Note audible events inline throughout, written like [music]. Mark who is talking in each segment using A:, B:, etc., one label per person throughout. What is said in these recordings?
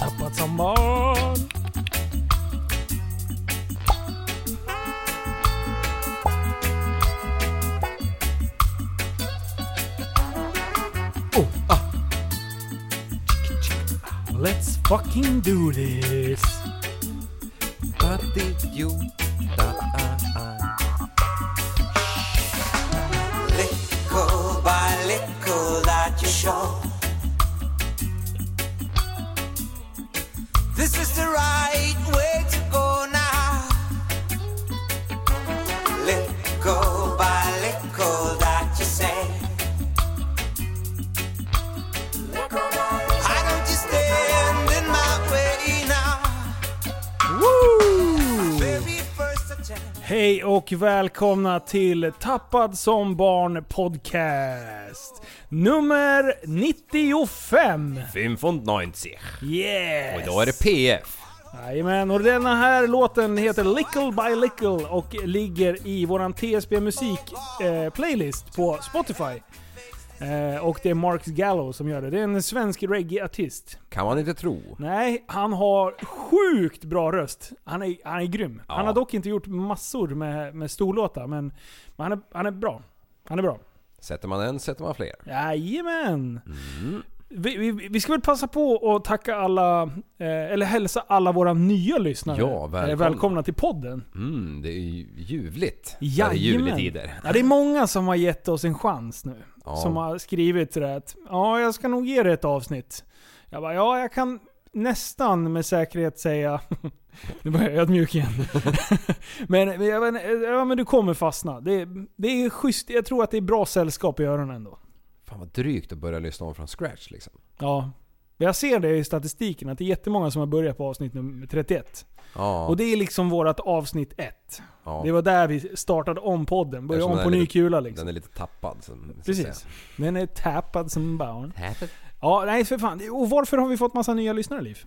A: Tappat som barn. Oh, ah. Let's fucking do this.
B: What did you... Da, ah, ah.
C: Little by little that you show. This is the right way to go now. Little by little that you say. I don't you stand in my way now.
A: Woo!
C: Very first attempt.
A: Hej och välkomna till Tappad som barn podcast. Nummer 95.
B: 95.
A: Yes!
B: Och idag är det PF.
A: Jajamän, och denna här låten heter Lickle by Lickle och ligger i våran TSB Musik eh, playlist på Spotify. Eh, och det är Mark Gallo som gör det. Det är en svensk reggae-artist.
B: Kan man inte tro.
A: Nej, han har sjukt bra röst. Han är, han är grym. Han har dock inte gjort massor med, med storlåtar, men, men han, är, han är bra. Han är bra.
B: Sätter man en sätter man fler.
A: Jajamän!
B: Mm.
A: Vi, vi, vi ska väl passa på att tacka alla, eh, eller hälsa alla våra nya lyssnare.
B: Ja, välkomna.
A: Eh, välkomna till podden.
B: Mm, det är ju ljuvligt. Det är
A: Jajamän.
B: juletider.
A: Ja, det är många som har gett oss en chans nu.
B: Ja.
A: Som har skrivit till det att ja, jag ska nog ge det ett avsnitt. Jag bara, ja, jag kan nästan med säkerhet säga... [laughs] nu börjar jag ödmjuk igen. [laughs] men, men, jag vet inte, ja, men du kommer fastna. Det, det är schysst. Jag tror att det är bra sällskap i öronen ändå.
B: Fan vad drygt att börja lyssna om från scratch liksom.
A: Ja. Jag ser det i statistiken att det är jättemånga som har börjat på avsnitt nummer 31.
B: Ja,
A: Och det är liksom vårt avsnitt 1.
B: ja.
A: Det var där vi startade om podden. Började
B: Eftersom
A: om
B: den
A: på
B: är
A: ny
B: lite-
A: kula liksom.
B: Den är lite tappad. Som, så att
A: Precis.
B: säga.
A: Den är tappad som barn. Ja, nej för fan. Och varför har vi fått massa nya lyssnare, Liv?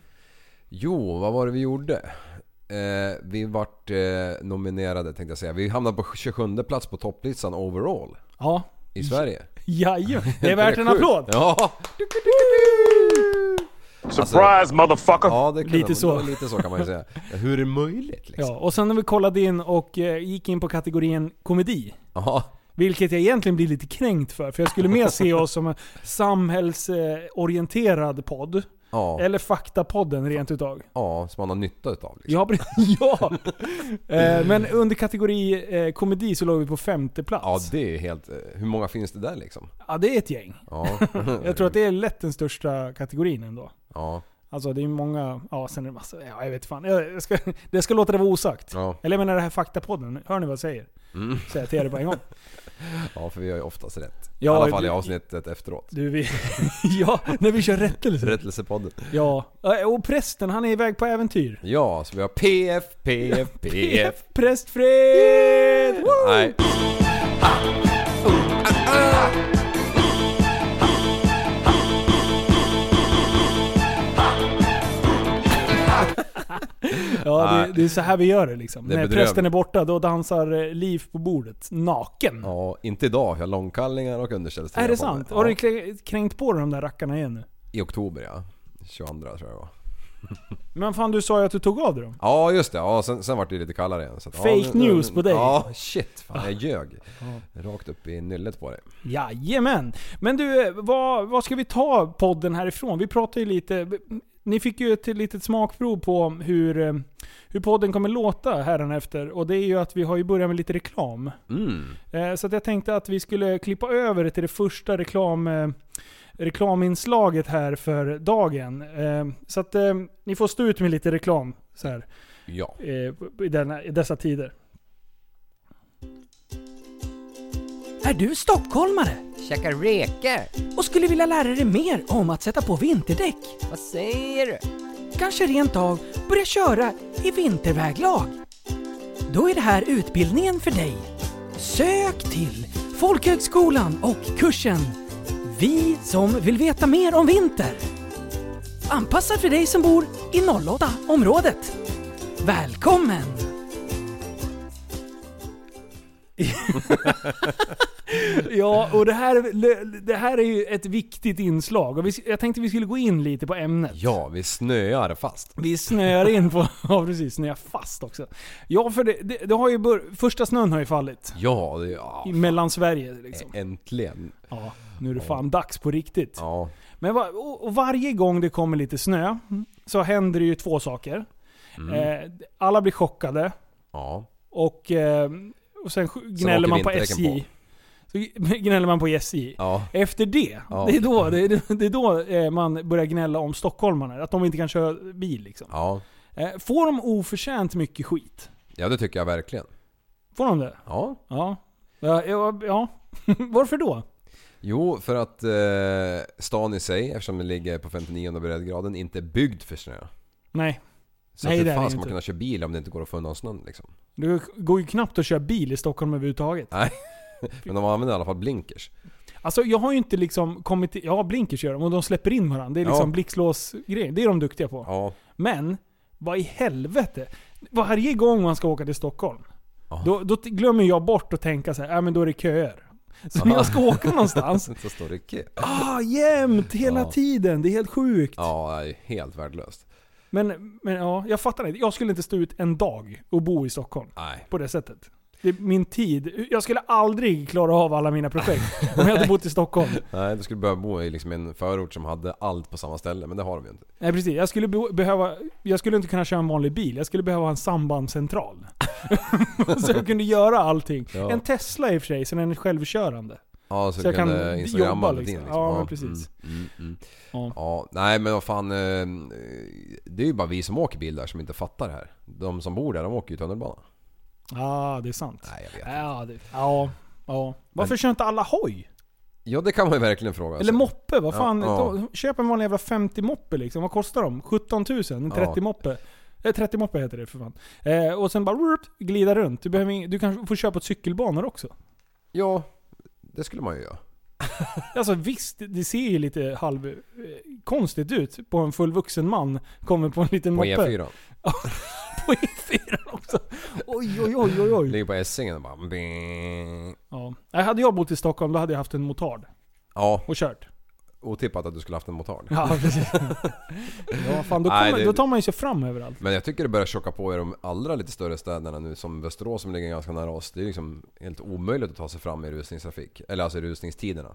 B: Jo, vad var det vi gjorde? Eh, vi vart eh, nominerade tänkte jag säga. Vi hamnade på 27 plats på topplistan overall
A: Ja.
B: i Sverige.
A: Jajamän.
B: [laughs]
A: Det är
B: Inte
A: värt en
B: sjukt?
A: applåd.
B: Ja!
D: Surprise, motherfucker!
B: Alltså, ja det kan
A: Lite
B: man,
A: så.
B: lite så kan man ju säga. Hur är det möjligt liksom?
A: Ja, och sen när vi kollade in och eh, gick in på kategorin komedi.
B: Ja.
A: Vilket jag egentligen blir lite kränkt för. För jag skulle mer se oss som en samhällsorienterad podd.
B: Ja,
A: Eller faktapodden rent utav.
B: ja, som man har nytta utav. Liksom.
A: Ja, precis. [laughs] ja. Eh, Men under kategori eh, komedi så låg vi på femte plats.
B: Ja, det är helt... eh, Hur många finns det där liksom?
A: ja, det är ett gäng.
B: Ja, [laughs]
A: Jag tror att det är lätt den största kategorin ändå.
B: ja,
A: Alltså det är många, ja sen är det massa, ja jag vet fan. Jag jag ska, det ska låta det vara osagt.
B: ja,
A: Eller jag menar det här faktapodden, hör ni vad jag säger? Säger jag till er på en gång.
B: ja, för vi har ju oftast rätt.
A: Ja,
B: I alla fall i
A: det-
B: avsnittet efteråt.
A: Du, vi, [laughs] ja, när vi kör rättelser.
B: Rättelsepodden.
A: Ja, Eh, och prästen han är iväg på äventyr.
B: Ja, så vi har PF, PF,
A: [laughs]
B: PF.
A: Prästfred! Woo!
B: E Nej.
A: Ja, det,
B: Nej.
A: det är så här vi gör det liksom.
B: Det är
A: när
B: bedrövligt.
A: prästen är borta, då dansar eh, Liv på bordet. Naken.
B: Ja, inte idag. Jag har långkallingar och underställstingar
A: är det
B: på mig.
A: sant?
B: Ja,
A: Har du klä- kränkt på dig de där rackarna igen nu?
B: I oktober ja. 22 tror jag det var.
A: Men fan du sa ju att du tog av dig dem.
B: Ja just det, ja, sen, sen vart det lite kallare igen. Så att,
A: Fake
B: ja, nu- nu-
A: news på dig.
B: Ja, shit. Fan, jag ljög. Rakt upp i nyllet på dig.
A: Jajamän. Men du, eh, vad, vad ska vi ta podden härifrån? Vi pratade ju lite... Ni fick ju ett litet smakprov på hur, eh, hur podden kommer låta här efter. Och det är ju att vi har ju börjat med lite reklam.
B: Mm.
A: Eh, Så att jag tänkte att vi skulle klippa över till det första reklam, eh, reklaminslaget här för dagen. Eh, Så att eh, ni får stå ut med lite reklam så här,
B: Ja.
A: eh, i, denna, i dessa tider. Är du stockholmare
E: Käka räkor?
A: och skulle vilja lära dig mer om att sätta på vinterdäck?
E: Vad säger du?
A: Kanske rent av börja köra i vinterväglag? Då är det här utbildningen för dig. Sök till folkhögskolan och kursen Vi som vill veta mer om vinter. Anpassad för dig som bor i 08-området. Välkommen! [laughs] ja, och det här, det här är ju ett viktigt inslag. Och vi, jag tänkte vi skulle gå in lite på ämnet.
B: Ja, vi snöar fast.
A: Vi snöar in på... [laughs] Ja precis, snöar fast också. Ja för det, det, det har ju bör, Första snön har ju fallit.
B: Ja, det, ja.
A: I Mellansverige liksom.
B: Äntligen.
A: Ja, nu är det fan dags på riktigt.
B: Ja.
A: Men va, och, och varje gång det kommer lite snö så händer det ju två saker.
B: Mm.
A: Eh, alla blir chockade
B: Ja.
A: och, eh, och sen sk- gnäller
B: åker
A: man på
B: vinterdäcken
A: SJ. Så [laughs] gnäller man på SJ.
B: Ja.
A: Efter det,
B: Ja.
A: det är
B: [laughs]
A: då, det är, det är då eh, man börjar gnälla om stockholmarna. Att de inte kan köra bil liksom.
B: Ja.
A: Eh, Får de oförtjänt mycket skit?
B: Ja, det tycker jag verkligen.
A: Får de det?
B: Ja.
A: Ja. Ja, ja, ja. [laughs] varför då?
B: Jo, för att eh, stan i sig, eftersom den ligger på 59 breddgraden, inte är byggd för snö.
A: Nej,
B: Så
A: Nej,
B: att
A: det
B: hur
A: är det
B: fan ska man
A: inte.
B: kunna köra bil om det inte går att få undan snön liksom?
A: det går ju knappt att köra bil i Stockholm överhuvudtaget.
B: Nej. Men de använder i alla fall blinkers.
A: Alltså jag har ju inte liksom kommit till, ja blinkers gör de och de släpper in varandra. Det är
B: Ja.
A: liksom blixtlåsgrejer. Det är de duktiga på.
B: Ja.
A: Men, vad i helvete? Varje gång man ska åka till Stockholm,
B: Ja.
A: då, då t- glömmer jag bort att tänka så här, äh, men då är det köer. Så när jag ska åka
B: [laughs]
A: någonstans,
B: Så står det kö.
A: ah jämt, hela
B: Ja.
A: tiden. Det är helt sjukt.
B: Ja, det är helt värdelöst.
A: Men, men ja, jag fattar inte. Jag skulle inte stå ut en dag och bo i Stockholm.
B: Nej.
A: På det sättet. Det är min tid. Jag skulle aldrig klara av alla mina projekt om jag hade bott i Stockholm.
B: Nej, du skulle behöva bo i liksom en förort som hade allt på samma ställe, men det har de ju inte.
A: Nej precis. Jag skulle be- behöva... Jag skulle inte kunna köra en vanlig bil. Jag skulle behöva ha en sambandscentral. [laughs] så jag kunde göra allting.
B: Ja.
A: En Tesla i och för sig, så den är självkörande.
B: Ja, så,
A: Så jag
B: kan
A: kan
B: eh,
A: jobba
B: instagramma lite
A: liksom.
B: in
A: Ja, men precis.
B: Mm, mm, mm.
A: Ja.
B: Ja. nej men vad fan. eh, Det är ju bara vi som åker bil där som inte fattar det här. De som bor där, de åker ju tunnelbana.
A: Ja, ah, det är sant.
B: Nej, jag vet inte.
A: Ja, det, ja, ja. Varför
B: Men-
A: kör inte alla hoj?
B: Ja, det kan man ju verkligen fråga
A: Eller
B: sig.
A: moppe, vad
B: Alltså. Ja,
A: fan.
B: ja.
A: Då, köp en vanlig jävla 50 moppe liksom. Vad kostar de? 17 000? En 30
B: Ja.
A: moppe? Eh, 30 moppe heter det för fan. Eh, och sen bara whoop, glida runt. Du, behöver, ing- du kan få köpa ett cykelbanor också.
B: Ja, det skulle man ju göra.
A: Alltså visst, det ser ju lite halv eh, konstigt ut på en fullvuxen man kommer på en liten
B: På E
A: moppe.
B: E4.
A: På E4 också. Oj, oj, oj, oj, oj.
B: Ligger på Essingen och bara... bing.
A: Ja. Nej, Hade jag bott i Stockholm då hade jag haft en motard
B: Ja,
A: och kört.
B: otippat att du skulle haft en motard.
A: [laughs] Ja, precis. ja, fan, då,
B: Nej,
A: kommer,
B: det-
A: då tar man ju sig fram överallt.
B: Men jag tycker det börjar tjocka på i de allra lite större städerna nu som Västerås som ligger ganska nära oss. Det är liksom helt omöjligt att ta sig fram i rusningstrafik. Eller alltså i rusningstiderna.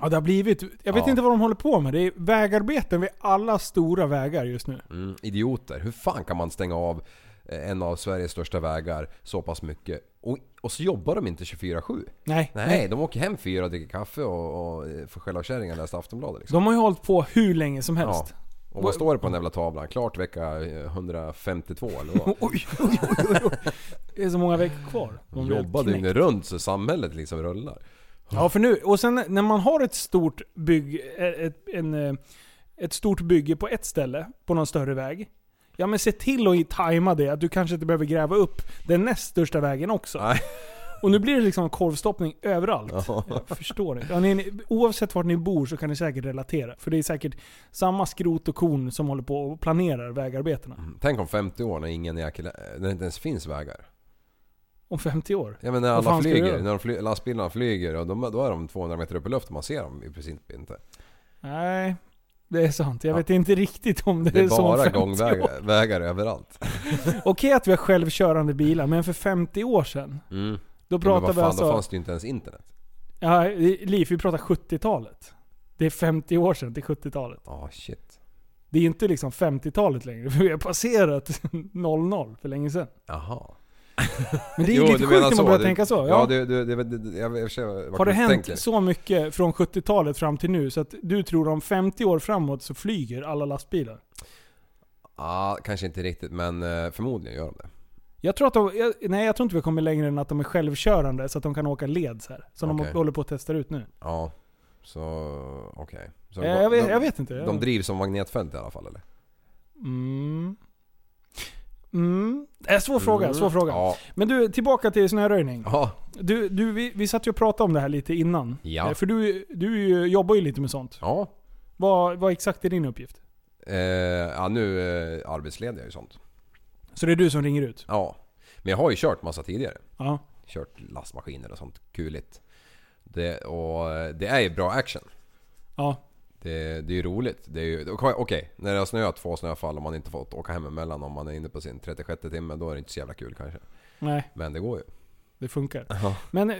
A: Ja det har blivit, jag vet
B: Ja.
A: inte vad de håller på med. Det är vägarbeten vid alla stora vägar just nu.
B: Mm, idioter. Hur fan kan man stänga av eh, en av Sveriges största vägar så pass mycket? Och, och så jobbar de inte 24-7.
A: Nej.
B: Nej, de åker hem fyra och dricker kaffe och, och eh, får skäll av kärringar och läser Aftonbladet. Liksom.
A: De har ju hållit på hur länge som
B: Ja.
A: helst.
B: Och vad står det på den jävla tavlan? Klart vecka eh, 152
A: [laughs]
B: eller vad?
A: [laughs] Oj, oj, oj, oj, oj. Det är så många veckor kvar. De
B: De
A: blir
B: jobbar
A: knäckt.
B: dygnet runt så samhället liksom rullar.
A: Ja, för nu. Och sen när man har ett stort bygg, ett, en, eh, ett stort bygge på ett ställe, på någon större väg. Ja men se till att tajma det, att du kanske inte behöver gräva upp den näst största vägen också.
B: Nej.
A: Och nu blir det liksom korvstoppning överallt.
B: Ja.
A: Jag förstår inte. Ja, ni, oavsett vart ni bor så kan ni säkert relatera. För det är säkert samma skrot och korn som håller på och planerar vägarbetena.
B: Mm. Tänk om 50 år när ingen jäkel, eh, när det inte ens finns vägar.
A: Om 50 år.
B: Ja men när
A: Vad
B: alla
A: fan ska du
B: flyger,
A: göra?
B: när de fly, lastbilarna flyger och de, då är de 200 meter upp i luften, man ser dem i princip inte.
A: Nej. Det är sant. Jag vet inte riktigt om det,
B: Det är
A: så om
B: bara
A: 50 år.
B: gångvägar vägar överallt.
A: Okej att vi har självkörande bilar, men för 50 år sedan.
B: Mm.
A: Då
B: Men vad
A: pratar
B: fan,
A: vi alltså...
B: då fanns det ju inte ens internet.
A: Ja, Liv, vi pratar 70-talet. Det är 50 år sedan till 70-talet.
B: Ja, Ah, shit.
A: Det är inte liksom 50-talet längre, [laughs] för vi har passerat 00 för länge sedan.
B: Jaha.
A: Men det är lite sjukt när man börjar tänka så.
B: Ja,
A: Ja.
B: du, du, det, det, det, jag, jag förstår
A: har
B: vad
A: det
B: du
A: hänt
B: tänker.
A: så mycket från 70-talet fram till nu så att du tror om 50 år framåt så flyger alla lastbilar?
B: Ja, kanske inte riktigt men eh, förmodligen gör de det.
A: Jag tror att de, jag, nej, jag tror inte vi kommer längre än att de är självkörande så att de kan åka led så här. Som
B: Okej.
A: de håller på att testa ut nu.
B: Ja, så okej. Så
A: Eh, jag, vet,
B: de,
A: jag vet inte.
B: De drivs som magnetfält i alla fall eller?
A: mm. Mm. Eh, Svår fråga, svår fråga.
B: Mm. Ja.
A: Men du, tillbaka till snöröjning.
B: ja.
A: Du, du, vi, vi satt ju och pratade om det här lite innan.
B: Ja.
A: Eh, För du, du är ju- jobbar ju lite med sånt.
B: ja.
A: Vad, vad exakt är din uppgift?
B: Eh, ja, nu eh, arbetsleder jag ju sånt.
A: Så det är du som ringer ut?
B: Ja. Men jag har ju kört massa tidigare.
A: Ja.
B: Kört lastmaskiner och sånt kuligt. Det, och eh, det är ju bra action.
A: Ja.
B: Det, det är ju roligt. Det är ju, okej, okej, när det har snöat två snöfall och man inte fått åka hem emellan om man är inne på sin 36 timme, då är det inte så jävla kul kanske.
A: Nej,
B: Men det går ju.
A: det funkar.
B: Ja.
A: Men eh,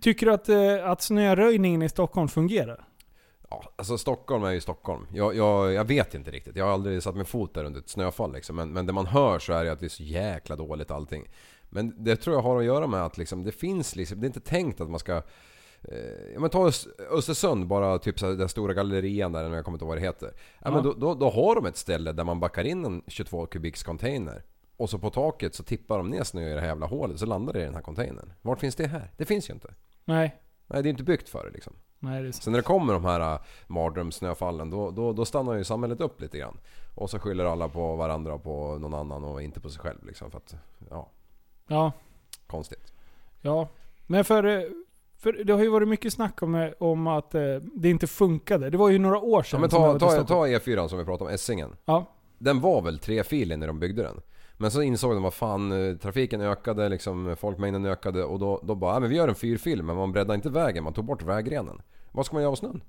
A: tycker du att, eh, att snöröjningen i Stockholm fungerar?
B: Ja, alltså Stockholm är ju Stockholm. Jag, jag, jag vet inte riktigt. Jag har aldrig satt min fot där under ett snöfall liksom. Men, men det man hör så är det att det är så jäkla dåligt allting. Men det tror jag har att göra med att liksom, det finns liksom, det är inte tänkt att man ska... Eh, ja, men ta Ös- Östersund bara, typ så här, den stora gallerian där, jag kommer inte ihåg vad det heter. Ja, Men då, då, då har de ett ställe där man backar in en 22 kubiks container. Och så på taket så tippar de ner snö i det här jävla hålet så landar det i den här containern. Vart finns det här? Det finns ju inte.
A: Nej.
B: Nej, det är inte byggt för det liksom.
A: Nej, det är sant.
B: Sen när det kommer de här äh, mardrömssnöfallen då, då, då stannar ju samhället upp lite grann. Och så skyller alla på varandra och på någon annan och inte på sig själv liksom för att, ja,
A: Ja.
B: konstigt.
A: Ja. Men för, eh, för det har ju varit mycket snack om, eh, om att eh, det inte funkade. Det var ju några år
B: Ja,
A: sedan.
B: men
A: som jag
B: ta,
A: var
B: ta,
A: till Stockholm.
B: ta E4 som vi pratade om, Essingen.
A: Ja.
B: Den var väl trefilig när de byggde den. Men så insåg de vad fan, eh, trafiken ökade, liksom, folkmängden ökade och då, då bara, "Ja, men vi gör en fyrfil men man breddar inte vägen, man tog bort vägrenen. Vad ska man göra av snön?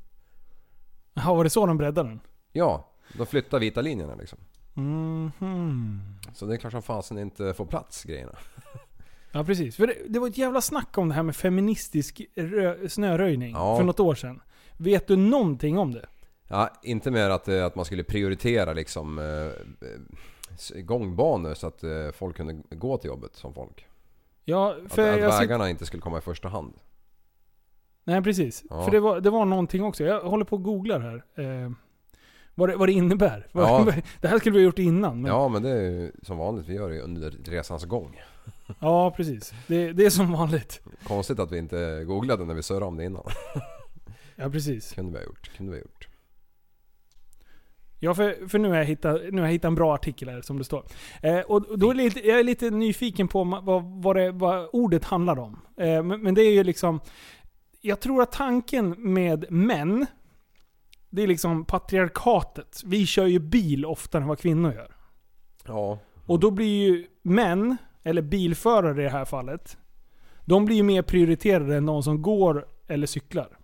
A: ja, var det så de breddade den?
B: Ja, de flyttar vita linjerna liksom.
A: Mhm.
B: Så det är klart som fasen inte får plats grejerna.
A: Ja precis. För det, det var ett jävla snack om det här med feministisk rö- snöröjning
B: Ja.
A: för något år sedan. Vet du någonting om det?
B: Ja, inte mer att, eh, att man skulle prioritera liksom eh, eh, gångbanor så att eh, folk kunde gå till jobbet som folk.
A: Ja,
B: Att,
A: för
B: att
A: jag sitter-
B: vägarna inte skulle komma i första hand.
A: Nej precis.
B: Ja.
A: För det var, det var någonting också. Jag håller på och googlar här. Eh, vad, det, vad det innebär.
B: Ja.
A: [laughs] det här skulle vi ha gjort innan. Men, ja.
B: Ja men det är ju som vanligt, vi gör det ju under resans gång.
A: precis. Det, det är som vanligt.
B: Konstigt att vi inte googlade när vi surrade om det innan. [laughs]
A: Ja precis.
B: kunde vi ha gjort, kunde vi ha gjort.
A: Ja för, för nu, har jag hittat, nu har jag hittat en bra artikel här som det står. Eh, och och då är det lite, jag är lite nyfiken på ma- vad, vad, det, vad ordet handlar om. Eh, men, men det är ju liksom... Jag tror att tanken med män, det är liksom patriarkatet. Vi kör ju bil oftare än vad kvinnor gör.
B: Ja,
A: Och då blir ju män, eller bilförare i det här fallet, de blir ju mer prioriterade än de som går eller cyklar.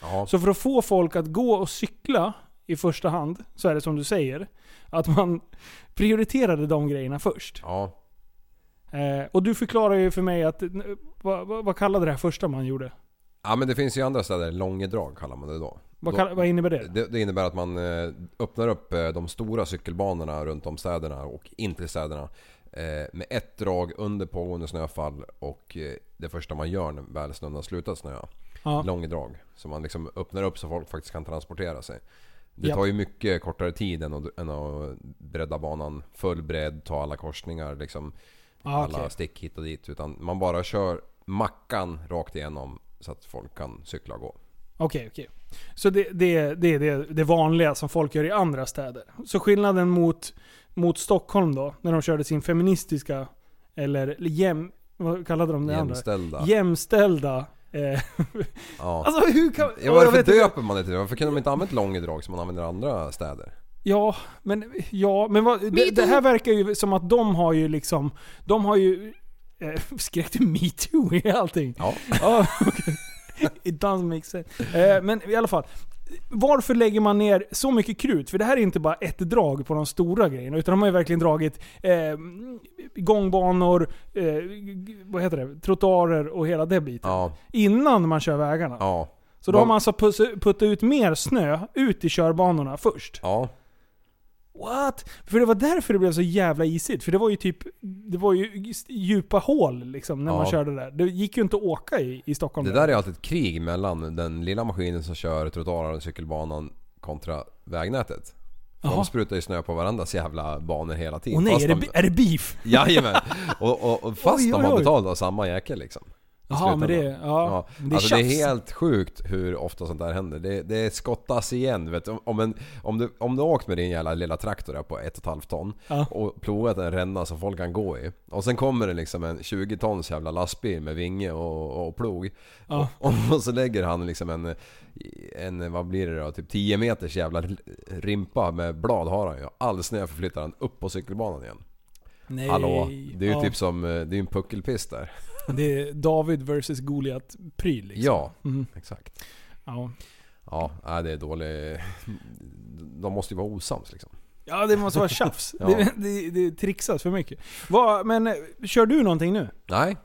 B: ja.
A: Så för att få folk att gå och cykla i första hand, så är det som du säger, att man prioriterade de grejerna först.
B: ja.
A: Eh, och du förklarar ju för mig att, n- vad, vad, vad kallade det här första man gjorde?
B: Ja men det finns ju andra städer, Långedrag kallar man det då.
A: Vad,
B: Då-
A: kall, vad innebär det?
B: Det, det innebär att man eh, öppnar upp eh, de stora cykelbanorna runt om städerna och in till städerna eh, med ett drag under pågående snöfall och eh, det första man gör när väl snön har slutat snöa.
A: Ja.
B: Långdrag. Så man liksom öppnar upp så folk faktiskt kan transportera sig. Det
A: Japp.
B: tar ju mycket kortare tid än att, än att bredda banan full bredd, ta alla korsningar liksom.
A: Ah, okej.
B: Alla stick hit och dit. Utan man bara kör mackan rakt igenom så att folk kan cykla och gå.
A: Okej, okej. Så det, det, det är det, det vanliga som folk gör i andra städer. Så skillnaden mot, mot Stockholm då, när de körde sin feministiska, eller jäm... Vad kallade de det
B: Jämställda.
A: andra? Jämställda. Eh, [laughs]
B: Ja.
A: alltså hur kan...
B: Ja, varför
A: vet inte.
B: döper man det till det? Varför kunde de inte använt Långedrag som man använder i andra städer?
A: Ja, men, ja, men vad, det, det här verkar ju som att de har ju liksom... De har ju... Eh, [laughs] skrek du metoo i allting?
B: [laughs] Ja.
A: [laughs] Ja, okej. It doesn't make sense. Eh, men i alla fall. varför lägger man ner så mycket krut? För det här är inte bara ett drag på de stora grejerna, utan de har ju verkligen dragit eh, gångbanor, eh, g- vad heter det, trottoarer och hela det biten.
B: Ja,
A: Innan man kör vägarna.
B: ja,
A: Så då har
B: Vad-
A: man alltså puss- puttat ut mer snö ut i körbanorna först.
B: ja.
A: What? För det var därför det blev så jävla isigt. För det var ju typ, det var ju djupa hål liksom när man
B: Ja.
A: körde där. Det gick ju inte att åka i, i Stockholm.
B: Det där är alltid ett krig mellan den lilla maskinen som kör trottoaren och cykelbanan kontra vägnätet. För
A: Jaha.
B: de sprutar ju snå på varandras jävla banor hela tiden.
A: Åh nej,
B: fast
A: är det,
B: de-
A: bi- är det beef?
B: [laughs] Jajamän! Och, och, och
A: [laughs]
B: fast
A: Oj,
B: de
A: oj,
B: har
A: oj.
B: betalt av samma jäkel liksom. I
A: Jaha, men det, ja,
B: slutändan.
A: Men det är
B: alltså det
A: tjafs.
B: är helt sjukt hur ofta sånt där händer. Det, det skottas igen. Vet du. Om, en, om, du, om du har åkt med din jävla lilla traktor där på ett och ett halvt ton
A: Ja.
B: och plogat en ränna som folk kan gå i. Och sen kommer det liksom en 20 tons jävla lastbil med vinge och, och plog.
A: Ja.
B: Och, [laughs] och så lägger han liksom en, en, vad blir det då, typ 10 meters jävla rimpa med blad har han ju. All snö förflyttar han upp på cykelbanan igen.
A: Nej.
B: Hallå, det är ju
A: ja,
B: typ som, eh, det är ju en puckelpist där.
A: Det är David vs Goliat-pryl liksom.
B: Ja,
A: Mm.
B: exakt.
A: Ja.
B: Ja, nej, det är dålig... De måste ju vara osams liksom.
A: ja, det måste vara tjafs.
B: [laughs] Ja.
A: det, det, det trixas för mycket. Vad- men eh, kör du någonting nu?
B: Nej,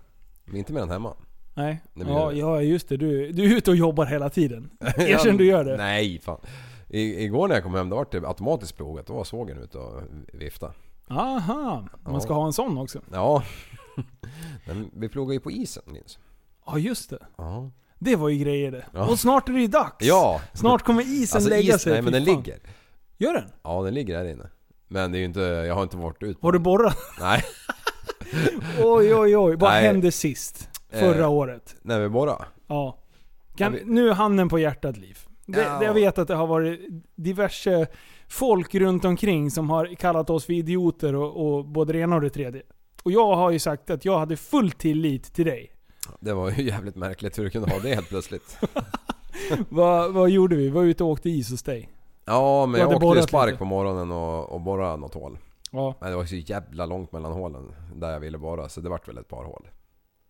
B: vi är inte med den hemma.
A: Nej.
B: Det blir
A: ja,
B: det.
A: ja, just det. Du, du är ute och jobbar hela
B: [laughs]
A: tiden. Erkänn du gör det.
B: Nej, fan. I, igår när jag kom hem, då var det typ automatiskt plogat. Då var svågern ute och vifta.
A: Aha, man
B: Ja.
A: ska ha en sån också.
B: Ja. [laughs] Men vi plogade ju på isen, Linus.
A: Ja, just det.
B: Ja.
A: Det var ju grejer det.
B: Ja.
A: Och snart är det ju dags.
B: Ja!
A: Snart kommer isen
B: Alltså
A: lägga
B: is,
A: sig.
B: nej men
A: fy
B: den
A: fan.
B: ligger.
A: Gör den?
B: Ja, den ligger där inne. Men det är ju inte, jag har inte varit ut.
A: Har du
B: [laughs]
A: borrat?
B: Nej,
A: Oj, oj, oj. Vad
B: Nej.
A: hände sist? Förra
B: Eh.
A: året?
B: när vi bara.
A: Ja. Kan,
B: Ja, vi-
A: Nu är handen på hjärtat Liv. Det,
B: Ja.
A: det, jag vet att det har varit diverse folk runt omkring som har kallat oss för idioter och, och både det ena och det tredje. Och jag har ju sagt att jag hade full tillit till dig.
B: Det var ju jävligt märkligt hur du kunde ha det helt plötsligt.
A: [laughs] vad, vad gjorde vi? Vi var ute och åkte is hos dig.
B: Ja
A: Du hade
B: men jag åkte ju
A: borrat
B: spark
A: lite.
B: på morgonen och, och borrade något hål.
A: Ja.
B: Men det var så jävla långt mellan hålen där jag ville borra så det vart väl ett par hål.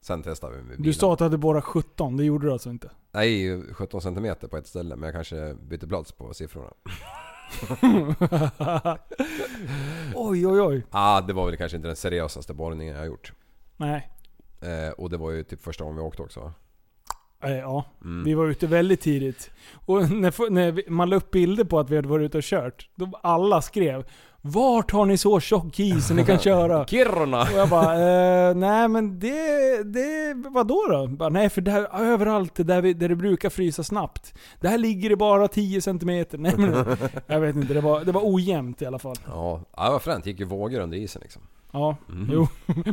B: Sen testade vi med bilen.
A: Du sa att du hade borrat 17, det gjorde du alltså inte?
B: Nej, 17 cm på ett ställe men jag kanske bytte plats på siffrorna.
A: oj, oj, oj.
B: Ah, det var väl kanske inte den seriösaste borrningen jag har gjort.
A: Nej.
B: Eh, och det var ju typ första gången vi åkte också va?
A: Eh, Ja,
B: Mm.
A: vi var ute väldigt tidigt. Och när, f- när vi- man la upp bilder på att vi hade varit ute och kört, då alla skrev Vart har ni så tjock is som ni kan
B: [laughs]
A: köra?
B: Kiruna!
A: Och jag bara, eh, nej men det, det vadå då? Bara, nej för där, överallt där, vi, där det brukar frysa snabbt, där ligger det bara 10 cm. [laughs] Nej, men, jag vet inte, det var, det var ojämnt i alla fall.
B: Ja, ah, vad fränt. gick ju vågor under isen liksom.
A: Ja, Mm. jo.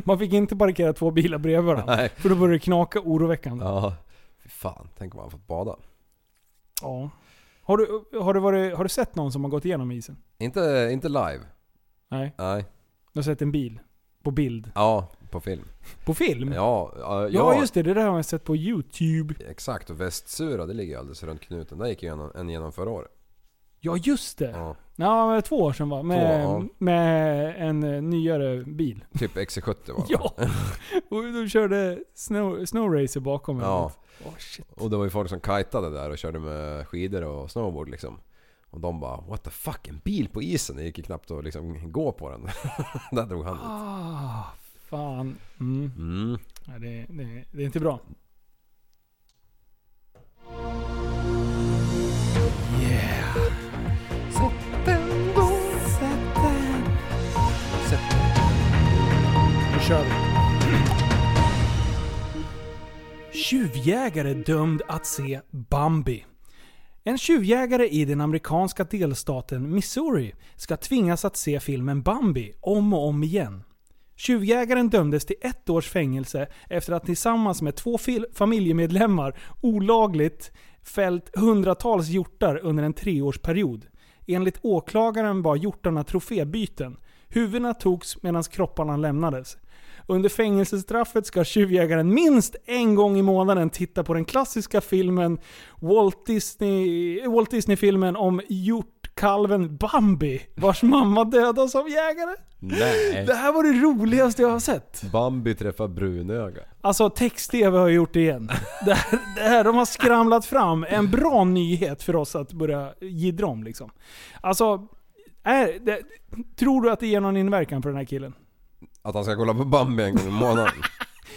A: Man fick inte parkera två bilar bredvid varandra.
B: [laughs] Nej.
A: För då började det knaka oroväckande.
B: Ja. Fy fan, tänk om man fått bada.
A: Ja. Har, du, har, du varit, har du sett någon som har gått igenom isen?
B: Inte, inte live.
A: Nej.
B: Nej.
A: Du har sett en bil? På bild?
B: Ja, på film.
A: På film?
B: Ja, ja,
A: Mm. Ja, just det. Det där har jag sett på YouTube.
B: Exakt, och Västsura det ligger ju alldeles runt knuten. Där gick ju en, en genom förra året.
A: Ja, just det. Ja,
B: Ja.
A: men två år sedan va? Med,
B: Två, ja.
A: med en eh, nyare bil.
B: Typ XC70 var
A: [laughs]
B: det.
A: Ja. Och de körde snow, snowracer bakom mig.
B: ja.
A: Åh, shit.
B: Och det var ju folk som kajtade där och körde med skidor och snowboard liksom. Och de bara what the fuck, en bil på isen? Det gick ju knappt att liksom gå på den. [laughs] där drog han ut.
A: Ah, fan. Mm.
B: Mm.
A: Nej, det, det, det är inte bra. Nu kör vi. Tjuvjägare dömd att se Bambi. En tjuvjägare i den amerikanska delstaten Missouri ska tvingas att se filmen Bambi om och om igen. Tjuvjägaren dömdes till ett års fängelse efter att tillsammans med två fil- familjemedlemmar olagligt fällt hundratals hjortar under en treårsperiod. Enligt åklagaren var hjortarna trofébyten. Huvudena togs medan kropparna lämnades. Under fängelsestraffet ska tjuvjägaren minst en gång i månaden titta på den klassiska filmen Walt Disney- Walt Disney-filmen om hjortkalven Bambi, vars mamma dödas av jägare.
B: Nej.
A: Det här var det roligaste jag har sett.
B: Bambi träffar brunöga.
A: Alltså text-tv har gjort det igen. Det här, det här, de har skramlat fram en bra nyhet för oss att börja jiddra om liksom. Alltså, är, det, tror du att det ger någon inverkan på den här killen?
B: Att han ska kolla på Bambi en gång i månaden.
A: [laughs]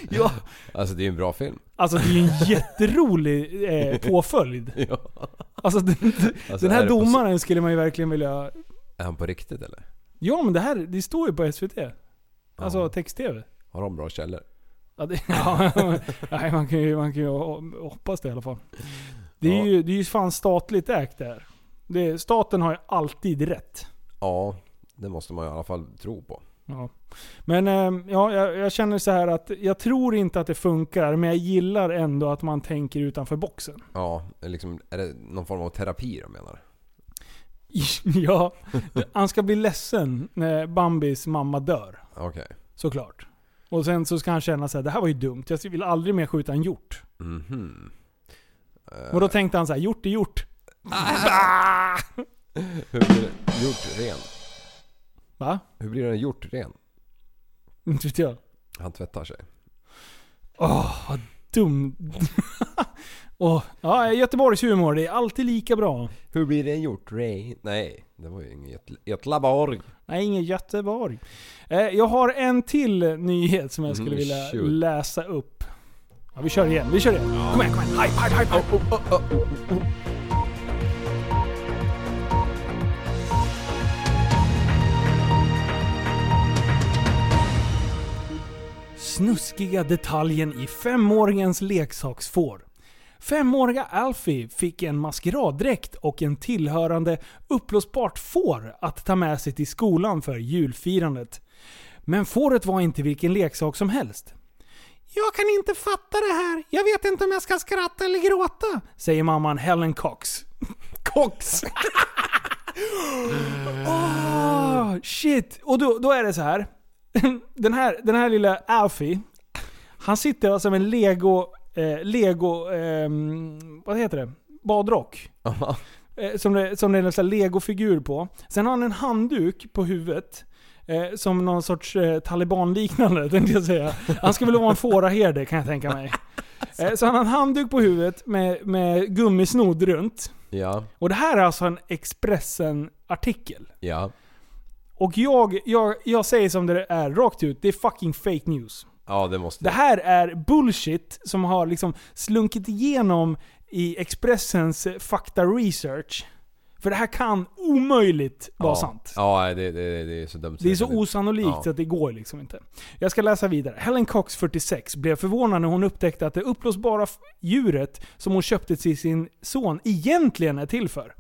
A: Ja.
B: Alltså det är ju en bra film.
A: Alltså det är ju
B: [laughs]
A: en jätterolig eh, påföljd.
B: Ja.
A: Alltså den,
B: Alltså,
A: den
B: är
A: här
B: det på-
A: domaren skulle man ju verkligen vilja...
B: Är han på riktigt eller?
A: Ja men det här, det står ju på SVT. Alltså
B: Ja.
A: text-tv.
B: Har de bra källor?
A: Ja, det, [laughs] ja, nej, man kan ju, man kan ju ho- hoppas det i alla fall. Det är,
B: Ja.
A: ju, det är ju fan statligt ägt det här. Det, staten har ju alltid rätt.
B: Ja, det måste man ju i alla fall tro på.
A: Ja. Men eh, ja, jag, jag känner så här att jag tror inte att det funkar, men jag gillar ändå att man tänker utanför boxen. [laughs]
B: Ja, liksom, är det någon form av terapi de menar?
A: ja, han ska bli ledsen när Bambis mamma dör.
B: Okej.
A: Såklart. Och sen så ska han känna så här, det här var ju dumt. Jag vill aldrig mer skjuta en hjort.
B: Mhm. Eh,
A: Och då tänkte han så här, hjort är hjort.
B: Hur blir det gjort ren?
A: Va? [laughs]
B: Hur blir den gjort ren?
A: Inte vet jag.
B: Han tvättar sig.
A: Åh, vad dum... [laughs] Åh, ja, Göteborgs humor, det är alltid lika bra.
B: Hur blir den gjort ren? Nej, det var ju inget Götlaborg.
A: Nej, ingen Göteborg. Eh, jag har en till nyhet som jag skulle
B: Mm,
A: vilja
B: shoot.
A: läsa upp. Ja, vi kör igen, vi kör igen. Kom igen, kom igen. Hype, hype, hype, hype. Snuskiga detaljen i femåringens leksaksfår. Femåriga Alfie fick en maskeraddräkt och en tillhörande uppblåsbart får att ta med sig till skolan för julfirandet. Men fåret var inte vilken leksak som helst. Jag kan inte fatta det här. Jag vet inte om jag ska skratta eller gråta. Säger mamman Helen Cox. [laughs] Cox! Åh, Ah, shit! Och då, då är det så här. [laughs] Den här, den här lilla Alfie. Han sitter alltså med en lego... Eh, lego... ehm, vad heter det? Badrock.
B: Aha.
A: Eh, som, det, som det är en sån här legofigur på. Sen har han en handduk på huvudet. Eh, som någon sorts eh, talibanliknande [laughs] tänkte jag säga. Han ska väl vara en fåraherde kan jag tänka mig. Eh, så han har en handduk på huvudet med, med gummisnodd runt.
B: Ja,
A: Och det här är alltså en Expressen-artikel.
B: ja.
A: Och jag, jag, jag säger som det är rakt ut, det är fucking fake news.
B: Ja, det måste
A: Det här är bullshit som har liksom slunkit igenom i Expressens eh, fakta research. För det här kan omöjligt vara
B: ja.
A: sant.
B: Ja, nej, det, det, det är så dumt.
A: Det är så osannolikt
B: Ja.
A: att det går liksom inte. Jag ska läsa vidare. Helen Cox, 46, blev förvånad när hon upptäckte att det uppblåsbara f- djuret som hon köpte till sin son egentligen är till för.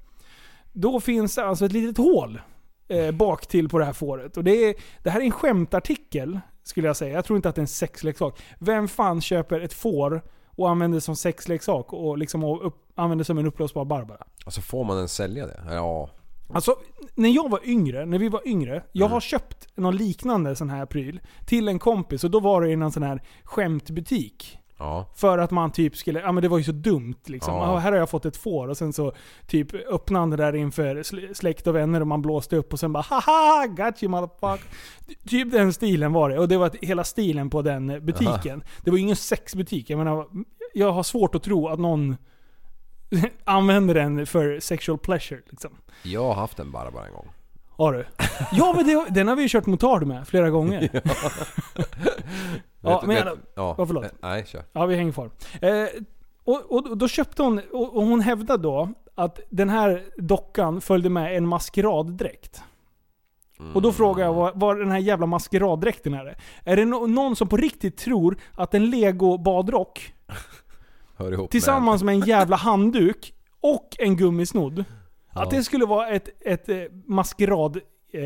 A: Då finns det alltså ett litet hål eh, bak till på det här fåret. Och det, är, det här är en skämtartikel, skulle jag säga. Jag tror inte att det är en sexleksak. Vem fan köper ett får och använder som sexleksak och liksom och upp, använder som en uppblåsbar Barbara?
B: Alltså får man ens sälja det? Ja.
A: Alltså, när jag var yngre, när vi var yngre, jag har köpt någon liknande sån här pryl till en kompis och då var det i någon sån här skämtbutik.
B: Ja.
A: För att man typ skulle, ja men det var ju så dumt liksom.
B: Ja.
A: "Ah, Här har jag fått ett får och sen så typ öppnade han det där inför sl- släkt och vänner och man blåste upp och sen bara haha got you motherfucker. Ty- Typ den stilen var det och det var att hela stilen på den butiken. Det var ju ingen sexbutik. Jag menar, jag har svårt att tro att någon [laughs] använder den för sexual pleasure liksom.
B: Jag har haft en Barbara en gång.
A: Har du? [laughs] Ja men det, den har vi ju kört motard med flera gånger. [laughs] ja,
B: Vet-
A: men,
B: vet- ja.
A: ja, förlåt.
B: Nej, kör.
A: ja vi hänger kvar. Eh, och, och då köpte hon, och, och hon hävdade då att den här dockan följde med en maskeraddräkt. Och då frågar jag vad, vad den här jävla maskeraddräkten är. Är det no- någon som på riktigt tror att en lego badrock
B: Hör ihop
A: tillsammans med en jävla handduk och en gummisnodd. Att
B: Ja.
A: det skulle vara ett, ett eh, maskerad eh,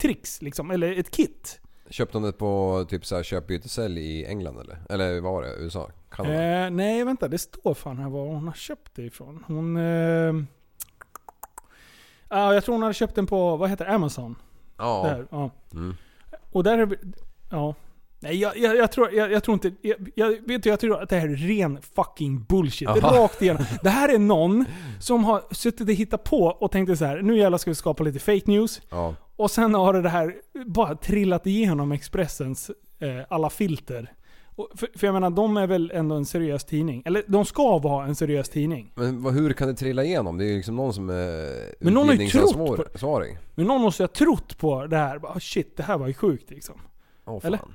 A: tricks liksom, eller ett kit.
B: med... Köpte hon det på typ så här köp byte sälj i England eller? Eller vad var det? USA? Kanada?
A: Eh, nej vänta, det står fan här var hon har köpt det ifrån. Hon... Eh, ja, jag tror hon hade köpt den på, vad heter det, Amazon.
B: ja.
A: Där, ja.
B: Mm.
A: Och där är vi- Ja. Nej jag, jag, jag, tror, jag, jag tror inte... Jag, jag, vet du, jag tror att det här är ren fucking bullshit.
B: Aha.
A: Rakt igenom. Det här är någon som har suttit och hittat på och tänkte så här: nu jävlar ska vi skapa lite fake news.
B: ja.
A: Och sen har det här bara trillat igenom Expressens eh, alla filter. Och, för, för jag menar, de är väl ändå en seriös tidning? Eller de ska vara en seriös tidning.
B: Men vad, hur kan det trilla igenom? Det är ju liksom någon som är
A: Men någon har ju trott på-
B: utgivningsansvarig.
A: Men någon måste ju ha trott på det här. Bara, "Ah, shit, det här var ju sjukt liksom.
B: Åh
A: Eller?
B: fan.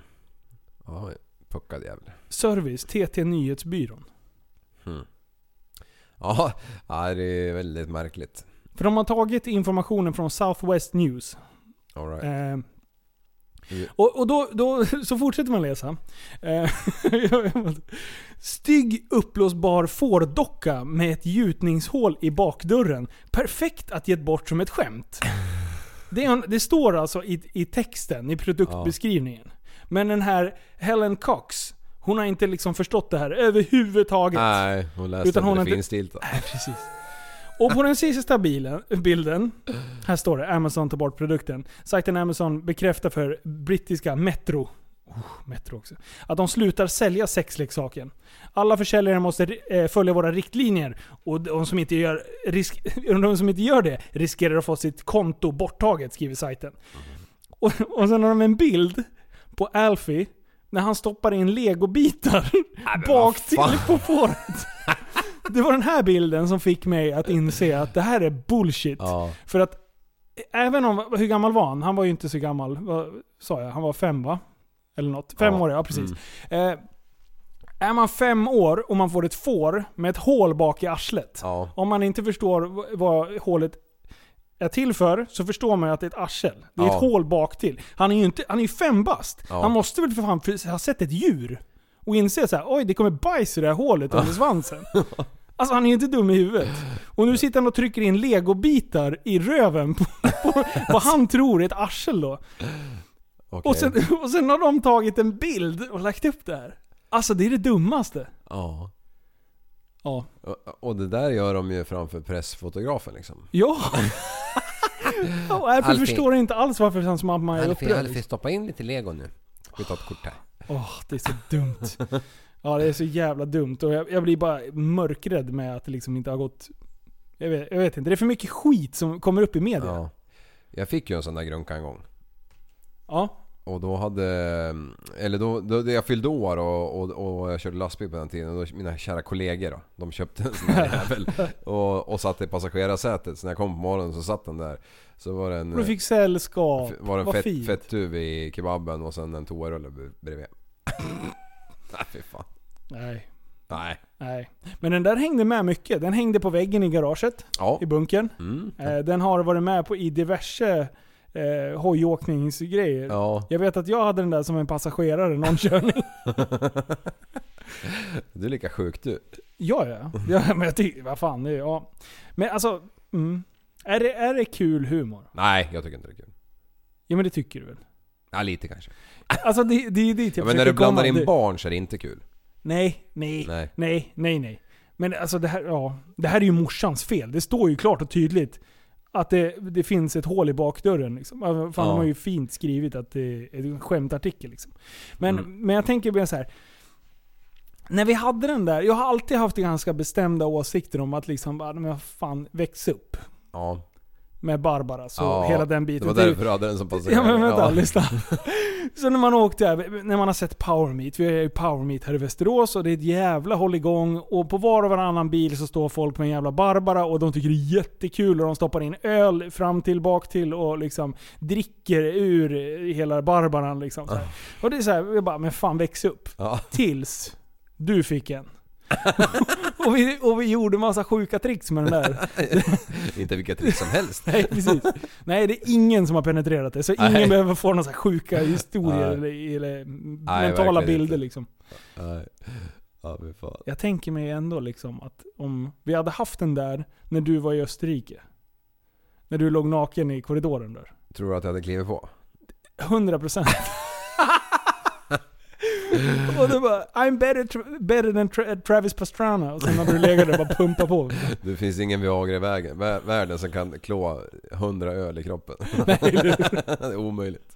B: Ja, puckad jävel.
A: Service, TT Nyhetsbyrån.
B: Ja, ja, det är väldigt märkligt.
A: För de har tagit informationen från Southwest News.
B: All right.
A: Eh,
B: Mm.
A: och och då, då, [laughs] så fortsätter man läsa. Eh, [laughs] Stygg uppblåsbar fårdocka med ett gjutningshål i bakdörren. Perfekt att ge bort som ett skämt. Det, är en, det står alltså i, i texten, i produktbeskrivningen. Men den här Helen Cox, hon har inte liksom förstått det här överhuvudtaget.
B: Nej, hon
A: Utan
B: läste Utan
A: hon
B: hon
A: har
B: det
A: inte-
B: finstilta.
A: Nej, precis. Och på den sista bilen, bilden, här står det Amazon tar bort produkten. Sajten Amazon bekräftar för brittiska Metro, oh, Metro också, att de slutar sälja sexleksaken. Alla försäljare måste eh, följa våra riktlinjer och de som, inte gör, risk, [laughs] de som inte gör det riskerar att få sitt konto borttaget, skriver sajten. Och, och sen har de en bild på Alfie när han stoppar in legobitar bak till på fåret. Det var den här bilden som fick mig att inse att det här är bullshit.
B: Ja.
A: För att även om, hur gammal var han? Han var ju inte så gammal. Vad sa jag? Han var fem va? Eller något. Fem
B: Ja. Mm.
A: år, ja precis. Eh, är man fem år och man får ett får med ett hål bak i arslet.
B: Ja.
A: Om man inte förstår v- vad hålet är till för, så förstår man ju att det är ett arsel. Det är
B: Ja.
A: ett hål bak till. Han är ju inte, han är ju fem bast.
B: Ja.
A: Han måste väl för fan för- ha sett ett djur? Och inse så här, oj det kommer bajs i det här hålet under
B: [laughs]
A: svansen. Alltså han är ju inte dum i huvudet. Och nu sitter han och trycker in legobitar i röven på, [laughs] på vad han tror är ett arsel då.
B: Okej.
A: Och sen, [laughs] och sen har de tagit en bild och lagt upp det här. Alltså det är det dummaste.
B: Ja.
A: Ja.
B: Och- Och det där gör de ju framför pressfotografen liksom.
A: Ja.
B: [laughs]
A: och Alfie
B: Alfie.
A: förstår inte alls varför hans mamma är upprörd.
B: stoppa in lite lego nu. Vi tar ett kort här.
A: Åh, det är så dumt. Ja, det är så jävla dumt. Och jag, jag blir bara mörkrädd med att det liksom inte har gått... Jag vet, jag vet inte. Det är för mycket skit som kommer upp i media. Ja.
B: Ja. Jag fick ju en sån där grunka en gång. Och då hade... Eller då, då jag fyllde år och, och, och jag körde lastbil på den tiden. Och då, mina kära kollegor då, de köpte en sån
A: [laughs]
B: här jävel. Och, och satt i passagerarsätet. Så när jag kom på morgonen så satt den där. Så var det en...
A: Och du fick sällskap.
B: f- var det
A: Vad
B: en fett,
A: fint.
B: fetttuv i kebaben och sen en toarulle b- bredvid. [laughs] Nej fy fan.
A: Nej,
B: Nej.
A: nej. Men den där hängde med mycket. Den hängde på väggen i garaget,
B: Ja.
A: i bunkern.
B: Mm.
A: Eh, den har varit med på i diverse eh, hojåkningsgrejer.
B: Ja. [laughs]
A: Jag vet att jag hade den där som en passagerare någon körning.
B: Du är lika sjuk du.
A: Ja, ja.
B: Mhm.
A: ja men jag tycker, vad fan. Det, är- ja. Men alltså, mm. är, det, är det kul humor?
B: Nej, jag tycker inte det är kul.
A: Ja men det tycker du väl?
B: Ja, lite kanske.
A: Alltså det, det är ju dit jag
B: Ja, men när
A: försöker
B: du blandar
A: komma.
B: in
A: Det-
B: barn så är det inte kul.
A: Nej, nej, nej,
B: Nej.
A: nej, nej. Men alltså det här, ja. Det här är ju morsans fel. Det står ju klart och tydligt att det, det finns ett hål i bakdörren. Liksom. Alltså, Fan,
B: Ja.
A: de har ju fint skrivit att det är en skämtartikel. Liksom. Men,
B: Mm.
A: men jag tänker mer så här. När vi hade den där, jag har alltid haft ganska bestämda åsikter om att liksom, bara, men fan, väx upp.
B: Ja.
A: med Barbara. Så
B: ja.
A: hela den biten.
B: Det var därför du hade den som
A: Ja
B: passagerare.
A: men vänta, lyssna.
B: [laughs]
A: Så när man åkte här, när man har sett Power Meet, vi har ju Power Meet här i Västerås och det är ett jävla hålligång och på var och varannan bil så står folk med en jävla Barbara och de tycker det är jättekul och de stoppar in öl fram till, bak till och liksom dricker ur hela Barbaran liksom.
B: Ah.
A: Så här. Och det är så här, vi bara, men fan väx upp.
B: Ja.
A: Tills du fick en. [laughs] och, vi, och vi gjorde massa sjuka tricks med den där.
B: inte vilka trick
A: [laughs]
B: som helst.
A: Nej, precis. Nej, det är ingen som har penetrerat det. Så ingen
B: Nej.
A: behöver få några så här sjuka historier eller,
B: Nej.
A: eller mentala
B: verkligen
A: bilder
B: inte.
A: liksom.
B: Nej. Ja, fy fan.
A: Jag tänker mig ändå liksom att om vi hade haft den där när du var i Österrike. När du låg naken i korridoren där.
B: Tror du att jag hade klivit på?
A: 100
B: [laughs]
A: procent. och du bara I'm better, tr- better than tra- Travis Pastrana. Och sen hade du legat där och bara pumpat
B: [laughs]
A: på.
B: Det finns ingen Viagra i vägen, vä- världen som kan klå 100 öl
A: [laughs]
B: i kroppen. det är omöjligt.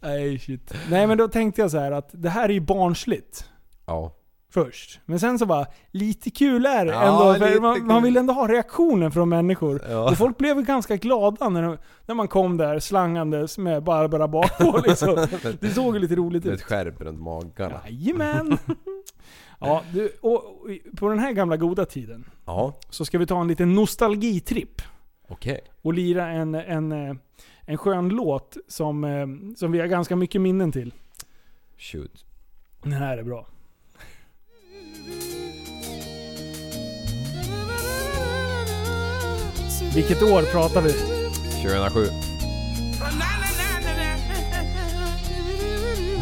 A: Nej shit. Nej men då tänkte jag så här att det här är ju barnsligt.
B: Ja.
A: först. Men sen så bara, lite kul är det
B: Ja,
A: ändå. För
B: lite
A: man,
B: kul.
A: man vill ändå ha reaktionen från människor.
B: Ja.
A: Och folk blev väl ganska glada när, de- när man kom där slangandes med Barbara
B: [laughs]
A: bakpå liksom. Det såg ju lite roligt
B: Med ett
A: ut.
B: skärp runt magarna.
A: Jajamän! [laughs] Ja, du, och och på den här gamla goda tiden
B: Ja,
A: så ska vi ta en liten nostalgitripp
B: okej.
A: och lira en, en, eh, en skön låt som, eh, som vi har ganska mycket minnen till.
B: Shoot.
A: Den här är bra. Vilket år pratar vi?
B: 2007.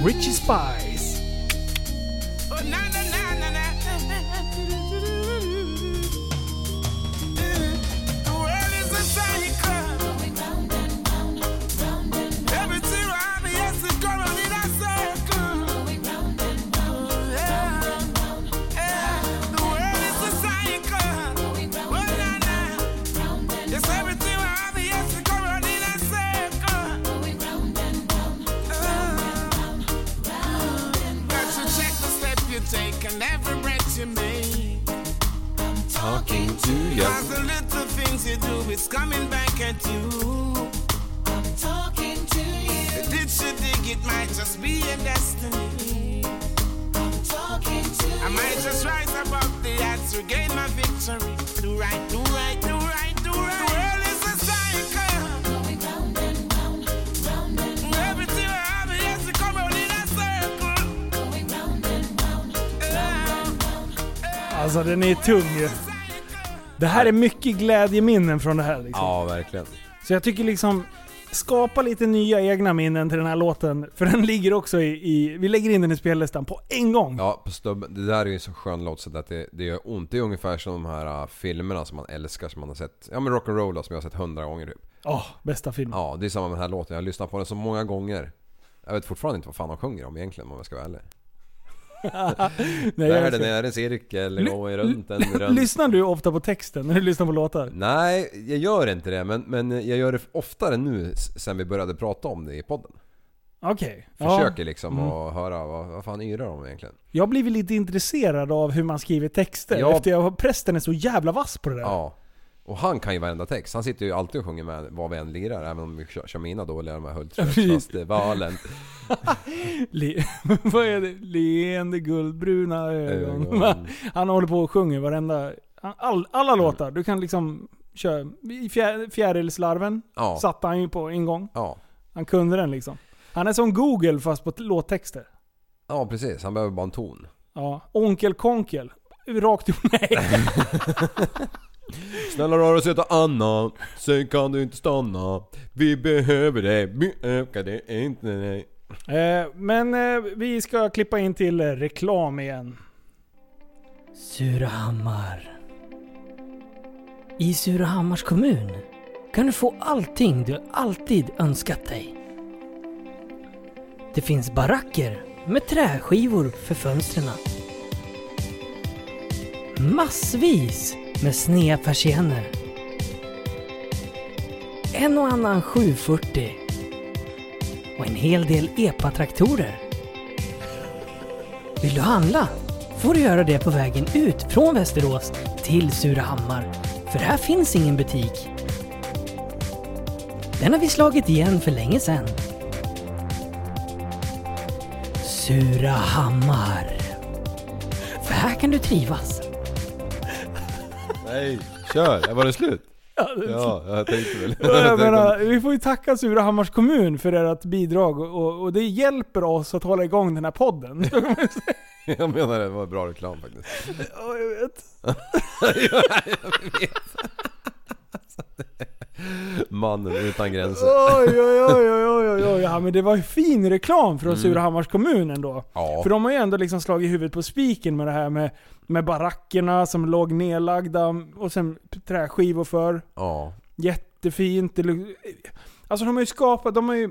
A: Richie Spice.
F: Oh, Oh, Uh. Take and every breath you make.
B: Talking to you.
F: Cause the little things you do is coming back at you.
C: Talking to you,
F: Did she dig it might just be a destiny?
C: talking to
F: I might just rise above the odds, regain my victory. Do right, do right, do right, do right. The world is a cycle.
C: going round and round, round and
F: Everything I have it has to come out in a circle.
C: going round and round.
A: Alltså den är tung ju. Det här är mycket glädjeminnen från det här liksom.
B: Ja, verkligen.
A: Så jag tycker liksom, skapa lite nya egna minnen till den här låten. För den ligger också i, i vi lägger in den i spellistan på en gång.
B: Ja, på stubben. Det där är ju en så skön låt så att det, det gör ont. Det är ungefär som de här äh, filmerna som man älskar som man har sett. Ja men Rock'n'Roll då, som jag har sett hundra gånger typ.
A: Åh, bästa film.
B: Ja, det är samma med den här låten. Jag har lyssnat på den så många gånger. Jag vet fortfarande inte vad fan de sjunger om egentligen om jag ska vara ärlig.
A: Nej, jag
B: Världen
A: älskar-
B: är en cirkel,
A: Ly-
B: går runt en runt.
A: Lyssnar du ofta på texten när du lyssnar på låtar?
B: Nej, jag gör inte det. Men, men jag gör det oftare nu s- sen vi började prata om det i podden.
A: Okej.
B: Försöker
A: Ja. Mm.
B: liksom att höra vad, vad fan yrar de egentligen.
A: Jag har blivit lite intresserad av hur man skriver texter.
B: Ja.
A: Efter jag, prästen är så jävla vass på det där.
B: Ja. Och han kan ju varenda text. Han sitter ju alltid och sjunger med vad vi än lirar. Även om vi kör, kör mina dåliga, de här
A: [laughs]
B: Hultsfredsfestivalen.
A: Le- [laughs] vad är det? Leende guldbruna ögon.
B: Ögon.
A: Han håller på och sjunger varenda... han- All, alla låtar. Du kan liksom köra... I fjär, fjärilslarven
B: Ja.
A: satte han ju på en gång.
B: Ja.
A: Han kunde den liksom. Han är som Google fast på t- låttexter.
B: ja, precis. Han behöver bara en ton.
A: Ja. Onkel Konkel. Rakt upp. [laughs] Nej.
B: Snälla rör och söta Anna, sen kan du inte stanna. Vi behöver dig, vi ökar det inte dig.
A: eh, men eh, vi ska klippa in till eh, reklam igen.
E: Surahammar. I Surahammars kommun kan du få allting du alltid önskat dig. Det finns baracker med träskivor för fönstren. Massvis med sneda persienner. En och annan 740. Och en hel del EPA-traktorer. Vill du handla? får du göra det på vägen ut från Västerås till Surahammar. För här finns ingen butik. Den har vi slagit igen för länge sedan. Surahammar. För här kan du trivas.
B: Nej, kör! Var det slut?
A: Ja, det-
B: Ja, [laughs] jag tänkte väl.
A: Ja, Jag menar, vi får ju tacka Surahammars kommun för ert bidrag och, och det hjälper oss att hålla igång den här podden.
B: jag menar det var bra reklam faktiskt.
A: Ja, jag vet.
B: Mannen utan gränser.
A: Oj, oj, oj, oj, oj, oj, oj. Ja, men det var ju fin reklam från Surahammars kommun ändå.
B: Ja.
A: För de har ju ändå liksom slagit huvudet på spiken med det här med, med barackerna som låg nedlagda och sen träskivor för.
B: Ja.
A: Jättefint. Det luk- Alltså de har ju skapat, de har ju...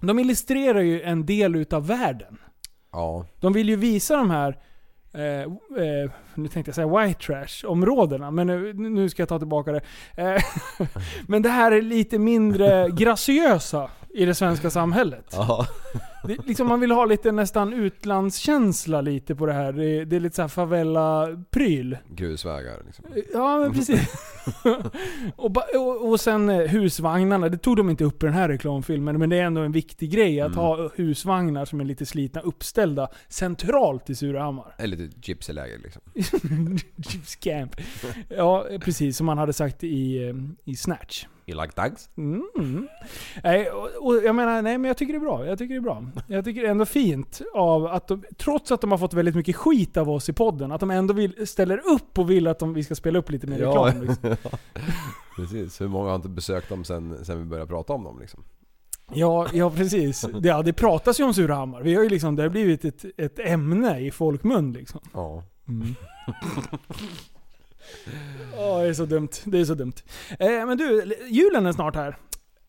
A: De illustrerar ju en del utav världen.
B: Ja.
A: De vill ju visa de här, eh, eh, nu tänkte jag säga white trash områdena, men nu, nu ska jag ta tillbaka det. Eh, [laughs] men det här är lite mindre graciösa i det svenska samhället.
B: Ja.
A: Det, liksom man vill ha lite nästan utlandskänsla lite på det här. Det, det är lite såhär favela-pryl.
B: Grusvägar liksom.
A: Ja, men precis. och, ba- och, och sen eh, husvagnarna, det tog de inte upp i den här reklamfilmen, men det är ändå en viktig grej att ha husvagnar som är lite slitna uppställda centralt i Surahammar.
B: Eller lite gypsyläger liksom.
A: [laughs] Jeeps Camp. Ja, precis som man hade sagt i, eh, i Snatch.
B: You like dogs?
A: Mm. Nej, och, och jag menar, nej men jag tycker det är bra. Jag tycker det är bra. Jag tycker det är ändå fint av att de, trots att de har fått väldigt mycket skit av oss i podden, att de ändå vill, ställer upp och vill att de, vi ska spela upp lite mer
B: Ja.
A: reklam. Liksom.
B: [laughs] Precis. Hur många har inte besökt dem sen, sen vi började prata om dem liksom?
A: Ja, ja precis. Det, ja, det pratas ju om Surahammar. Vi har ju liksom, det har blivit ett, ett ämne i folkmun liksom.
B: Ja.
A: [laughs] Ja, det är så dumt. Det är så dumt. Eh, men du, julen är snart här. eh,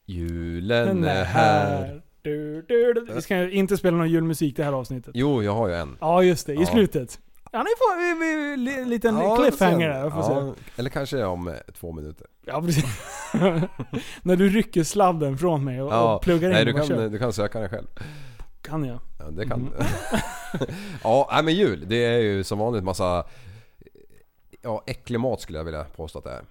B: Julen är här.
A: Du, du, du. Vi ska inte spela någon julmusik det här avsnitet.
B: Jo, jag har ju en.
A: Ja, just det. I
B: Ja.
A: slutet. Ja, ni får vi- vi- li- en liten
B: Ja,
A: cliffhanger
B: sen.
A: där. Får se.
B: ja, Eller kanske om eh, två minuter.
A: ja, precis. [laughs] När du rycker sladden från mig och, och pluggar in
B: Nej,
A: och
B: du
A: bara
B: kan,
A: kör.
B: du kan söka den själv.
A: kan jag.
B: Ja, det kan
A: Mm.
B: du. [laughs] ja, nej, men jul. Det är ju som vanligt massa... Ja, äcklig mat skulle jag vilja påstå att det är.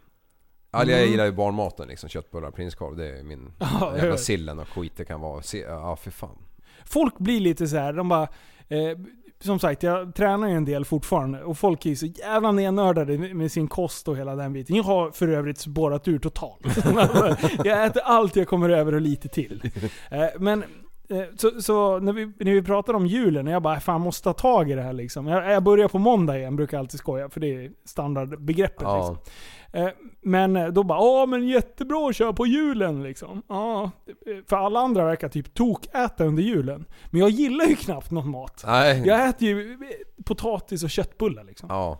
B: Alltså, jag gillar ju barnmaten liksom. Köttbullar, prinskorv. Det är min...
A: Mm. [laughs] Ja, jag
B: jävla
A: vet.
B: sillen och skit det kan vara. Se- Ja, för fan.
A: Folk blir lite så här, de bara... Eh, som sagt, jag tränar ju en del fortfarande och folk är ju så jävla nernördade med med sin kost och hela den biten. Jag har för övrigt spårat ur totalt. [laughs] Alltså, jag äter allt jag kommer över och lite till. Eh, men eh, så, så när, vi, när vi pratade om julen, jag bara fan måste ta tag i det här liksom. Jag, jag börjar på måndag igen, brukar jag alltid skoja för det är standardbegreppet. Liksom.
B: Ja.
A: Eh, Men eh, då bara ja men jättebra att köra på julen liksom. Ja, eh, för alla andra verkar typ tokäta under julen. Men jag gillar ju knappt någon mat.
B: Nej.
A: Jag äter ju eh, potatis och köttbullar liksom.
B: Mm. Ja.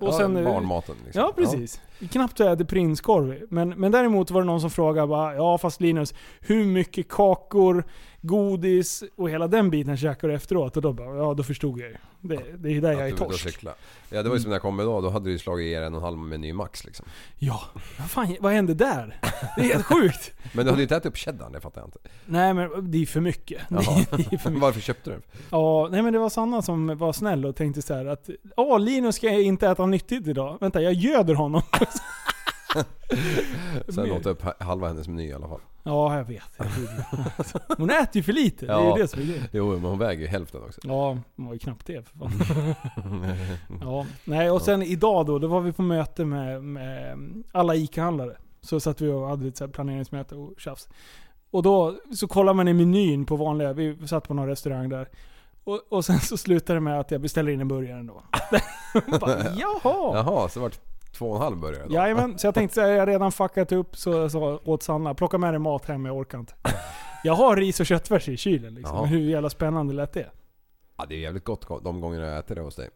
A: och sen,
B: ja,
A: eh,
B: barnmaten liksom.
A: Ja, precis. Knappt jag äter prinskorv. Men, men däremot var det någon som frågade bara, ja fast Linus, hur mycket kakor, godis och hela den biten käkar du efteråt? Och då bara, ja då förstod jag ju. Det, det är ju där
B: Ja,
A: jag är
B: att du är ute och
A: torsk.
B: cykla. Ja, det var ju som när jag kom idag. Då hade du ju slagit i er en och en halv meny max liksom.
A: Ja, vad fan, vad hände där? Det är helt sjukt.
B: Men du hade ju inte ätit upp cheddarn, det fattar jag inte.
A: Nej men det är för mycket.
B: Jaha.
A: [laughs] Det är för mycket.
B: Varför köpte du den?
A: Ja, nej men det var Sanna som var snäll och tänkte så här att Åh, Linus ska jag inte äta nyttigt idag. Vänta, jag göder honom. [laughs]
B: Sen åt jag upp halva hennes meny i alla fall.
A: Ja, jag vet. Jag tror det. Hon äter ju för lite. Det är
B: Ja.
A: ju det som är grejen.
B: Jo, men hon väger ju hälften också.
A: Ja, hon var ju knappt det för fan. Ja, nej och sen idag då, då var vi på möte med, med alla ICA-handlare. Så satt vi och hade ett så här planeringsmöte och tjafs. Och då så kollar man i menyn på vanliga, vi satt på någon restaurang där. Och, och sen så slutar det med att jag beställer in en burgare ändå. [laughs] Bara, Jaha!
B: Jaha, så det vart två och en halv burgare idag?
A: Jajamän, så jag tänkte säga jag har redan fuckat upp så jag sa åt Sanna, plocka med dig mat hem, jag orkar inte. Jag har ris och köttfärs i kylen liksom.
B: Ja.
A: Hur jävla spännande lät det?
B: Ja, det är jävligt gott de gånger jag äter det hos dig.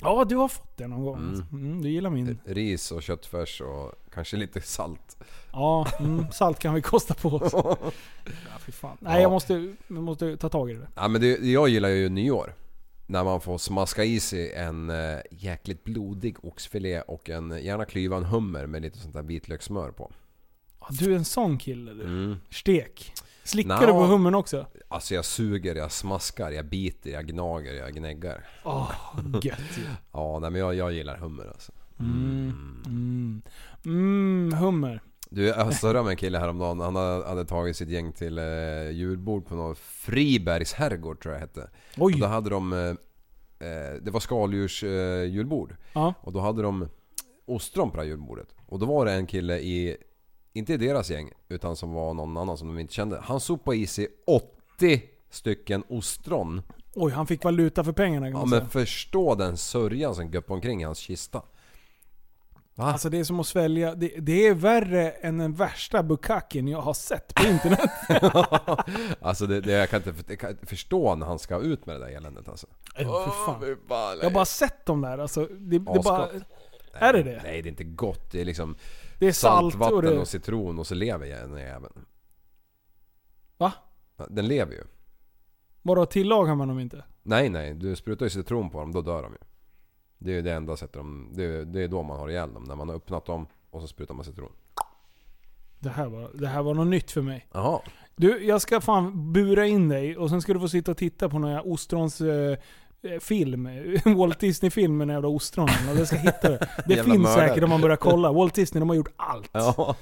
A: Ja, du har fått det någon gång. Mm. du gillar
B: Typ.
A: min.
B: Ris och köttfärs och kanske lite salt.
A: Ja, mm, salt kan vi kosta på
B: [laughs]
A: oss. ja, fy fan. Nej,
B: Ja.
A: jag måste, jag måste ta tag i det.
B: Ja, men det, jag gillar ju nyår. När man får smaska i sig en eh, jäkligt blodig oxfilé och en gärna klyvan hummer med lite sånt där vitlökssmör på.
A: Ja, Du är en sån kille du.
B: Mm.
A: Stek. Slickar
B: Nå.
A: du på hummen också?
B: Alltså jag suger, jag smaskar, jag biter, jag gnager, jag gnäggar.
A: Åh, gött ju.
B: Ja, nej, men jag, jag gillar hummer alltså.
A: Mm. Mm. Mm, hummer.
B: Du, jag surrade med en kille häromdagen. Han hade hade tagit sitt gäng till eh, julbord på någon Fribergs herrgård tror jag hette. Och
A: Oj.
B: då hade de... Eh, eh, det var skaldjurs eh, julbord.
A: Ja.
B: Och då hade de ostron på det här julbordet. Och då var det en kille i... Inte i deras gäng, utan som var någon annan som de inte kände. Han sopade i sig 80 stycken ostron.
A: Oj, han fick valuta för pengarna kan
B: Ja
A: man
B: men
A: säga.
B: förstå den sörjan som guppade omkring i hans kista. Va?
A: Alltså det är som att svälja, det, det är värre än den värsta bukaken jag har sett på
B: [laughs]
A: internet.
B: Alltså det, det, jag, kan inte, jag kan inte förstå när han ska ut med det där eländet alltså.
A: Åh, för fan.
B: Fy fan,
A: Jag har
B: nej.
A: bara sett dem där alltså. Det, det
B: Asgott.
A: bara, är det det?
B: Nej det är inte gott. Det är liksom
A: det är salt
B: saltvatten
A: och
B: och,
A: det...
B: citron och så lever jag den jäveln.
A: Va?
B: Ja, Den lever ju.
A: Vadå, tillagar man dem inte?
B: Nej nej, du sprutar ju citron på dem, då dör de ju. Det är ju det enda sättet de... Det är, det är då man har ihjäl dem. När man har öppnat dem och så sprutar man citron.
A: Det här, var, det här var något nytt för mig.
B: Jaha.
A: Du, jag ska fan bura in dig och sen ska du få sitta och titta på några ostrons... Eh, film. [laughs] Walt Disney-film med en jävla ostron. Och jag ska hitta det. Det
B: Jävla
A: finns
B: mördare.
A: säkert om man börjar kolla. Walt Disney, de har gjort allt.
B: Ja.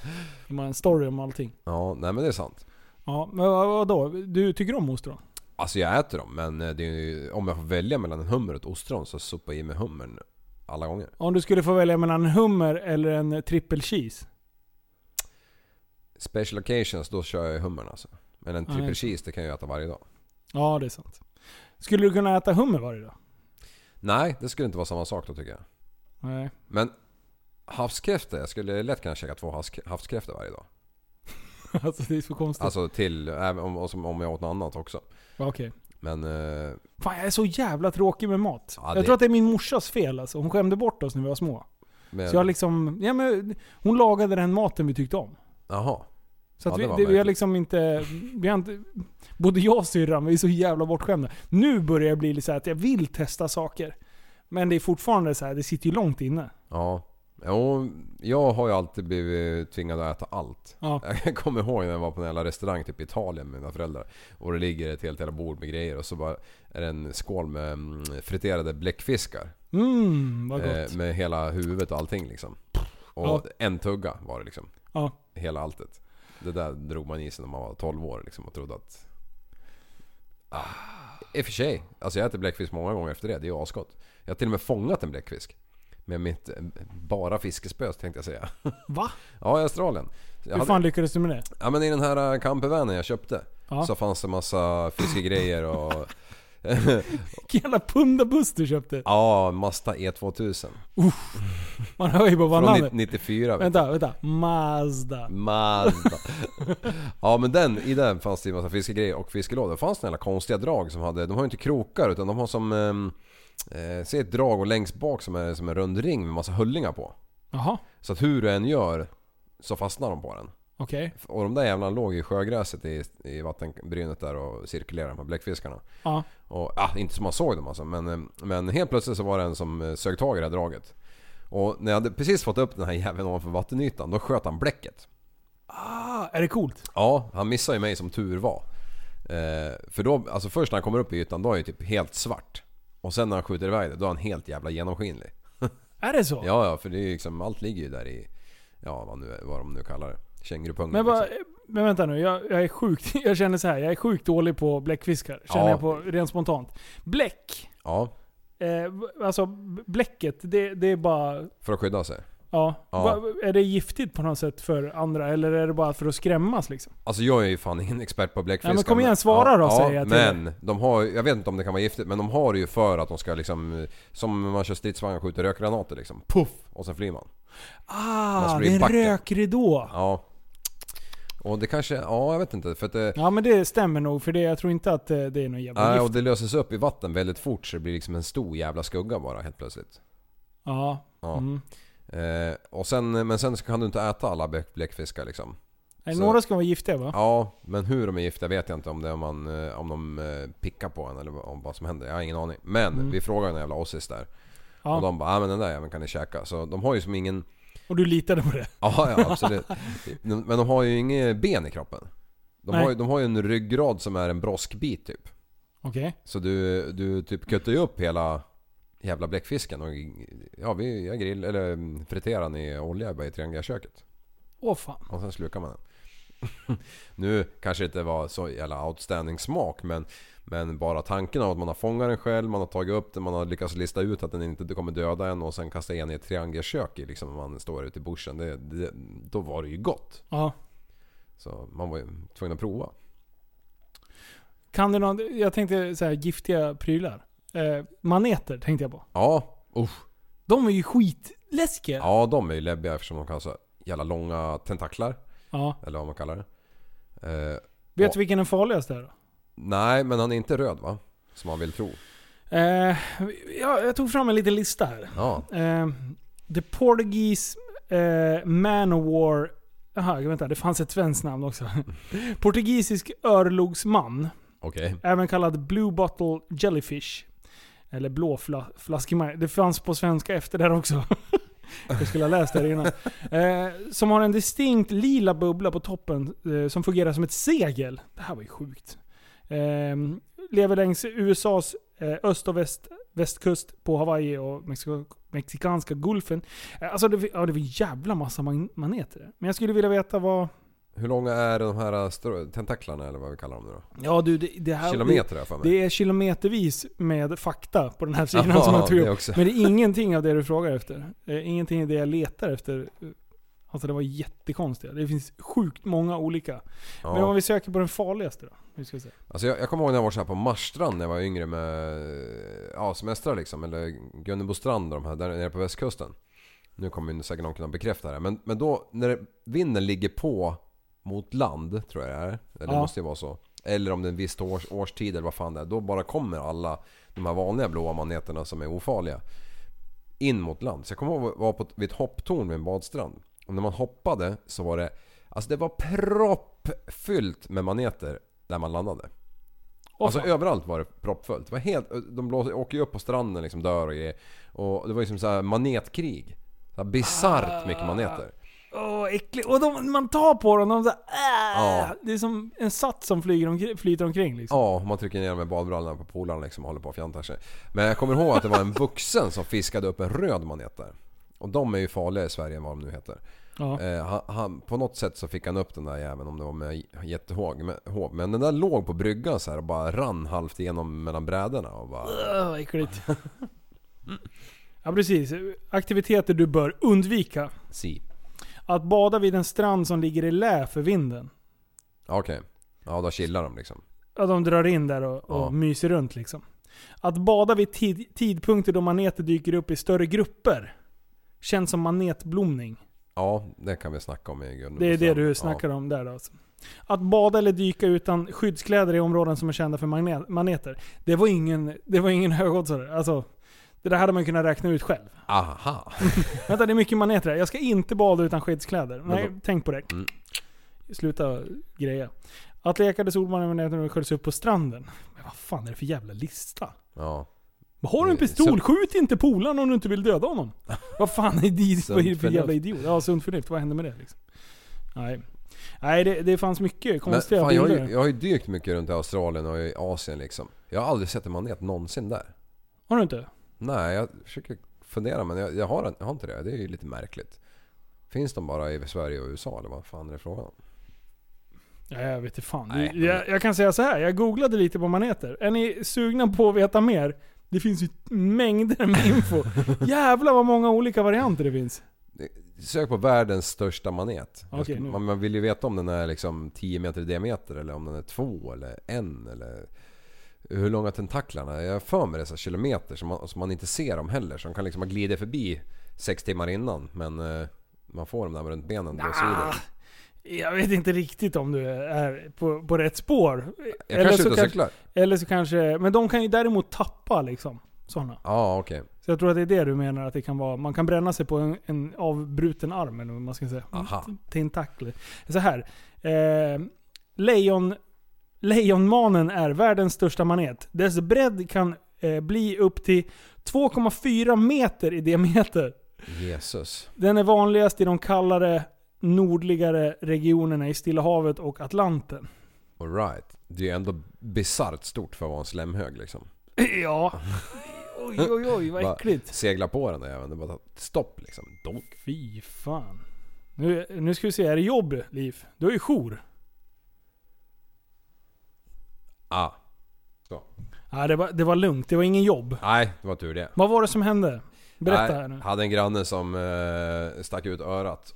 A: De har en story om allting.
B: ja, nej men det är sant.
A: Ja, men vad- vadå? Du tycker om ostron?
B: Alltså jag äter dem men eh, det är ju, om jag får välja mellan en hummer och ett ostron så sopar jag i mig hummern alla gånger.
A: Om du skulle få välja mellan en hummer eller en triple cheese?
B: Special occasions, då kör jag ju hummern alltså. Men en
A: Ja,
B: triple
A: just
B: cheese, det kan jag äta varje dag.
A: Ja, det är sant. Skulle du kunna äta hummer varje dag?
B: Nej, det skulle inte vara samma sak då tycker jag.
A: Nej. [laughs]
B: Men havskräftor, jag skulle lätt kunna käka två havsk- havskräftor varje dag.
A: Alltså det är så konstigt.
B: Alltså till, även om, och som om jag åt något annat också.
A: Ja, Okej.
B: Men eh,
A: Fan, jag är så jävla tråkig med mat.
B: Ja, det-
A: Jag tror att det är min morsas fel alltså. Hon skämde bort oss när vi var små.
B: men,
A: Så jag liksom... Ja, men, hon lagade den maten vi tyckte om.
B: Jaha.
A: Så att
B: Ja, det var
A: vi, det, vi har
B: märkligt.
A: liksom inte... Vi har inte både jag och syrran, vi är så jävla bortskämda. Nu börjar jag bli lite så här att jag vill testa saker. Men det är fortfarande så här, det sitter ju långt inne.
B: Ja. Jo, jag har ju alltid blivit tvingad att äta allt.
A: Ja.
B: Jag kommer ihåg när jag var på en jävla restaurang typ i Italien med mina föräldrar. Och det ligger ett helt jävla bord med grejer och så bara är det en skål med mm, friterade bläckfiskar.
A: Mm, vad gott.
B: Eh, med hela huvudet och allting liksom. Och
A: Ja.
B: en tugga var det liksom.
A: Ja.
B: Hela alltet. Det där drog man i sig när man var 12 år liksom och trodde att... Ja. I och för sig. Alltså jag äter bläckfisk många gånger efter det. Det är ju asgott. Jag har till och med fångat en bläckfisk. Med mitt eh, bara fiskespö tänkte jag säga. [laughs]
A: Va?
B: Ja, i Australien. Jag
A: Hur
B: hade,
A: fan lyckades du med det? [laughs]
B: Ja men i den här eh, campervanen jag köpte.
A: Ja.
B: Så fanns det massa fiskegrejer och... [laughs]
A: Vilken jävla pundabuss du köpte.
B: ja, Mazda E2000.
A: Man hör ju bara vad
B: Från
A: namnet...
B: 94 vet du.
A: Vänta, vänta. Mazda.
B: Mazda. ja men den, i den fanns det ju massa fiskegrejer och fiskelådor. Det fanns några jävla konstiga drag som hade, de har ju inte krokar utan de har som... ehm, Eh, se ett drag och längst bak som är som en rund ring med massa hullingar på.
A: Jaha,
B: Så att hur du än gör så fastnar de på den.
A: okej.
B: Och de där jävlarna låg i sjögräset i, i vattenbrynet där och cirkulerade de här bläckfiskarna.
A: Ja.
B: Och, ah, inte som man såg dem alltså, men, eh, men helt plötsligt så var det en som eh, sög tag i det här draget. Och när jag hade precis fått upp den här jäveln ovanför vattenytan, då sköt han bläcket.
A: Ah, är det coolt?
B: Ja, han missar ju mig som tur var. Eh, för då, alltså först när han kommer upp i ytan, då är han ju typ helt svart. Och sen när han skjuter iväg det, då är han helt jävla genomskinlig.
A: Är det så?
B: Ja, ja, för det är ju liksom, allt ligger ju där i, ja vad, nu, vad de nu kallar det. Kängurupungar
A: Men, vad,
B: liksom.
A: men vänta nu, jag, jag är sjukt... [laughs] Jag känner så här, jag är sjukt dålig på bläckfiskar. Känner
B: Ja.
A: jag på rent spontant. Bläck.
B: Ja,
A: Eh, v- alltså b- bläcket, det, det är bara...
B: för att skydda sig.
A: Ja.
B: Ja.
A: Va, är det giftigt på något sätt för andra? Eller är det bara för att skrämmas liksom?
B: Alltså jag är ju fan ingen expert på bläckfiskar.
A: Nej, men kom igen, svara då,
B: ja,
A: säger jag till
B: Men de har jag vet inte om det kan vara giftigt men de har det ju för att de ska liksom, som man kör stridsvagn och skjuter rökgranater liksom. Puff! Och sen flyr man.
A: Ah,
B: Måste
A: det
B: bli
A: är en
B: backen.
A: rökridå. Ja.
B: Ja. Och det kanske, ja jag vet inte för att det,
A: men det stämmer nog för det, jag tror inte att eh, det är någon jävla
B: Nej,
A: gift.
B: och det löses upp i vatten väldigt fort så det blir liksom en stor jävla skugga bara helt plötsligt.
A: Ja.
B: Ja.
A: Mm.
B: Eh, och sen, men sen så kan du inte äta alla bläck- bläckfiskar liksom.
A: Nej,
B: Så-
A: Några ska vara giftiga va?
B: Ja, men hur de är giftiga vet jag inte om det är om, man, eh, om de eh, pickar på en eller vad- om vad som händer. Jag har ingen aning. Men vi frågade en jävla ossis där.
A: Mm. Ja.
B: Och de bara, ah, men den där jäveln kan ni käka. Så de har ju som ingen... [laughs]
A: Och du litade på det?
B: Ja, ja absolut. men de har ju inget ben i kroppen. De
A: Nej.
B: har, ju, de har ju en ryggrad som är en broskbit typ.
A: Okej.
B: Så du, du typ kuttar ju upp hela jävla bläckfisken och ja, vi, jag grill, eller mm, friterar den i olja bara i triangelköket.
A: Åh fan.
B: Och sen slukar man den. [laughs] nu kanske det inte var så jävla outstanding smak men, men bara tanken av att man har fångat den själv, man har tagit upp den, man har lyckats lista ut att den inte kommer döda en och sen kasta igen i ett triangelkök i, liksom när man står ute i bushen. Det, det, då var det ju gott.
A: Ja.
B: Så man var ju tvungen att prova.
A: Kan du någon, jag tänkte så här, giftiga prylar. Eh, maneter tänkte jag på.
B: Ja, usch.
A: De är ju skitläskiga.
B: Ja de är ju läbbiga eftersom de kan ha så jävla långa tentaklar.
A: Ja.
B: Eller vad man kallar det. Eh,
A: Vet
B: Ja.
A: du vilken den farligaste är då?
B: nej, men han är inte röd va? Som man vill tro.
A: Eh, jag, jag tog fram en liten lista här.
B: Ja.
A: Eh, the Portuguese eh, Manowar... Jaha, vänta. Det fanns ett svenskt namn [laughs] också. Portugisisk örlogsman,
B: Okej.
A: även kallad Blue Bottle Jellyfish. Eller blåflaskemaj. Det fanns på svenska efter det här också. [laughs] Jag skulle ha läst det här innan. Eh, som har en distinkt lila bubbla på toppen eh, som fungerar som ett segel. Det här var ju sjukt. Eh, lever längs USAs eh, öst och väst, västkust på Hawaii och Mexiko, Mexikanska gulfen. Eh, alltså det, var- ja, det var en jävla massa man- maneter. där. Men jag skulle vilja veta vad...
B: Hur långa är de här strå- tentaklarna eller vad vi kallar dem nu då?
A: Ja du, det, det här...
B: Kilometer har jag för mig.
A: Det är kilometervis med fakta på den här sidan
B: Jaha,
A: som jag tog
B: det
A: upp.
B: också.
A: Men det är ingenting av det du frågar efter. Eh, Ingenting av det jag letar efter. Alltså det var jättekonstiga. Det finns sjukt många olika.
B: Ja.
A: Men om vi söker på den farligaste då? Hur ska vi se.
B: Alltså jag, jag kommer ihåg när jag var så här på Marstrand när jag var yngre med ja, semestrar liksom. Eller Gunnebostrand och de här där nere på västkusten. Nu kommer ju säkert någon kunna bekräfta det här. Men, men då när det- vinden ligger på mot land tror jag det är. Eller
A: Ja.
B: det måste ju vara så. Eller om det är en viss års, årstid eller vad fan det är. Då bara kommer alla de här vanliga blåa maneterna som är ofarliga. in mot land. Så jag kommer ihåg att vara på ett- vid ett hopptorn vid en badstrand. Och när man hoppade så var det... Alltså det var proppfyllt med maneter där man landade. alltså överallt var det proppfullt. Det var helt, de blåser, åker ju upp på stranden liksom, dör och grejer. Och det var ju som så här manetkrig. Så här Bisarrt mycket maneter.
A: Åh, äckligt. Och de, man tar på dem och de så här, äh,
B: Ja.
A: Det är som en sats som flyger omkring, flyter omkring liksom.
B: Ja, man trycker ner med badbrallorna på polaren liksom och håller på och fjantar sig. Men jag kommer ihåg att det var en vuxen som fiskade upp en röd manet där. Och de är ju farligare i Sverige än vad de nu heter.
A: Ja.
B: Eh, han, han, på något sätt så fick han upp den där jäveln om det var med jättehåg. Med, håv. men den där låg på bryggan så här och bara rann halvt igenom mellan brädorna och bara...
A: Öh, vad äckligt. Ja precis. Aktiviteter du bör undvika.
B: Si.
A: Att bada vid en strand som ligger i lä för vinden.
B: Ja, Okej. Ja, då chillar de liksom.
A: Ja, de drar in där och, och
B: Ja.
A: myser runt liksom. Att bada vid tid, tidpunkter då maneter dyker upp i större grupper. Känns som manetblomning.
B: Ja, det kan vi snacka om i Gunnebo
A: Det är det
B: strand.
A: du snackar om där då. Alltså. Att bada eller dyka utan skyddskläder i områden som är kända för magne- maneter. Det var ingen, det var ingen [laughs] högoddsare. Alltså, det där hade man kunnat räkna ut själv.
B: Ja. Aha!
A: Vänta, det är mycket maneter här. Jag ska inte bada utan skyddskläder. Nej,
B: då-
A: tänk på det.
B: Mm.
A: Sluta greja. Att leka det solmannen med maneter och sköljs upp på stranden. Men vad fan är det för jävla lista?
B: Ja.
A: Men Har du en
B: Det är
A: pistol,
B: sunt.
A: skjut inte polaren om du inte vill döda honom. Vad fan är det
B: Sunt
A: för jävla
B: förnuft.
A: idiot? Ja, sunt förnuft. Vad hände med det liksom? Nej. Nej, det, det fanns mycket
B: Men,
A: konstiga
B: fan, jag, har
A: bilder.
B: ju, jag har ju dykt mycket runt i Australien och i Asien liksom. Jag har aldrig sett en manet någonsin där.
A: Har du inte?
B: Nej, jag försöker fundera men jag, jag, har, jag har inte det. Det är ju lite märkligt. Finns de bara i Sverige och USA eller vad fan är det frågan om?
A: Ja, jag vet inte fan.
B: Nej.
A: Jag, jag kan säga så här. jag googlade lite på maneter. Är ni sugna på att veta mer? Det finns ju mängder med
B: [laughs]
A: info. Jävlar vad många olika varianter det finns.
B: Sök på världens största manet. Jag
A: Okej,
B: skulle-
A: nu.
B: man, man vill ju veta om den är liksom 10 meter i diameter eller om den är 2 eller 1 eller hur långa tentaklarna är. Jag har för mig dessa kilometer som man, som man inte ser dem heller. Så de kan liksom ha glidit förbi 6 timmar innan men eh, man får dem där runt benen. Det svider.
A: Jag vet inte riktigt om du är på, på rätt spår.
B: Jag kanske är ute och
A: kanske-
B: cyklar?
A: eller så kanske... Men de kan ju däremot tappa liksom. Sådana.
B: Ja, okej.
A: Så jag tror att det är det du menar att det kan vara. Man kan bränna sig på en, en avbruten arm eller vad man ska säga.
B: Aha.
A: Tentakler. Så här. Eh, lejon, lejonmanen är världens största manet. Dess bredd kan eh, bli upp till 2,4 meter i diameter.
B: Jesus.
A: Den är vanligast i de kallare, nordligare regionerna i Stilla havet och Atlanten. [clears throat]
B: Alright. Det är ju ändå bisarrt stort för att vara en slemhög liksom.
A: Ja. Oj, oj, oj, vad
B: Bara
A: äckligt.
B: Segla på den där även. Det bara stopp liksom. Donk.
A: Fy fan. Nu, nu ska vi se, är det jobb, Liv? Du har ju jour.
B: Ah.
A: Nej, det var, det var lugnt. Det var ingen jobb.
B: Nej, det var tur det.
A: Vad var det som hände? Berätta
B: Nej,
A: här nu.
B: Hade en granne som eh, stack ut örat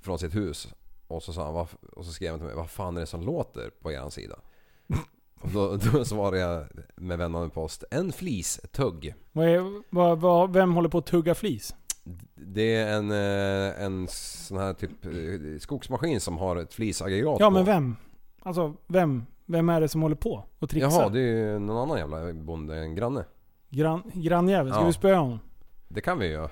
B: från sitt hus. Och så, sa han, "Vad f-" och så skrev han till mig, vad fan är det som låter på er
A: [laughs]
B: sida? Och då, då svarade jag med vändande post, en flis tugg.
A: Vad är, vad, vad, vem håller på att tugga flis?
B: Det är en, eh, en sån här typ eh, skogsmaskin som har ett flisaggregat
A: Ja,
B: på.
A: men vem? Alltså, vem? Vem är det som håller på och trixar?
B: Jaha, det är ju någon annan jävla bonde, en granne.
A: Grann, grannjävel. Ska
B: Ja.
A: vi spöa honom? [laughs]
B: Det kan vi ju.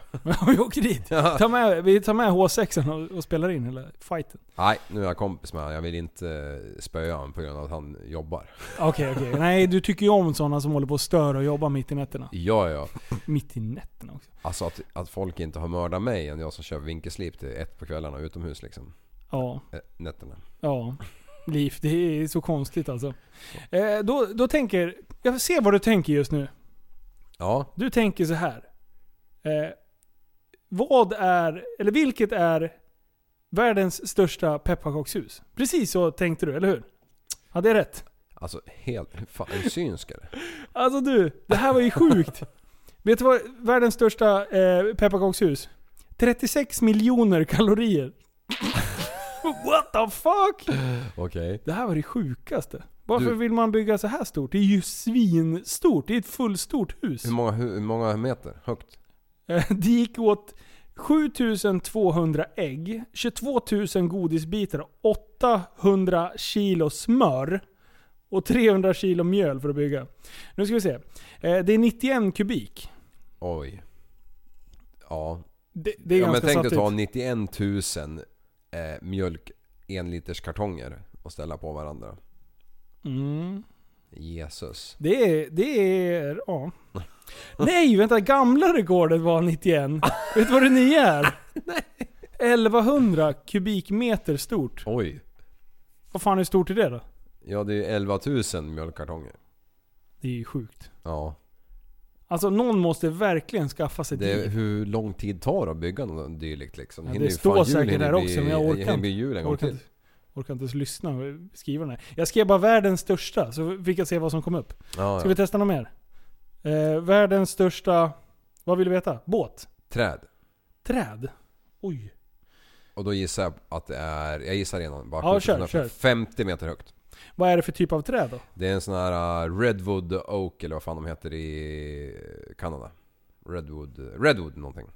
A: vi åker dit. Ta med, vi tar med H6 och, och spelar in hela fighten.
B: [laughs] Nej, nu är jag kompis med honom. Jag vill inte eh, spöa honom på grund av att han jobbar.
A: Okej, okej. Nej, du tycker ju om sådana som håller på och stör och jobbar mitt i nätterna.
B: Ja, ja.
A: Mitt i nätterna också.
B: Alltså att, att folk inte har mördat mig än jag som kör vinkelslip till ett på kvällarna utomhus liksom.
A: Ja,
B: Eh, nätterna.
A: ja. Liv, det är så konstigt alltså. Eh, då, då tänker... Jag ser vad du tänker just nu.
B: Ja,
A: Du tänker så här. Eh, vad är, eller vilket är världens största pepparkakshus? Precis så tänkte du, eller hur? Hade jag rätt?
B: alltså helt... Fan, är du synsk eller?
A: [laughs] Alltså du, det här var ju
B: [laughs]
A: sjukt. Vet du vad världens största eh, pepparkakshus? 36 miljoner
B: [laughs]
A: kalorier. What the fuck?
B: Okej.
A: Det här var det sjukaste. Varför
B: Du-
A: vill man bygga så här stort? Det är ju svinstort. Det är ett fullstort hus.
B: Hur många, hur, hur många meter högt?
A: Eh, Det gick åt 7200 ägg, 22 000 godisbitar, 800 kilo smör och 300 kilo mjöl för att bygga. Nu ska vi se. Eh, Det är 91 kubik.
B: Oj. Ja.
A: Det, det är
B: ja men
A: ganska
B: tänk dig
A: sattigt.
B: ta 91 000 eh, mjölk enliterskartonger och ställa på varandra.
A: Mm.
B: Jesus.
A: Det är... Det är ja. Nej, vänta. Gamla rekordet var 91.
B: [laughs]
A: Vet du vad det nya är? 1100 kubikmeter stort.
B: Oj.
A: Vad fan hur stort är det då?
B: Ja det är ju 11 000 mjölkkartonger.
A: Det är ju sjukt.
B: Ja.
A: Alltså någon måste verkligen skaffa sig
B: Det är,
A: det.
B: hur lång tid tar det att bygga något dylikt liksom?
A: Ja, det
B: Hinner ju
A: står
B: fan
A: säkert
B: julen
A: här
B: bli-
A: också, men jag orkar
B: hinner
A: inte.
B: bli jul en gång
A: Orkar
B: till.
A: inte, orkar inte ens lyssna och skriva den här. Jag skrev bara världens största, så fick jag se vad som kom upp.
B: Ja,
A: Ska
B: ja.
A: vi testa något mer? Eh, världens största... Vad vill du veta? Båt?
B: Träd.
A: Träd? Oj.
B: Och då gissar jag att det är... Jag gissar redan. Bara
A: Ja, kör,
B: 750
A: kör.
B: 50 meter högt.
A: Vad är det för typ av träd då?
B: Det är en sån här eh, Redwood Oak eller vad fan de heter i Kanada. Redwood... Redwood någonting.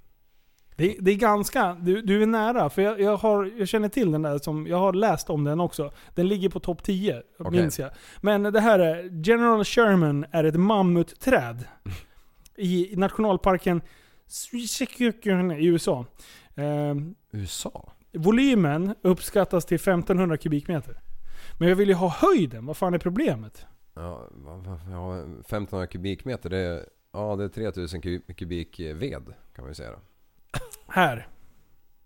A: Det, det är ganska... Du, du är nära, för jag, jag, har, jag känner till den där som... Jag har läst om den också. Den ligger på topp 10,
B: Okej.
A: minns jag. Men det här är... General Sherman är ett mammutträd. I nationalparken Swisekukun i USA. Ehm,
B: USA?
A: volymen uppskattas till 1500 kubikmeter. Men jag vill ju ha höjden, vad fan är problemet?
B: Ja, va- va- ja, 1500 kubikmeter. Det är, ja, det är 3000 ku- kubik eh, ved kan man ju säga då.
A: Här.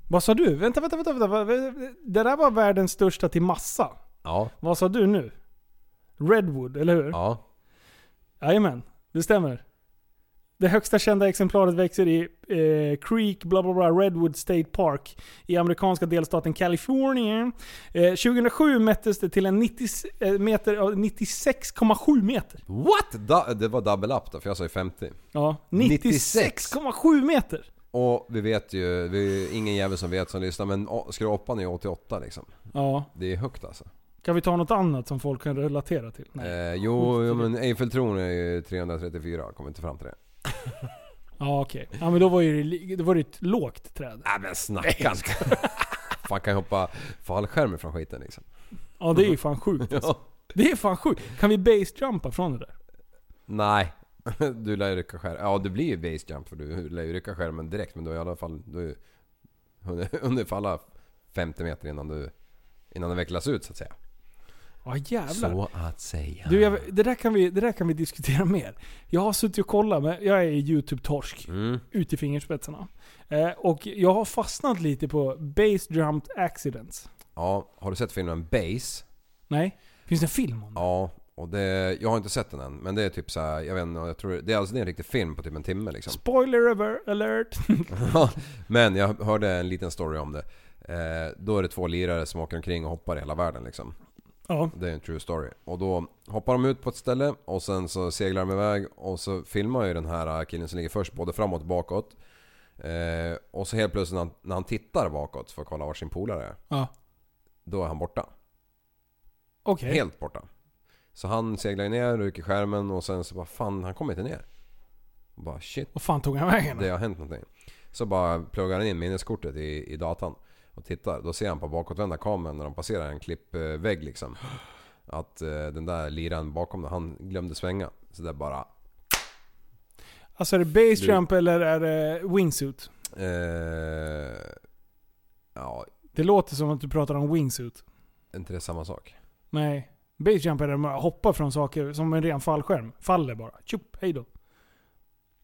A: Vad sa du? Vänta, vänta, vänta. vänta. vad- vad- Det där var världens största till massa.
B: Ja.
A: Vad sa du nu? Redwood, eller hur?
B: Ja.
A: Jajamän, det stämmer. Det högsta kända exemplaret växer i eh, Creek bla bla bla, Redwood State Park i amerikanska delstaten Kalifornien. Eh, 2007 mättes det till en 90, eh, meter, av 96,7 meter.
B: What? Da, det var double up då, för jag sa ju 50.
A: Ja,
B: 96,7
A: 96,7 meter!
B: Och vi vet ju, det är ju ingen jävel som vet som lyssnar men å- skrapan är ju 88 liksom.
A: Ja,
B: Det är högt alltså.
A: kan vi ta något annat som folk kan relatera till? Nej.
B: Eh, jo, jo men Eiffeltornet är ju 334, jag kommer inte fram till det.
A: Ja okej. Ja men då var ju det, li- då var det ett lågt träd.
B: Nej men snacka inte. Fan kan jag hoppa fallskärm från skiten liksom.
A: Ja det är ju fan sjukt alltså. Det är fan sjukt. Kan vi basejumpa från det där?
B: Nej. Du lär ju rycka skärmen. Ja du blir ju base jump för du lär ju rycka skärmen direkt men du har i alla fall... Du har ju hunnit- [laughs] hunnit falla 50 meter innan du... Innan den vecklas ut så att säga.
A: Ja jävlar.
B: Så att säga.
A: Du, jag, det, där kan vi, det där kan vi diskutera mer. Jag har suttit och kollat, men jag är YouTube-torsk.
B: Mm.
A: Ut i fingerspetsarna. Eh, och jag har fastnat lite på Base Jump Accidents.
B: Ja, har du sett filmen Base?
A: Nej? Finns det en film om det?
B: Ja, och det, jag har inte sett den än. Men det är typ så här, jag vet inte, jag tror det är alltså det är en riktig film på typ en timme liksom. [laughs]
A: Spoiler aver- alert! [laughs]
B: men jag hörde en liten story om det. Eh, då är det två lirare som åker omkring och hoppar i hela världen liksom.
A: ja.
B: Det är en true story. Och då hoppar de ut på ett ställe och sen så seglar de iväg och så filmar ju den här eh, killen som ligger först både framåt och bakåt. Eh, och så helt plötsligt när han, när han tittar bakåt för att kolla var sin polare är,
A: ja.
B: då är han borta.
A: Okej.
B: Helt borta. Så han seglar ju ner, ryker skärmen och sen så bara fan han kommer inte ner. Och bara shit,
A: Vad fan tog han vägen?
B: det har hänt någonting. Så bara pluggar han in minneskortet i, i datan och tittar. Då ser han på bakåtvända kameran när de passerar en klippvägg liksom. Att eh, den där liraren bakom den, han glömde svänga. Så det bara...
A: Alltså är det base jump eller är det wingsuit?
B: Eh, ja,
A: Det låter som att du pratar om wingsuit.
B: är inte det samma sak?
A: Nej. Base jump är när man hoppar från saker som en ren fallskärm. Faller bara. Tjup, hej då.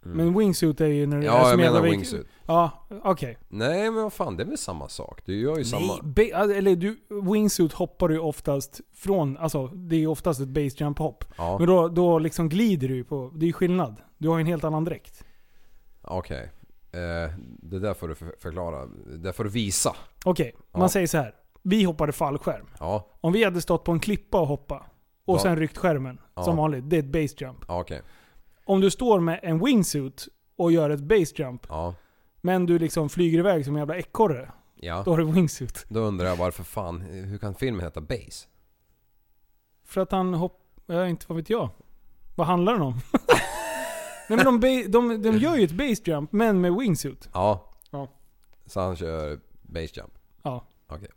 B: Mm.
A: Men wingsuit är ju när du är
B: ja, jag
A: som
B: menar
A: jävla-
B: wingsuit.
A: Ja, okej.
B: Nej men vad fan, det är väl samma sak? Du gör ju
A: Nej,
B: samma...
A: ba- alltså, eller du, wingsuit hoppar du ju oftast från, alltså det är ju oftast ett base jump hopp.
B: Ja,
A: Men då, då liksom glider du ju på, det är ju skillnad. Du har ju en helt annan dräkt.
B: okej. Eh, det där får du för- förklara. Det där får du visa.
A: Okej, man
B: Ja.
A: säger så här. Vi hoppade fallskärm.
B: Ja,
A: Om vi hade stått på en klippa och hoppa och
B: Ja.
A: sen ryckt skärmen,
B: Ja.
A: som vanligt, det är ett base jump.
B: ja, okej.
A: Om du står med en wingsuit och gör ett base jump,
B: Ja,
A: men du liksom flyger iväg som en jävla ekorre, då
B: ja.
A: har du wingsuit.
B: Då undrar jag varför fan, hur kan filmen heta Base?
A: För att han hopp... Ja, inte vad vet jag. Vad handlar den om?
B: [laughs]
A: Nej men de, ba- de, de gör ju ett base jump, men med wingsuit.
B: Ja.
A: Ja.
B: Så han kör Base Jump.
A: Ja.
B: Okej.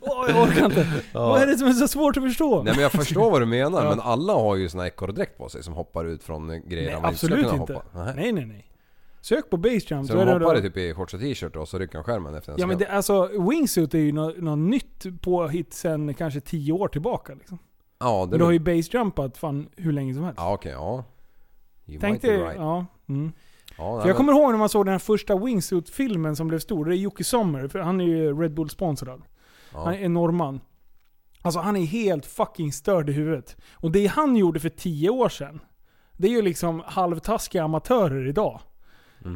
A: Åh, jag orkar
B: [laughs]
A: inte. Vad är det som är så svårt att förstå?
B: Nej men jag förstår vad du menar
A: Ja.
B: men alla har ju såna ekorrdräkt på sig som hoppar ut från eh, grejer
A: Nej,
B: man inte
A: absolut
B: ska kunna
A: inte.
B: hoppa. Nej.
A: Nej, nej, nej. Sök på base jump.
B: Så
A: då
B: de
A: är det-
B: hoppar i typ i shorts och t-shirt och så rycker de skärmen efter en
A: Ja men
B: sekund.
A: det, alltså, wingsuit är ju något, något nytt påhitt sen kanske tio år tillbaka. Liksom.
B: ja, det
A: Men du har ju basejumpat fan hur länge som helst.
B: Ja okej, ja. You
A: Tänk
B: might
A: dig,
B: be right. Ja,
A: ja. Mm.
B: nej,
A: För jag
B: men-
A: kommer ihåg när man såg den här första wingsuit-filmen som blev stor. Det är Jocke Sommer, för han är ju Red Bull-sponsrad.
B: ja.
A: Han är norrman. Alltså han är helt fucking störd i huvudet. Och det han gjorde för tio år sedan, det är ju liksom halvtaskiga amatörer idag.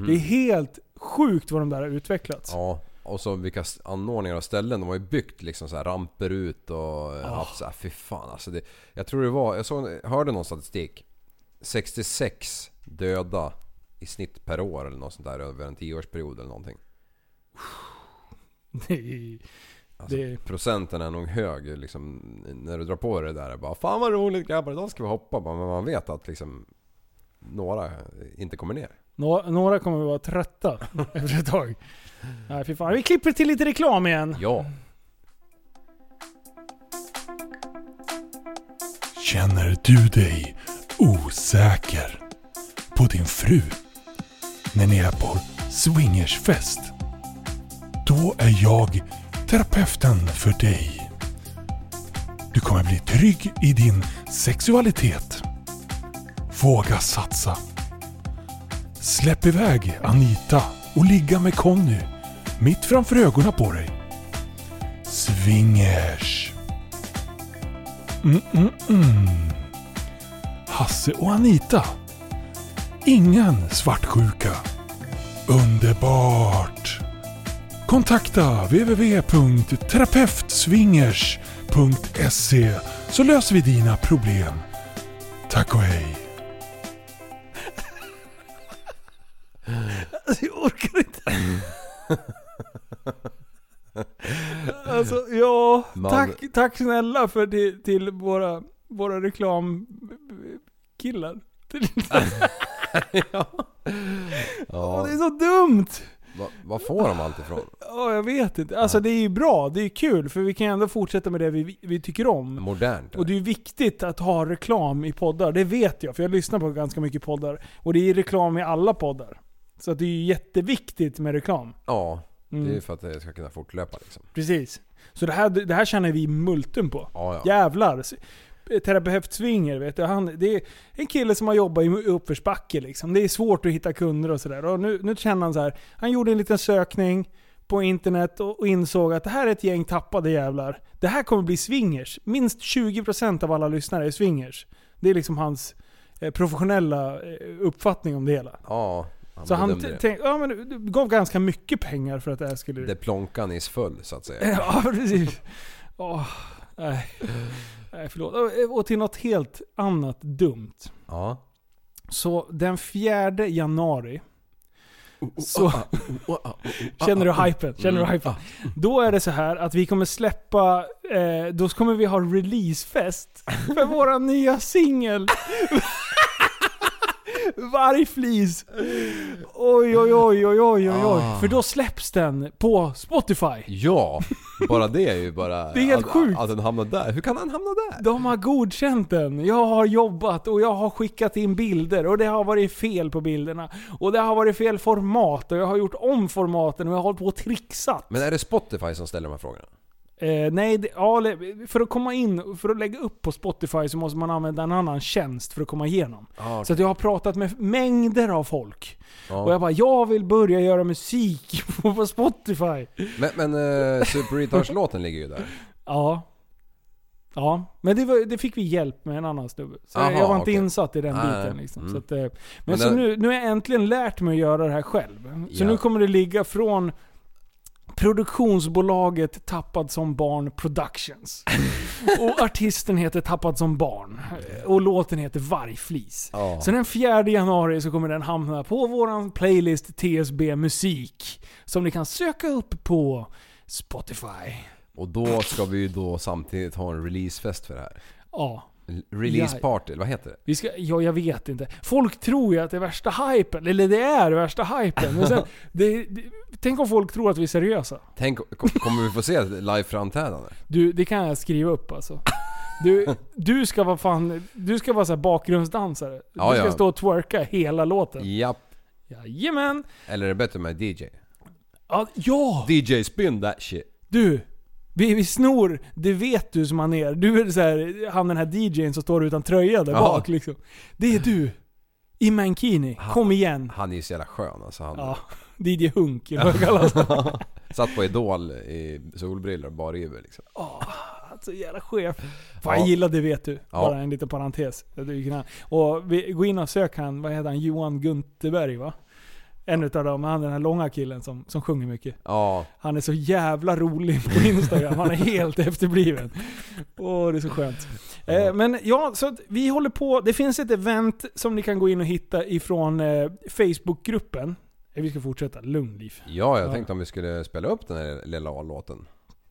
A: Det är helt sjukt vad de där har utvecklats.
B: Mhm. Ja, och så vilka s- anordningar och ställen. De har ju byggt liksom så här ramper ut och eh,
A: Ah.
B: haft så här, fy fan alltså. Det, jag tror det var, jag såg, hörde någon statistik. 66 döda i snitt per år eller något sånt där över en tioårsperiod eller någonting.
A: Det är-
B: Alltså,
A: Det-
B: Procenten är nog hög liksom, när du drar på dig det där. Bara, fan vad roligt grabbar, idag ska vi hoppa. Bara, Men man vet att liksom, några inte kommer ner.
A: Nå- Några kommer att vara
B: [laughs]
A: trötta efter ett tag. Nej fy fan. Vi klipper till lite reklam igen.
B: Ja,
G: Känner du dig osäker på din fru när ni är på swingersfest? Då är jag terapeuten för dig. Du kommer bli trygg i din sexualitet. Våga satsa. Släpp iväg Anita och ligga med Conny mitt framför ögonen på dig. Swingers. Mm-mm-mm. Hasse och Anita. Ingen svartsjuka. Underbart! Kontakta www.terapeutswingers.se så löser vi dina problem. Tack och hej!
A: Jag orkar inte.
B: [laughs]
A: alltså, ja.
B: Man-
A: Tack, tack snälla för till, till våra, våra reklamkillar. Till- Åh,
B: ja.
A: [laughs] det är så dumt!
B: Va, vad får de allt ifrån?
A: Ja, jag vet inte. Alltså det är ju bra, det är kul, för vi kan ju ändå fortsätta med det vi, vi tycker om.
B: Modernt.
A: Och det är ju viktigt att ha reklam i poddar, det vet jag, för jag lyssnar på ganska mycket poddar. Och det är reklam i alla poddar. Så att det är ju jätteviktigt med reklam.
B: Ja, det är ju
A: Mm.
B: för att det ska kunna fortlöpa liksom.
A: Precis. Så det här, det här känner vi multum på.
B: Ja, ja.
A: Jävlar. Terapeut Swinger, vet du. Han, det är en kille som har jobbat i uppförsbacke liksom. Det är svårt att hitta kunder och sådär. Och nu, nu känner han så här. Han gjorde en liten sökning på internet och, och insåg att det här är ett gäng tappade jävlar. Det här kommer bli swingers. Minst 20% av alla lyssnare är swingers. Det är liksom hans eh, professionella eh, uppfattning om det hela.
B: Ja,
A: så han
B: bedömde det.
A: tänkte, ja men du- du gav ganska mycket pengar för att det här skulle...
B: Det plånkan is full så att säga.
A: Eh, Ja, precis. Åh, nej. nej, förlåt. Eh, Och- Och till något helt annat dumt.
B: Ja.
A: Så den 4 januari så känner du hypen? Känner du hypen? Då är det så här att vi kommer släppa, eh, då kommer vi ha releasefest för våra nya singel. Vargflis. Oj, oj, oj, oj, oj, oj, oj. För då släpps den på Spotify.
B: Ja, Bara det är ju
A: [laughs]
B: bara...
A: Det är helt
B: att,
A: sjukt.
B: Att den hamnar där. Hur kan han hamna där?
A: De har godkänt den. Jag har jobbat och jag har skickat in bilder och det har varit fel på bilderna. Och det har varit fel format och jag har gjort om formaten och jag har hållit på och trixat.
B: Men är det Spotify som ställer de här frågorna?
A: Eh, nej, det, ja, le- för att komma in, för att lägga upp på Spotify så måste man använda en annan tjänst för att komma igenom.
B: Ah,
A: Så att jag har pratat med mängder av folk.
B: Ja.
A: Och jag bara, jag vill börja göra musik [laughs] på på Spotify.
B: Men, men eh, Super Retards-låten ligger ju där.
A: Ja. Ja, men det, var, det fick vi hjälp med en annan snubbe. Så
B: Aha,
A: jag var inte
B: okej.
A: insatt i den
B: Nej,
A: biten
B: nej.
A: liksom.
B: Mm.
A: Så att, eh, men
B: Men
A: så
B: det-
A: nu, nu har jag äntligen lärt mig att göra det här själv. Så
B: Ja.
A: nu kommer det ligga från produktionsbolaget Tappad som barn
B: [laughs]
A: Productions. och artisten heter Tappad som barn. Och låten heter Vargflis.
B: Ja.
A: Så den 4 januari så kommer den hamna på våran playlist TSB Musik. Som ni kan söka upp på Spotify.
B: Och då ska vi ju då samtidigt ha en releasefest för det här.
A: Ja.
B: Release
A: Ja.
B: party, eller vad heter det?
A: Vi ska, ja, jag vet inte. Folk tror ju att det är värsta hypen, eller det är värsta hypen. Men
B: [laughs]
A: sen, det, det, tänk om folk tror att vi är seriösa.
B: Tänk, kom- kommer vi få se ett live-framträdande?
A: Du, det kan jag skriva upp alltså. Du, du ska vara fan, du ska vara så här bakgrundsdansare.
B: Ja,
A: du ska
B: ja.
A: stå och twerka hela låten.
B: Japp.
A: Jajamän!
B: Eller är det bättre med DJ?
A: Ja, ja!
B: DJ spin that shit.
A: Du! Vi, vi snor, det vet du som han är. Du är så här, han den här DJn som står utan tröja där
B: Ja.
A: bak liksom. Det är du! I mankini. Kom igen!
B: Han är ju så jävla skön alltså. Han
A: Ja, DJ Hunk eller vad jag kallar honom.
B: [laughs] satt på Idol i solbrillor och bariver liksom.
A: Alltså jävla chef. Fan jag gillar det vet du. Bara en liten parentes. Jag tycker han- Och vi, gå in och sök han, vad heter han, Johan Gunterberg va? En utav dem, han den här långa killen som, som sjunger mycket.
B: Ja,
A: Han är så jävla rolig på Instagram, han är helt [laughs] efterbliven. Åh, det är så skönt. Eh, men ja, så att vi håller på. Det finns ett event som ni kan gå in och hitta ifrån eh, Facebookgruppen. Eh, Vi ska fortsätta, lugn liv.
B: ja jag
A: Ja.
B: tänkte om vi skulle spela upp den här lilla A-låten.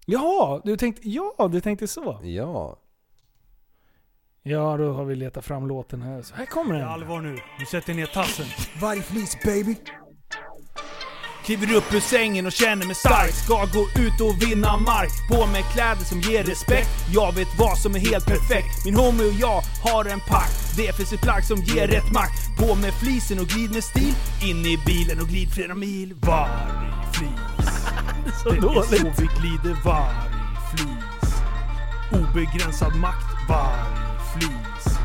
A: Jaha, du tänkte, ja du tänkte så.
B: Ja.
A: Ja, då har vi letat fram låten här. Så här kommer den. Allvar nu. Nu sätter ner tassen.
H: Vargflis baby.
I: Kliver upp ur sängen och känner mig stark. Ska gå ut och vinna mark. På mig kläder som ger respekt. Jag vet vad som är helt perfekt. Min homie och jag har en pakt. Det finns ett plagg som ger rätt makt. På med flisen och glid med stil. In i bilen och glid flera mil. Vargflis.
A: Så
I: Det är så
A: dåligt.
I: vi glider. Vargflis. Obegränsad makt. Vargflis.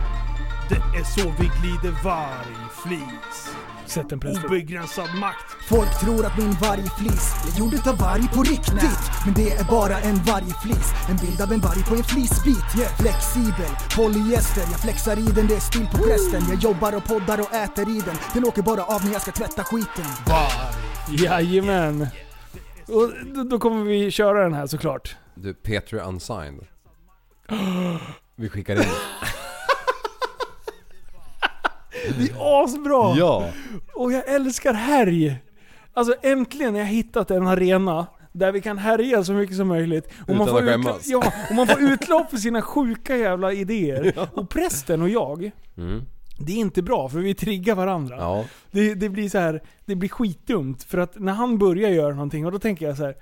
I: Det är så vi glider. Vargflis.
A: Sätt en press.
I: Obegränsad makt.
H: Folk tror att min vargflis jag gjorde ta varg på riktigt. Men det är bara en vargflis. En bild av en varg på en flisbit. Flexibel, polyester. Jag flexar i den, det är stil på prästen. Jag jobbar och poddar och äter i den. Den åker bara av när jag ska tvätta skiten.
A: Jajamän. Och då, då kommer vi köra den här såklart.
B: Du, Petri Unsigned. Vi skickar in
A: Det är asbra!
B: Ja.
A: Och jag älskar härj. Alltså äntligen har jag hittat en arena där vi kan härja så mycket som möjligt. Och
B: Utan att
A: får utlo-
B: skämmas.
A: ja, och man får utlopp för sina sjuka jävla
B: [laughs]
A: idéer. Och prästen och jag,
B: Mm.
A: det är inte bra för vi triggar varandra.
B: Ja.
A: Det, det blir så här, det blir skitdumt. För att när han börjar göra någonting och då tänker jag så här.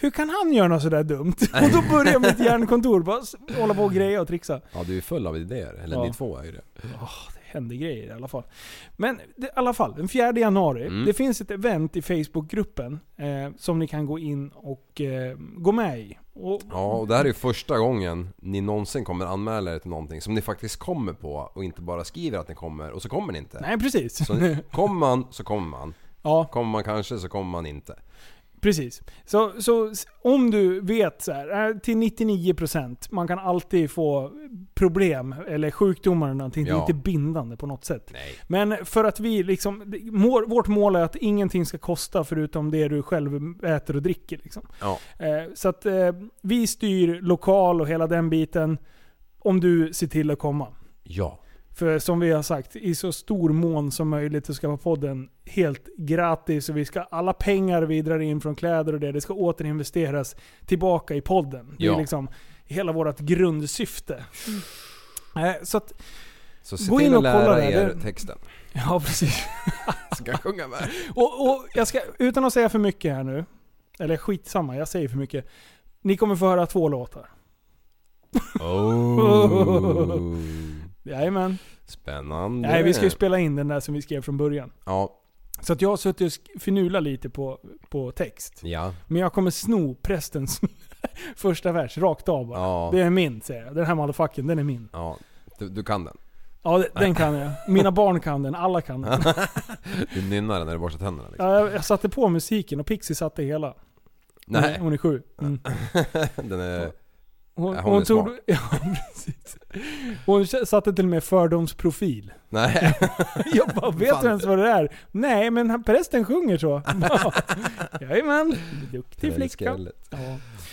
A: Hur kan han göra något sådär dumt? Och då börjar mitt hjärnkontor bara s- hålla på och greja och trixa.
B: Ja, du är full av idéer. Eller
A: Ja.
B: ni två är ju det.
A: händer grejer i alla fall. Men det, i alla fall, den 4 januari.
B: Mm.
A: Det finns ett event i Facebookgruppen eh, som ni kan gå in och eh, gå med i. Och,
B: Ja, och det här är ju första gången ni någonsin kommer anmäla er till någonting som ni faktiskt kommer på och inte bara skriver att ni kommer och så kommer ni inte.
A: Nej, precis.
B: Så ni, kommer man så kommer man.
A: ja,
B: Kommer man kanske så kommer man inte.
A: precis. Så, så s- om du vet så här, eh, till 99%, man kan alltid få problem eller sjukdomar eller någonting. Det är
B: Ja.
A: inte bindande på något sätt.
B: Nej.
A: Men för att vi liksom, det- må- vårt mål är att ingenting ska kosta förutom det du själv äter och dricker. Liksom.
B: Ja.
A: Eh, så att eh, vi styr lokal och hela den biten om du ser till att komma.
B: Ja.
A: För som vi har sagt, i så stor mån som möjligt så ska podden helt gratis och vi ska, alla pengar vi drar in från kläder och det, det ska återinvesteras tillbaka i podden. Det är
B: Ja.
A: liksom hela vårt grundsyfte. Eh, så att,
B: Så se
A: Gå
B: till
A: in och
B: att lära
A: kolla det.
B: er
A: Det- [laughs]
B: texten.
A: ja precis.
B: Ska jag sjunga med?
A: Och, och jag ska, utan att säga för mycket här nu, eller skitsamma, jag säger för mycket. Ni kommer få höra två låtar.
B: Oh.
A: Jajamän.
B: Spännande.
A: Nej, vi ska ju spela in den där som vi skrev från början.
B: Ja.
A: Så att jag har suttit och sk- finurlat lite på, på text.
B: Ja.
A: Men jag kommer sno prästens [laughs] första vers rakt av bara.
B: Ja.
A: Det är min, säger jag. Den här motherfucken, den är min.
B: ja. Du, du kan den.
A: Ja, d- den kan jag. Mina barn kan den, alla kan den.
B: Du nynnar den när du borstar tänderna liksom.
A: Ja, jag, jag satte på musiken och Pixie satte hela. Hon,
B: Nej. [laughs]
A: hon är sju. Mm.
B: Den är...
A: Hon,
B: Ja,
A: hon,
B: hon är
A: tog,
B: smart.
A: [laughs] ja, precis. hon satte till och med fördomsprofil. [laughs]
B: Nej.
A: Jag bara, vet
B: Fan.
A: du ens vad det är? Nej, men han- prästen sjunger
B: [laughs]
A: så. Ja. Jajamän, duktig flicka.
B: Skrället.
A: Ja,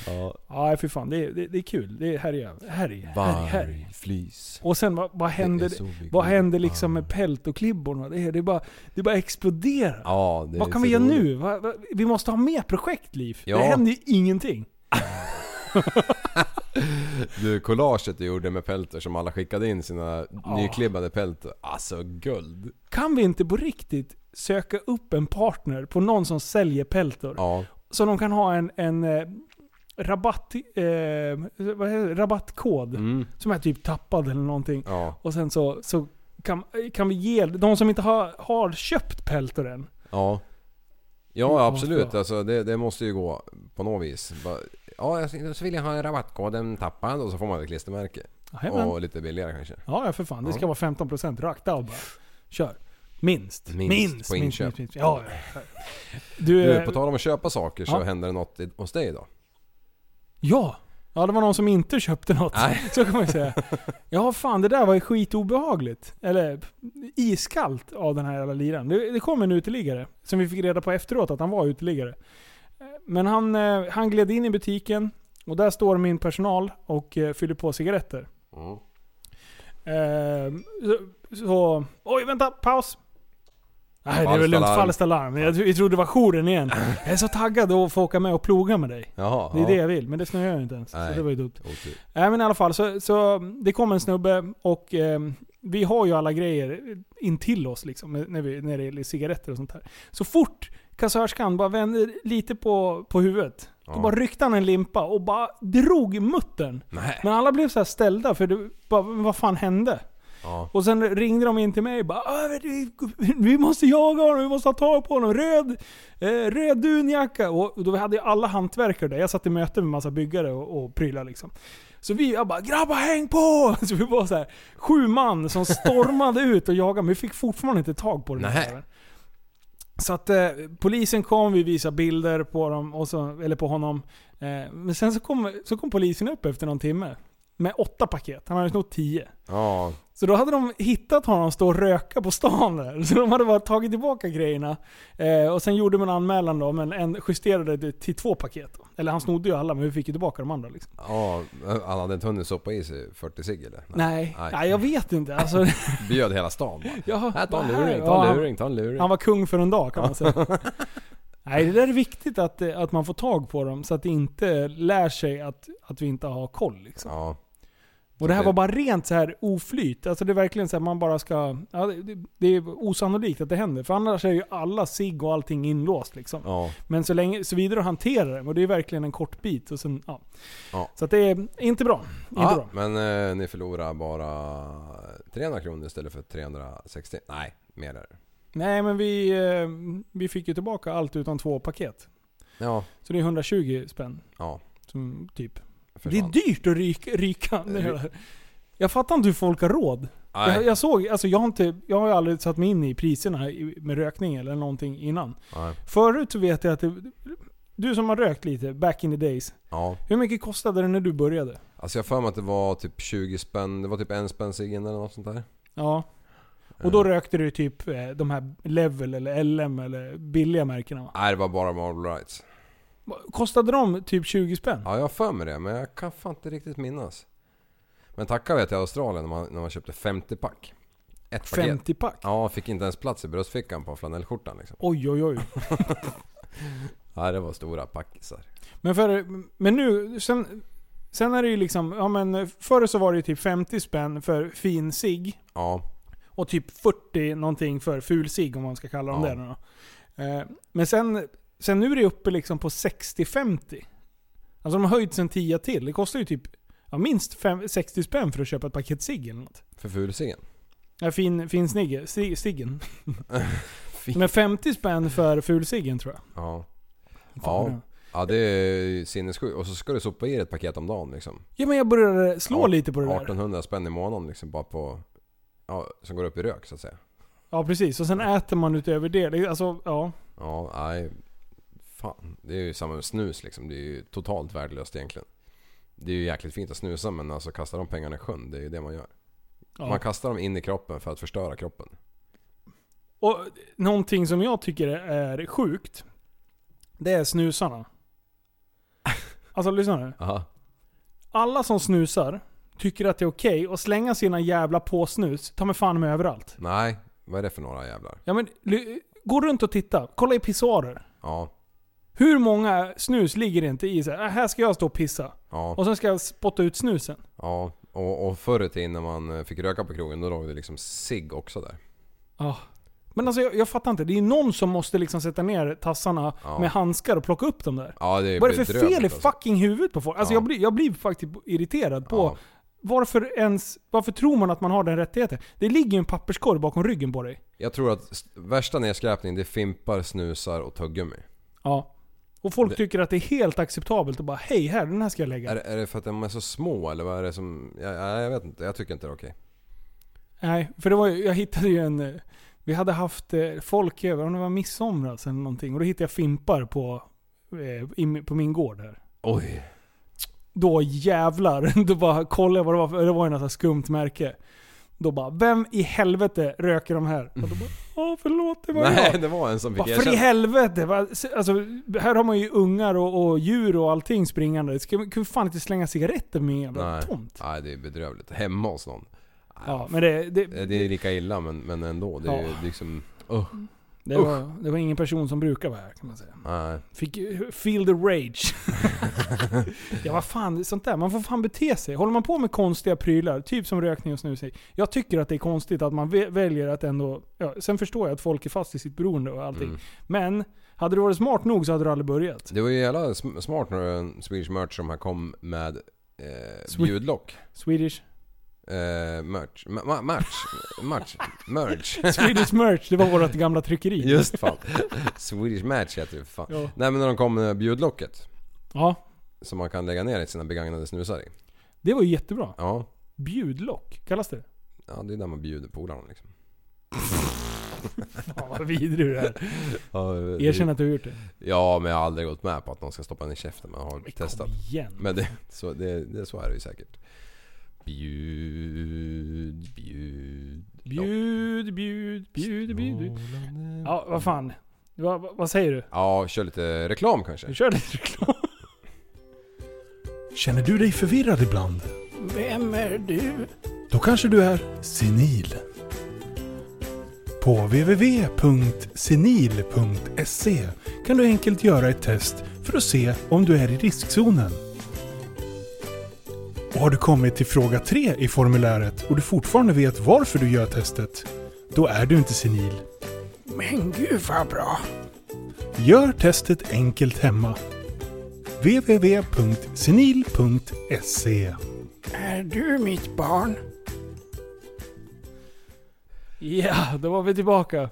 B: Ja.
A: ja fy fan. Det är, det, det är kul. Det är härj, härj, härj, härj.
B: Vargflis.
A: Och sen vad, vad händer,
B: så mycket.
A: vad händer liksom med pält och klibborna? Det, är- det, är bara, det bara exploderar.
B: Ja, det är
A: vad kan
B: så
A: vi göra
B: roligt.
A: nu? Vad- vad- vi måste ha mer projekt, Liv.
B: Ja.
A: Det händer ju ingenting.
B: Du, collaget du gjorde med pelter som alla skickade in sina nyklibbade pelter. Alltså guld.
A: Kan vi inte på riktigt söka upp en partner på någon som säljer peltor?
B: Ja.
A: Så de kan ha en, en eh, rabatt, eh, vad heter det? rabattkod
B: Mm.
A: som är typ tappad eller någonting.
B: Ja.
A: Och sen så, så kan, kan vi ge de som inte har, har köpt peltor än.
B: Ja. Ja
A: måste
B: absolut,
A: vara.
B: alltså, det, det måste ju gå på något vis. Bara, ja, jag- så vill jag ha rabattkoden tappad och så får man ett klistermärke.
A: Jajamän.
B: Och lite billigare kanske.
A: Ja, ja för fan. Det ska
B: Ja.
A: vara 15% rakt av bara. Kör. Minst.
B: Minst på inköp.
A: Ja, ja,
B: [laughs]
A: ja. Du,
B: Du,
A: eh,
B: på tal om att köpa saker så
A: ja.
B: händer det något i- hos dig idag.
A: ja. Ja, det var någon som inte köpte något.
B: Nej.
A: Så kan man ju säga. Ja, fan det där var ju skitobehagligt. Eller iskallt av den här jävla liraren. Det, det kom en uteliggare. Som vi fick reda på efteråt att han var uteliggare. Eh, Men han, eh, han gled in i butiken. Och där står min personal och eh, fyller på cigaretter.
B: Mm.
A: Ehm, så, så... Oj, vänta! Paus! Nej, det är väl
B: Falskt
A: lugnt.
B: alarm.
A: Falskt alarm. Jag, tro- jag trodde det var jouren igen. Jag är så taggad att få åka med och ploga med dig.
B: Jaha.
A: Det är
B: ja.
A: det jag vill, men det snöar ju inte ens. Så
B: Nej.
A: det var ju dumt.
B: Otur.
A: Nej men i alla fall, så, så det kom en snubbe och ehm, vi har ju alla grejer in till oss liksom, när, vi, när det gäller cigaretter och sånt här. Så fort kassörskan bara vände lite på, på huvudet, då
B: Ja.
A: bara ryckte han en limpa och bara drog muttern.
B: Nej.
A: Men alla blev så här ställda för det, bara, "Men vad fan hände?
B: Ja.
A: Och sen ringde de in till mig och bara "Ah, vi- Vi måste jaga honom, vi måste ha tag på honom. Röd, eh, röd dunjacka. Och då hade ju alla hantverkare där. Jag satt i möte med massa byggare och, och prylar liksom. Så vi jag bara 'Grabbar häng på!' [laughs] Så vi var så här, sju man som stormade ut och jagade. Men vi fick fortfarande inte tag på den här
B: Nej.
A: jäveln. Så att eh, polisen kom, vi visade bilder på, dem och så, eller på honom. Eh, men sen så kom, så kom polisen upp efter någon timme. Med åtta paket. Han hade snott tio.
B: Ja.
A: Så då hade de hittat honom stå och röka på stan där. Så de hade bara tagit tillbaka grejerna. Eh, och sen gjorde man anmälan då, men en justerade det till två paket. Då. Eller han snodde ju alla, men vi fick ju tillbaka de andra liksom.
B: ja. Han hade inte hunnit soppa i sig 40 cigg eller?
A: Nej, nej. jag vet inte.
B: [laughs]
A: Alltså,
B: Bjöd hela stan bara.
A: jag,
B: Här, ta en
A: nej,
B: luring,
A: ja,
B: ta en
A: han-
B: luring, ta en luring.
A: Han var kung för en dag kan man säga. [laughs] Nej, det där är viktigt att, eh, att man får tag på dem så att det inte lär sig att, att vi inte har koll. Liksom.
B: Ja.
A: Och det här var bara rent så här oflyt. Alltså det är verkligen så här man bara ska... Ja, det, det- det är osannolikt att det händer. För annars är ju alla sig och allting inlåst liksom.
B: Ja.
A: Men så länge, så vidare att hantera det. Och det är verkligen en kort bit. Och sen, ja.
B: Ja.
A: Så att det är inte bra. Inte
B: Ja,
A: bra.
B: men eh, ni förlorar bara 300 kronor istället för 360. Nej, mer är det.
A: Nej men vi, eh, vi fick ju tillbaka allt utan två paket.
B: Ja,
A: Så det är 120 spänn.
B: ja.
A: Som, typ.
B: försvann.
A: Det är dyrt att ryka. ryka det
B: Ry-
A: där. jag fattar inte hur folk har råd.
B: Nej.
A: Jag, jag såg, alltså jag har inte, jag har ju aldrig satt mig in i priserna i- med rökning eller någonting innan.
B: Nej.
A: Förut så vet jag att det, du som har rökt lite back in the days.
B: Ja.
A: Hur mycket kostade det när du började?
B: Alltså jag har för mig att det var typ 20 spänn, det var typ en spänn ciggen eller något sånt där.
A: Ja. Och då
B: Eh,
A: rökte du typ eh, de här Level eller LM eller billiga märkena va?
B: Nej det var bara Marble Rights.
A: Kostade de typ 20 spänn?
B: Ja jag har för mig det men jag kan fan inte riktigt minnas. Men tacka vet jag i Australien när man, när man köpte 50 pack. Ett paket.
A: 50 pack?
B: Ja, fick inte ens plats i bröstfickan på flanellskjortan liksom.
A: Oj oj oj.
B: Nej det var stora packisar.
A: Men, för, men nu, sen, sen är det ju liksom, ja men förr så var det ju typ 50 spänn för fin sig
B: Ja,
A: och typ 40 någonting för ful sig om man ska kalla dem
B: Ja.
A: det nu då. Eh, Men sen, sen nu är det uppe liksom på 60-50. Alltså de har höjt sen 10 till. Det kostar ju typ ja, minst fem, 60 spänn för att köpa ett paket cigg eller något.
B: För fulsingen.
A: Ja, fin, fin snigge, si-
B: [laughs]
A: ciggen. Men 50 spänn för fulciggen tror jag.
B: Ja.
A: vad
B: Ja.
A: bra.
B: ja, det är sinnessjukt. Och så ska du sopa i ett paket om dagen liksom.
A: Ja men jag började slå
B: Ja,
A: lite på det där.
B: 1800 spänn i månaden liksom bara på... Ja, som går upp i rök så att säga.
A: Ja precis. Och sen äter man utöver det. Det är- Alltså, ja.
B: Ja, nej. Fan. Det är ju samma med snus liksom. Det är ju totalt värdelöst egentligen. Det är ju jäkligt fint att snusa men alltså kasta de pengarna i sjön. Det är ju det man gör.
A: Ja.
B: Man kastar dem in i kroppen för att förstöra kroppen.
A: Och någonting som jag tycker är sjukt. Det är snusarna. Alltså lyssna nu.
B: Aha.
A: Alla som snusar tycker att det är okej att slänga sina jävla påsnus, ta mig fan med överallt.
B: Nej, vad är det för några jävlar?
A: Ja men, ly- gå runt och titta. Kolla i pissoarer.
B: Ja,
A: Hur många snus ligger det inte i så här, "Äh, här ska jag stå och pissa.
B: ja,
A: Och sen ska jag spotta ut snusen.
B: ja. Och, och förr i tiden när man eh, fick röka på krogen då låg det liksom cigg också där.
A: Ja. Men alltså jag, jag fattar inte. Det är ju någon som måste liksom sätta ner tassarna
B: Ja.
A: med handskar och plocka upp dem där.
B: Ja, det är
A: Vad är det för
B: bedrövligt
A: fel i
B: alltså.
A: fucking huvudet på folk? Alltså
B: Ja.
A: jag, blir, jag blir faktiskt irriterad på varför ens... Varför tror man att man har den rättigheten? Det ligger ju en papperskorg bakom ryggen på dig.
B: Jag tror att s- värsta nedskräpning det är fimpar, snusar och tuggummi.
A: Ja. Och folk
B: Det-
A: tycker att det är helt acceptabelt att bara hej här, den här ska jag lägga.
B: Är, är det för att de är så små eller vad är det som... Jag, jag, jag vet inte, jag tycker inte det är okej.
A: Nej, för det var ju, jag hittade ju en... eh, Vi hade haft eh, folk över, om det var midsomras eller någonting. Och då hittade jag fimpar på, eh, i, på min gård här.
B: Oj.
A: Då jävlar, [laughs] då bara kollade jag vad det var för, det var ju något så här skumt märke. Då bara, vem i helvete röker de här? Och då
B: [laughs]
A: bara, åh förlåt det var
B: Nej,
A: jag.
B: det var en som fick
A: Vad för i
B: erkänna.
A: helvete? Va? S- Alltså, här har man ju ungar och, och djur och allting springande. Ska man kunde fan inte slänga cigaretter med en jävla
B: Nej.
A: tomt?
B: Nej, det är bedrövligt. Hemma hos någon.
A: Ja, men det, det,
B: Eh, Det är lika illa men, men ändå. Det är ju
A: Ja.
B: liksom... Uh,
A: det, var, det var ingen person som brukar vara här kan man säga.
B: nej.
A: Fick feel the rage. [laughs] ja vad fan, sånt där. Man får fan bete sig. Håller man på med konstiga prylar, typ som rökning och snus. Jag tycker att det är konstigt att man vä- väljer att ändå... Ja, sen förstår jag att folk är fast i sitt beroende och allting.
B: Mm.
A: Men, hade du varit smart nog så hade du aldrig börjat.
B: Det var ju jävla sm- smart när en Swedish Merch som här kom med eh, bjudlock.
A: Swedish.
B: Eh, merch. Ma- ma-
A: [laughs]
B: match. Match. Merch.
A: Swedish merch, det var vårt gamla tryckeri.
B: Just fan. Swedish Match heter det för fan.
A: Ja.
B: Nej men när de kom med bjudlocket.
A: Ja,
B: Som man kan lägga ner i sina begagnade snusar i.
A: det var ju jättebra.
B: Ja.
A: Bjudlock, kallas det?
B: Ja det är där man bjuder polarna liksom.
A: Fan vad vidrig du är.
B: Ja, det-
A: Erkänn att du har gjort det.
B: Ja men jag har aldrig gått med på att någon ska stoppa den i käften. Man har testat.
A: Igen.
B: Men det, så, det, det, så är det ju säkert. Bjud, bjud.
A: Bjud, bjud, bjud, bjud. Ja, vad fan. Va, va, vad säger du?
B: Ja, kör lite reklam
A: Vi
B: kanske.
A: kör lite reklam.
G: Känner du dig förvirrad ibland?
E: Vem är du?
G: Då kanske du är senil. På www.senil.se kan du enkelt göra ett test för att se om du är i riskzonen. Och har du kommit till fråga 3 i formuläret och du fortfarande vet varför du gör testet, då är du inte senil.
E: Men gud vad bra.
G: Gör testet enkelt hemma. www.senil.se
E: Är du mitt barn?
A: Ja, då var vi tillbaka.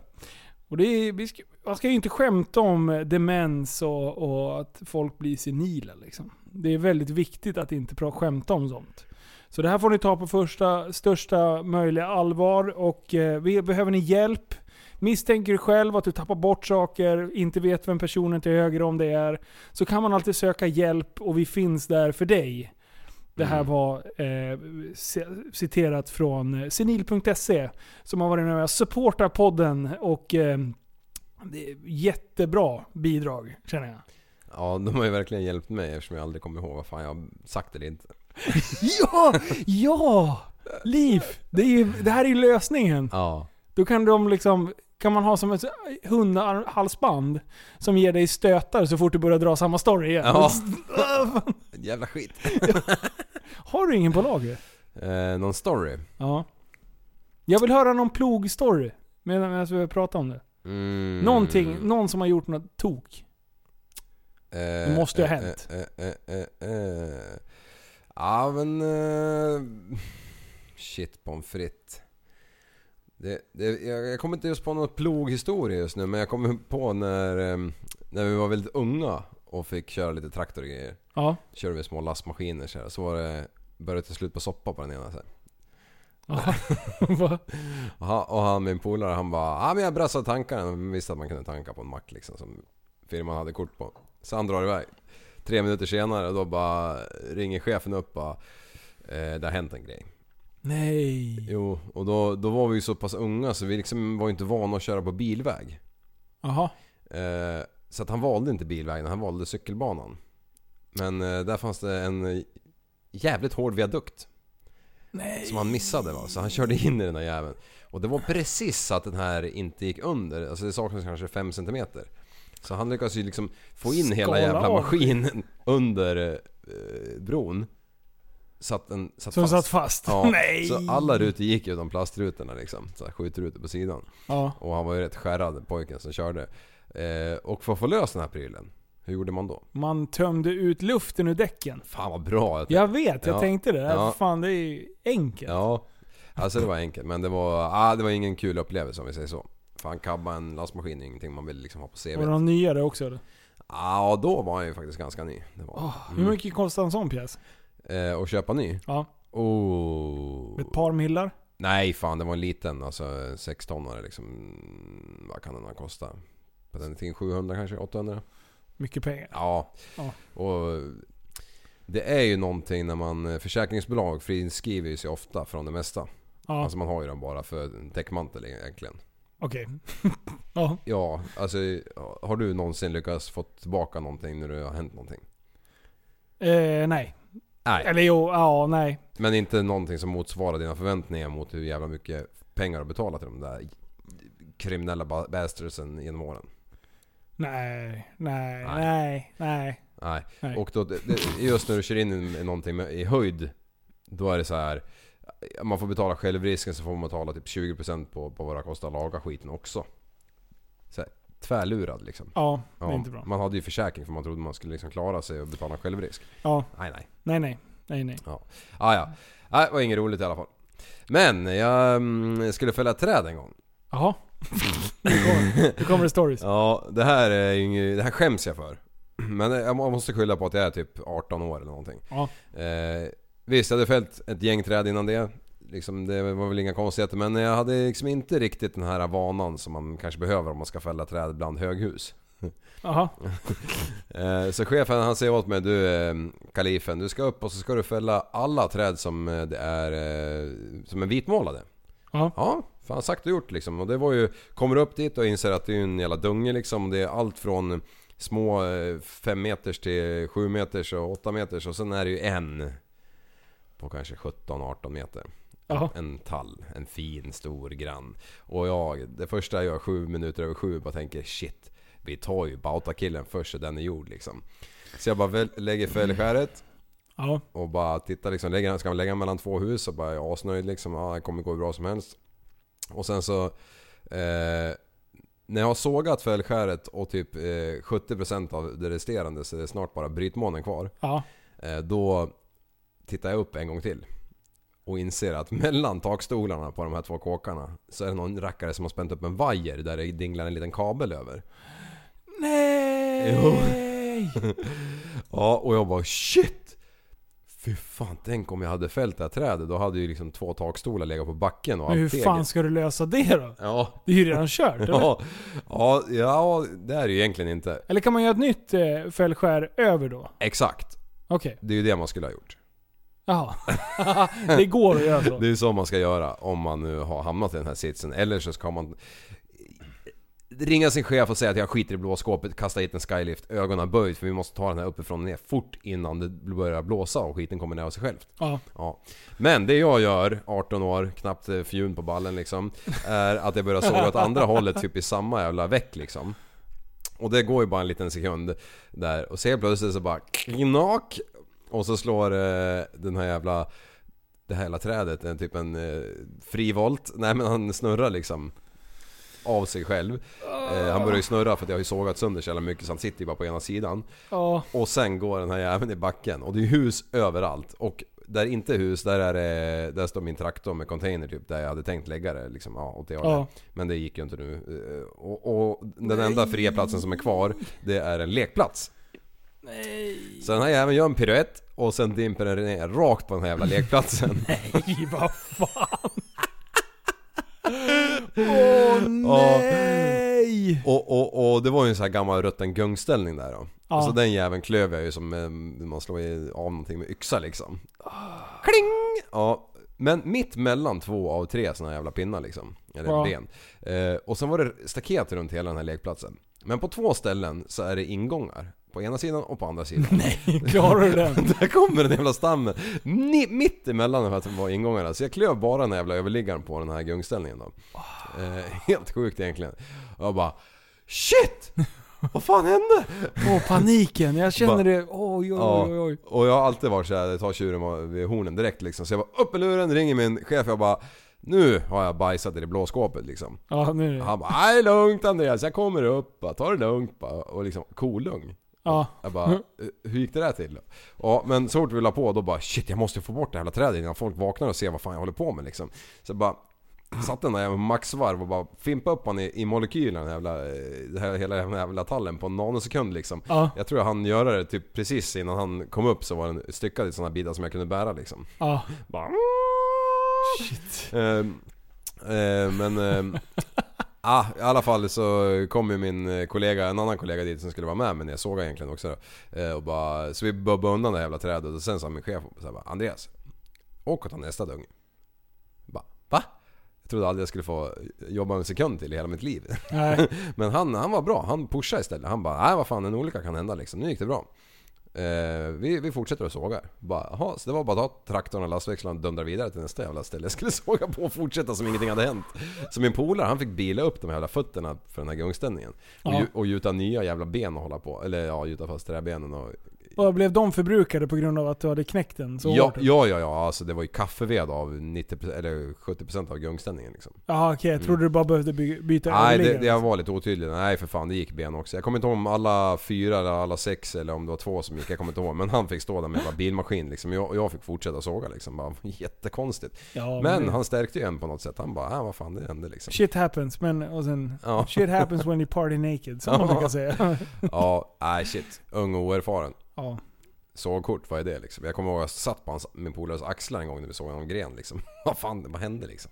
A: Och det är, vi ska, man ska ju inte skämta om eh, demens och, och att folk blir senila liksom. Det är väldigt viktigt att inte pra- skämta om sånt. Så det här får ni ta på första, största möjliga allvar och eh, vi, behöver ni hjälp? Misstänker du själv att du tappar bort saker, inte vet vem personen till höger om det är, så kan man alltid söka hjälp och vi finns där för dig. Det här var eh, c- citerat från eh, senil.se som har varit med och supportat podden och eh, det är jättebra bidrag känner jag.
B: Ja, de har ju verkligen hjälpt mig eftersom jag aldrig kommer ihåg vad fan jag har sagt eller inte.
A: Ja! Ja! Liv! Det, är ju, det här är ju lösningen.
B: Ja.
A: Då kan de liksom kan man ha som ett hundhalsband som ger dig stötar så fort du börjar dra samma story igen.
B: Ja. Jävla skit.
A: [laughs] Har du ingen på lager?
B: Eh, någon story?
A: Ja. Jag vill höra någon plog-story medan medan vi pratar om det.
B: Mm.
A: Någonting, någon som har gjort något tok.
B: Det
A: måste ju ha hänt.
B: Eh, eh, eh, eh. Ja men... Eh, shit pommes frites. Det, det, jag, jag kommer inte just på någon ploghistoria just nu men jag kommer på när, eh, när vi var väldigt unga och fick köra lite traktor och grejer.
A: Ja. [laughs]
B: Körde vi små lastmaskiner så, här, så var det, började det till slut på soppa på den ena. Så här.
A: Va?
B: Och han, och han min polare han bara ah, men jag brassade tankarna men visste att man kunde tanka på en mack liksom som firman hade kort på. Så han drar iväg. Tre minuter senare då bara ringer chefen upp bara eh, det har hänt en grej.
A: Nej.
B: Jo, och då, då var vi ju så pass unga så vi liksom var ju inte vana att köra på bilväg.
A: Jaha.
B: Eh, så att han valde inte bilvägen, han valde cykelbanan. Men eh, där fanns det en jävligt hård viadukt. Som han missade va, så han körde in i den här jäveln. Och det var precis så att den här inte gick under, alltså det saknas kanske 5 cm. Så han lyckades ju liksom få in hela
A: Skala
B: jävla
A: av.
B: maskinen under eh, bron. Så att den satt
A: Så den
B: fast.
A: satt fast?
B: Ja,
A: [laughs] Nej.
B: Så alla rutor gick utom plastrutorna liksom. Så här, skjutrutor på sidan.
A: Ja.
B: Och han var ju rätt skärrad pojken som körde. Eh, och för att få lös den här prylen, hur gjorde man då?
A: Man tömde ut luften ur däcken.
B: Fan vad bra! tänkte.
A: Jag vet, jag
B: Ja.
A: tänkte det.
B: Ja.
A: Fan, det är ju enkelt.
B: Ja, alltså det var enkelt. Men det var, ah, det var ingen kul upplevelse om vi säger så. Fan kabba en lastmaskin är ingenting man vill liksom ha på CV.
A: Var
B: Ja,
A: de nyare också eller?
B: ah, då var han ju faktiskt ganska ny. Det var. Mm.
A: Åh, Ah, Hur mycket kostar en sån pjäs?
B: Eh, och köpa ny?
A: Ja.
B: Oh.
A: Ett par millar?
B: Nej fan, det var en liten. Alltså 6 tonare liksom. Vad kan den ha kostat? På den tiden 700 kanske? 800?
A: Mycket pengar.
B: Ja.
A: Ja.
B: Och det är ju någonting när man... eh, Försäkringsbolag friskriver ju sig ofta från det mesta.
A: Ja.
B: Alltså man har ju dem bara för en täckmantel egentligen.
A: Okej. [laughs] ja.
B: Ja, alltså har du någonsin lyckats få tillbaka någonting när det har hänt någonting?
A: Eh, nej.
B: Nej.
A: Eller jo, ja, nej.
B: Men inte någonting som motsvarar dina förväntningar mot hur jävla mycket pengar du har betalat till de där kriminella ba- bastardsen genom åren.
A: Nej, nej, nej, nej.
B: Nej.
A: Nej.
B: Och då, det, det- just när du kör in i någonting med, i höjd, då är det så här. Man får betala självrisken så får man betala typ 20% på, på vad det kostar att laga skiten också. Så här, tvärlurad liksom.
A: Ja, det är inte bra.
B: Man hade ju försäkring för man trodde man skulle liksom klara sig och betala självrisk.
A: Ja.
B: Nej, nej.
A: Nej, nej. Nej, nej.
B: Ja, ah, ja. Nej, det var inget roligt i alla fall. Men jag mm, skulle fälla ett träd en gång.
A: Jaha. Nu kommer, nu kommer det stories.
B: Ja, det här, är ju inget, det här skäms jag för. Men jag må- måste skylla på att jag är typ 18 år eller någonting.
A: Ja.
B: Eh, visst, jag hade fällt ett gäng träd innan det. Liksom, det var väl inga konstigheter men jag hade liksom inte riktigt den här vanan som man kanske behöver om man ska fälla träd bland höghus.
A: Jaha.
B: Eh, Så chefen han säger åt mig, du eh, kalifen, du ska upp och så ska du fälla alla träd som eh, det är eh, som är vitmålade.
A: Ja.
B: Ja, fan sagt och gjort liksom. Och det var ju, kommer upp dit och inser att det är ju en jävla dunge liksom. Det är allt från små 5 meters till 7 meters och 8 meters och sen är det ju en på kanske 17-18 meter.
A: Jaha.
B: En tall, en fin, stor, grann. Och jag, det första jag gör sju minuter över sju, bara tänker shit. Vi tar ju Bauta-killen först så den är gjord liksom. Så jag bara väl, lägger fällskäret.
A: Ja.
B: Och bara tittar liksom, lägger, ska man lägga mellan två hus och bara är jag asnöjd liksom. Ja, det kommer gå hur bra som helst. Och sen så... Eh, när jag har sågat fällskäret och typ eh, 70% av det resterande så är det snart bara brytmånen kvar.
A: Ja.
B: Eh, Då tittar jag upp en gång till. Och inser att [laughs] mellan takstolarna på de här två kåkarna så är det någon rackare som har spänt upp en vajer där det dinglar en liten
A: [laughs]
B: kabel över.
A: Nej!
B: Jo. Ja, och jag bara shit! Fy fan, tänk om jag hade fällt det här trädet. Då hade ju liksom två takstolar legat på backen och
A: Men hur
B: allt tegel.
A: fan ska du lösa det då?
B: Ja.
A: Det är ju redan kört, eller?
B: Ja, [laughs] ja, ja, det är det ju egentligen inte.
A: Eller kan man göra ett nytt eh, fällskär över då?
B: Exakt.
A: Okej.
B: Det är ju det man skulle ha gjort.
A: Jaha. [laughs] det går att göra så.
B: Det är så man ska göra om man nu har hamnat i den här sitsen. Eller så ska man ringa sin chef och säga att jag skiter i blåskåpet, kasta hit en skylift, ögonen böjd för vi måste ta den här uppifrån och ner fort innan det börjar blåsa och skiten kommer ner av sig självt.
A: Ja.
B: Ja. Men det jag gör, 18 år, knappt eh, fjun på ballen liksom, är att jag börjar såga åt andra hållet typ i samma jävla veck liksom. Och det går ju bara en liten sekund där och så helt plötsligt så bara knack och så slår eh, den här jävla det här jävla trädet, en typ en eh, frivolt. Nej men han snurrar liksom. av sig själv. Eh, han börjar ju snurra för att jag har ju sågat sönder så jävla mycket så han sitter ju bara på ena sidan.
A: Ja.
B: Och sen går den här jäveln i backen och det är hus överallt. Och där inte är hus, där, är det, där står min traktor med container typ där jag hade tänkt lägga det. Liksom, ja, åt det hållet.
A: Ja.
B: Men det gick ju inte nu. Eh, Och, och den enda fria platsen som är kvar, det är en lekplats. Så den här jäveln gör en piruett och sen dimper den ner rakt på den här jävla lekplatsen.
A: Nej, vad fan! Åh nej!
B: Och, och, och det var ju en sån här gammal rutten gungställning där då.
A: Ja.
B: Så den jäveln klöv jag ju som eh, man slår i- av någonting med yxa liksom. Kling! Ja. Men mitt mellan två av tre såna här jävla pinnar liksom. Eller
A: Ja.
B: ben. Eh, och sen var det staket runt hela den här lekplatsen. Men på två ställen så är det ingångar. På ena sidan och på
A: [laughs]
B: andra sidan. Nej,
A: klarar du den?
B: [laughs] Där kommer den jävla stammen. Ni, mitt emellan de här två ingångarna. Så jag klöv bara den här jävla överliggaren på den här gungställningen då. Eh, [laughs] helt sjukt egentligen. Och jag bara Shit! Vad fan hände?
A: Åh paniken, jag känner
B: Bara-
A: det. [laughs] Oj, oj,
B: Ja,
A: oj, oj.
B: och jag har alltid varit såhär, jag tar tjuren vid hornen direkt liksom. Så jag bara upp i luren, ringer min chef jag bara Nu har jag bajsat i det blå skåpet liksom.
A: Ja, nu är det.
B: Han bara Nej lugnt Andreas, jag kommer upp, bara, ta det lugnt bara. Och liksom kolugn.
A: Ja.
B: Jag bara, "Eh, hur gick det där till? Ja, men så fort vi la på då bara shit jag måste få bort det här jävla trädet innan folk vaknar och ser vad fan jag håller på med liksom. Så jag bara Satte den där jävla maxvarv och bara fimpade upp han i, i molekylen, den här jävla, eh, det här, hela den här jävla tallen på en nanosekund liksom.
A: Ja.
B: Jag tror jag han göra det typ precis innan han kom upp så var den styckad i sådana bitar som jag kunde bära liksom.
A: Ja.
B: Bara... Shit. Ehm, men... ehm, ah, I alla fall så kom ju min eh, kollega, en annan kollega dit som skulle vara med men jag såg egentligen också då. Eh, och bara, så vi bubbade undan det här jävla trädet och sen sa min chef så här, bara, Andreas, åk och ta nästa dunge. Jag Bara, va? Jag trodde aldrig jag skulle få jobba en sekund till i hela mitt liv.
A: Nej.
B: [laughs] Men han, han var bra, han pushade istället. Han bara, nej vad fan en olycka kan hända liksom. Nu gick det bra. Eh, vi, vi fortsätter att såga. Bara, jaha, så det var bara att ta traktorn och lastväxlarna och dundra vidare till nästa jävla ställe. Jag skulle [laughs] såga på och fortsätta som ingenting hade hänt. Så min polare han fick bila upp de här jävla fötterna för den här gungställningen. Och,
A: Ja.
B: gju- och gjuta nya jävla ben och hålla på. Eller ja, gjuta fast träbenen och...
A: Och blev de förbrukade på grund av att du hade knäckt den så
B: Ja,
A: hårt?
B: ja, ja, ja, alltså det var ju kaffeved av 90% eller 70% av gungställningen liksom.
A: Jaha okej, jag trodde du bara behövde by byta
B: Nej, det,
A: överliggare.
B: det jag var lite otydlig. Nej för fan, det gick ben också. Jag kommer inte ihåg om alla fyra eller alla sex eller om det var två som gick. Jag kommer inte ihåg. Men han fick stå där med en jävla bilmaskin liksom. Jag, och jag fick fortsätta såga liksom. Bara, [laughs] jättekonstigt.
A: Ja,
B: men
A: men-
B: han stärkte ju en på något sätt. Han bara, ah, vad fan det
A: [laughs]
B: hände liksom.
A: Shit happens, men och sen...
B: Ja.
A: Shit happens when you party naked, som man brukar säga. [laughs]
B: ja, nej shit. Ung och oerfaren.
A: Ja.
B: Sågkort, vad är det liksom? Jag kommer ihåg att jag satt på hans, min polares axlar en gång när vi såg någon gren liksom. [laughs] vad fan, vad hände liksom?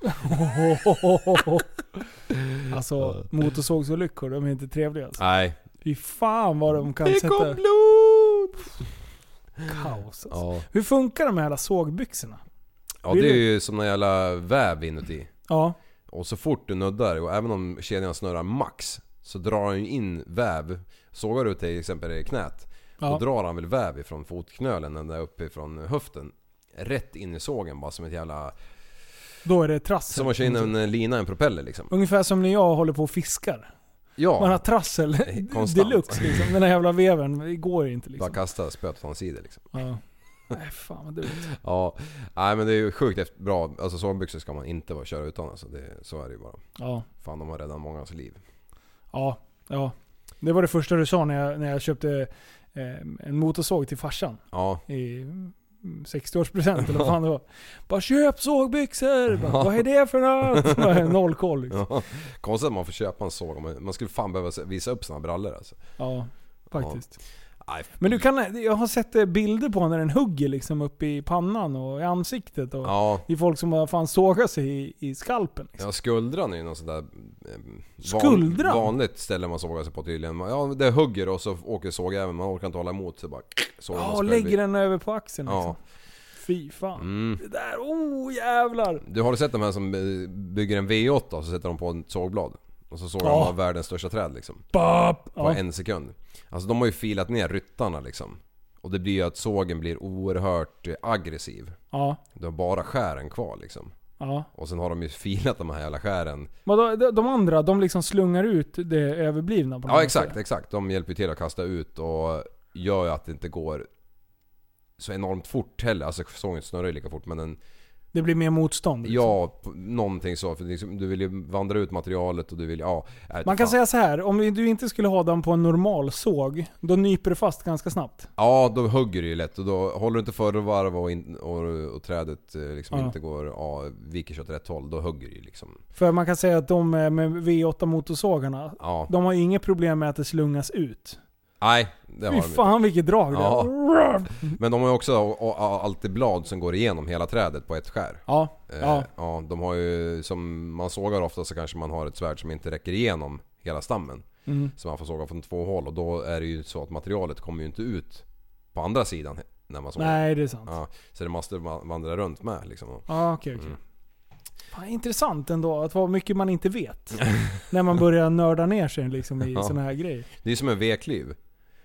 A: alltså, motorsågsolyckor, de är inte trevliga alltså.
B: Nej.
A: Fy fan vad de kan
B: Det
A: sätta...
B: kom blod!
A: Kaos alltså.
B: Ja.
A: Hur funkar de här jävla sågbyxorna?
B: Ja det är ju som en jävla väv inuti.
A: Ja.
B: Och så fort du nuddar, och även om kedjan snurrar max, så drar han ju in väv. Sågar du till exempel i knät,
A: Ja.
B: då drar han väl väv ifrån fotknölen ända uppifrån höften. Rätt in i sågen bara som ett jävla...
A: Då är det trassel.
B: Som att köra in en eh, lina i en propeller liksom.
A: Ungefär som när jag håller på och fiskar.
B: Ja.
A: Man har
B: [laughs]
A: trassel [laughs]
B: konstant.
A: deluxe liksom. Den här jävla veven, det går inte liksom.
B: Bara kasta spöet åt hans sida liksom.
A: Ja. Nej fan vad dumt.
B: Ja, nej men det är ju sjukt efter- bra. Alltså sågbyxor ska man inte vara köra utan alltså. Det, så är det ju bara.
A: Ja.
B: Fan de har räddat mångas liv.
A: Ja, ja. Det var det första du sa när jag, när jag köpte eh, en motorsåg till farsan.
B: Ja. [laughs]
A: I mm, 60-årspresent eller vad fan det var. Bara köp sågbyxor! Bara, vad är det för
B: [laughs]
A: något? Bara, Noll koll liksom.
B: Ja. Konstigt att man får köpa en såg. om Man man skulle fan behöva visa upp sina brallor alltså.
A: Ja, faktiskt.
B: Nej,
A: Men du kan, jag har sett eh, bilder på när den hugger liksom upp i pannan och i ansiktet. Och
B: Ja.
A: Det är folk som har fan sågat sig i, i skalpen. liksom."
B: Ja, skuldran är ju något sånt där... eh,
A: Skuldran?
B: vanligt ställe man sågar sig på tydligen. Man- Ja, det hugger och så åker sågäveln. Man orkar inte hålla emot så bara... Sågar man
A: Ja,
B: sig själv i-
A: lägger den över på axeln liksom.
B: Ja.
A: Fy fan.
B: Mm.
A: Det där, oh jävlar.
B: Du har du sett de här som eh, bygger en V8 och så sätter de på en sågblad? Och så sågar
A: Ja.
B: de av världens största träd liksom.
A: Bap!
B: På
A: Ja.
B: en sekund. Alltså de har ju filat ner ryttarna liksom. Och det blir ju att sågen blir oerhört eh, aggressiv.
A: Ja,
B: Du har bara skären kvar liksom.
A: ja.
B: Och sen har de ju filat de här jävla skären.
A: Vadå, de, de andra, de liksom slungar ut det överblivna på något
B: Ja
A: sätt.
B: exakt, exakt. De hjälper ju till att kasta ut och gör ju att det inte går så enormt fort heller. Alltså sågen snurrar ju lika fort men den
A: Det blir mer motstånd. liksom.
B: Ja, p- någonting så. För liksom, du vill ju vandra ut materialet och du vill ja... äh,
A: Man kan
B: fan.
A: säga så här, om du inte skulle ha den på en normal såg, då nyper du fast ganska snabbt.
B: Ja, då hugger det ju lätt och då håller du inte förra varv och, in, och, och trädet eh, liksom
A: Ja.
B: inte går, ja, viker sig åt rätt håll, då hugger det ju liksom.
A: För man kan säga att de eh, med V8 motorsågarna,
B: Ja.
A: de har ju inget problem med att det slungas ut.
B: Nej, det har
A: Fy
B: de inte.
A: fan vilket drag det
B: Ja.
A: är.
B: Men de har ju också och, och, och, alltid blad som går igenom hela trädet på ett skär.
A: Ja,
B: Eh,
A: ja.
B: ja. De har ju, som man sågar ofta så kanske man har ett svärd som inte räcker igenom hela stammen.
A: Mm.
B: Så man får såga från två håll och då är det ju så att materialet kommer ju inte ut på andra sidan när man sågar.
A: Nej, det är sant.
B: Ja, så det måste man vandra runt med liksom.
A: Ja, okej, okej.
B: Mm.
A: Fan, intressant ändå, att vad mycket man inte
B: [laughs]
A: vet. när man börjar nörda ner sig liksom i
B: Ja.
A: såna här grejer.
B: Det är ju som en veklyv.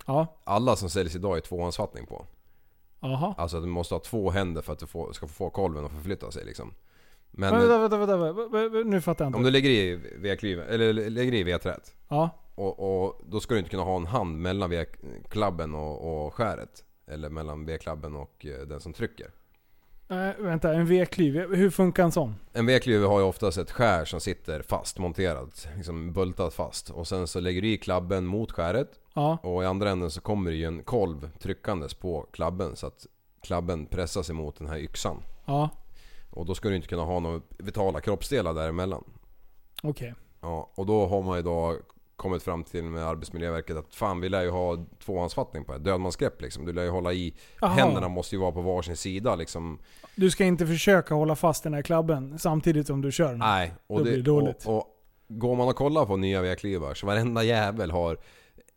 A: Ja.
B: Alla som säljs idag är tvåhandsfattning på.
A: Jaha.
B: Alltså att du måste ha två händer för att du får, ska få kolven att förflytta sig liksom. Men
A: Men, vänta, vänta, vänta, vänta, vänta. Nu fattar jag inte.
B: om du lägger i vedklyven, eller lägger i vedträt.
A: Ja.
B: Och, och då ska du inte kunna ha en hand mellan vedklabben och, och skäret. Eller mellan vedklabben och eh, den som trycker.
A: Nej, Eh, vänta, en V-klyv. Hur funkar en sån?
B: En vedklyv har ju oftast ett skär som sitter fast, monterat, liksom bultat fast. Och sen så lägger du i klabben mot skäret.
A: Ja.
B: Och i andra änden så kommer det ju en kolv tryckandes på klabben så att klabben pressas emot den här yxan.
A: Ja,
B: Och då ska du inte kunna ha några vitala kroppsdelar däremellan.
A: okej.
B: Ja, och då har man ju då kommit fram till med Arbetsmiljöverket att fan vi lär ju ha tvåhandsfattning på det. Dödmansgrepp liksom. Du lär ju hålla i...
A: Jaha. Mm.
B: Händerna måste ju vara på varsin sida liksom.
A: Du ska inte försöka hålla fast den här klabben samtidigt som du kör den.
B: Nej. Och
A: Då blir det dåligt.
B: Och, och går man och kollar på nya vedklyvar så varenda jävel har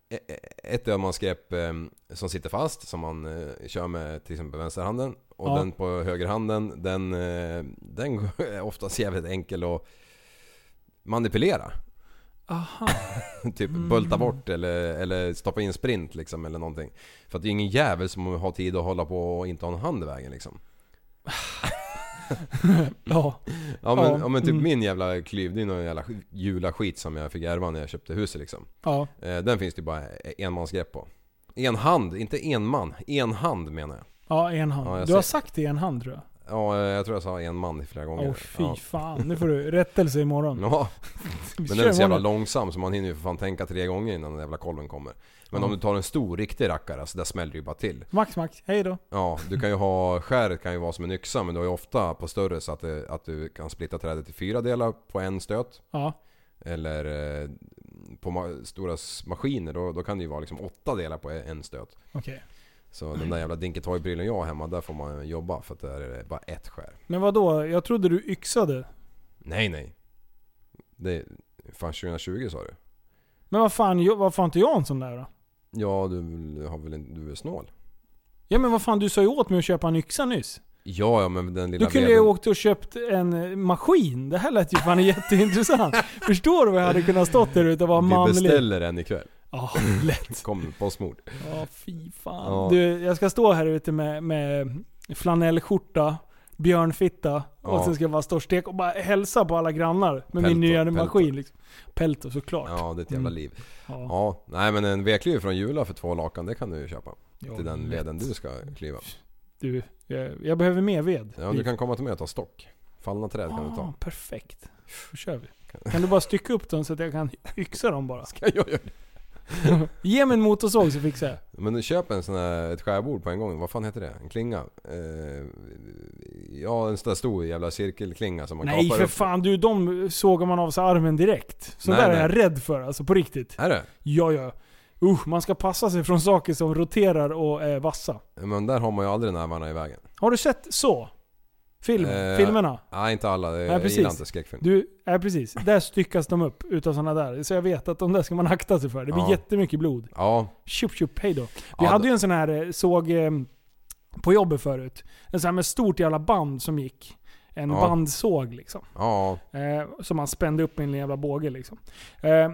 B: e- e- ett dödmansgrepp eh, som sitter fast som man eh, kör med till exempel vänsterhanden. Och
A: Ja.
B: den på högerhanden den, eh, den är [laughs] oftast jävligt enkel att manipulera.
A: Aha.
B: [laughs]
A: Mm.
B: typ bulta bort eller, eller stoppa in sprint liksom eller någonting. För att det är ingen jävel som har tid att hålla på och inte ha en hand i vägen liksom.
A: Ja.
B: Ja men,
A: Ja,
B: ja, men typ
A: mm.
B: min jävla klyv, det är någon jävla sk- jula skit som jag fick ärva när jag köpte huset liksom.
A: Ja.
B: Eh, Den finns det ju bara enmansgrepp på. En hand, inte en man. En hand menar jag.
A: Ja, en hand.
B: Ja, jag
A: du har
B: ser.
A: sagt det i en hand tror jag.
B: Ja, eh, jag tror jag sa en man flera
A: Åh
B: gånger.
A: fy
B: ja.
A: fan. Nu får du rättelse imorgon.
B: Ja,
A: Vi
B: men
A: kör
B: den är så jävla
A: imorgon.
B: långsam så man hinner ju för fan tänka tre gånger innan den jävla kolven kommer. Men
A: Ja.
B: om du tar en stor riktig rackare, alltså där smäller det ju bara till.
A: Max, Max. Hej då.
B: Ja, du kan ju ha, skäret kan ju vara som en yxa men du har ju ofta på större så att, det, att du kan splitta trädet i fyra delar på en stöt.
A: Ja.
B: Eller eh, på ma- stora s- maskiner då, då kan det ju vara liksom åtta delar på en stöt.
A: Okej.
B: Så den där jävla Dinketoy-brillen jag har hemma, där får man jobba för att där är det bara ett skär.
A: Men vad då? Jag trodde du yxade.
B: Nej nej. Det, fan 2020 sa du?
A: Men vad fan, jag- varför har inte jag en sån där då?
B: Ja du har väl en, du är snål?
A: Ja men vad fan, du sa ju åt mig att köpa en yxa nyss.
B: Ja ja men den lilla
A: Du kunde ju
B: veden-
A: ha åkt och köpt en eh, maskin. Det här lät ju fan [laughs] jätteintressant. Förstår du vad jag hade kunnat stått där ute och vara
B: Vi
A: manlig?
B: beställer en ikväll.
A: Ja, lätt.
B: Kom postmord.
A: Ja, fy fan.
B: Ja.
A: Du, jag ska stå här ute med, med flanellskjorta, björnfitta och
B: Ja.
A: sen ska jag vara storstek och bara hälsa på alla grannar med min
B: Peltor,
A: nya
B: peltor.
A: maskin. Liksom. Pelto såklart.
B: Ja det är ett jävla
A: Mm.
B: liv.
A: Ja.
B: Ja, nej men en vedklyv från Jula för två lakan, det kan du ju köpa.
A: Ja,
B: till den
A: lätt.
B: veden du ska klyva.
A: Du, jag, jag behöver mer ved.
B: Ja, du kan komma till mig och ta stock. Fallna träd kan du
A: ah,
B: ta.
A: perfekt. Då kör vi. Kan du bara stycka upp dem så att jag
B: [laughs]
A: kan yxa dem bara?
B: Ska jag göra
A: Ge mig en motorsåg så fixar jag.
B: Men du köper en sån här, ett skärbord på en gång. Vad fan heter det? En klinga? Eh, ja, en sån där stor jävla cirkelklinga som man
A: Nej
B: kapar
A: för
B: upp.
A: fan du, de sågar man av sig armen direkt. Så
B: Nej,
A: där är
B: nej.
A: jag rädd för alltså, på riktigt.
B: Är det?
A: Ja, ja. Usch, man ska passa sig från saker som roterar och är vassa.
B: Men där har man ju aldrig nävarna i vägen.
A: Har du sett så? Film,
B: Eh,
A: filmerna?
B: Nej, inte alla. Det-
A: Nej,
B: Jag
A: precis.
B: gillar inte skräckfilm.
A: Du, ja precis. Där styckas de upp utav sådana där. Så jag vet att de där ska man akta sig för. Det blir
B: Ja.
A: jättemycket blod.
B: Ja,
A: Tjup tjup, hej då. Vi
B: Ja,
A: hade
B: det-
A: ju en sån här eh, såg eh, på jobbet förut. En sån här med stort jävla band som gick. En
B: Ja.
A: bandsåg liksom.
B: ja.
A: Eh, som man spände upp med en jävla båge liksom. Eh,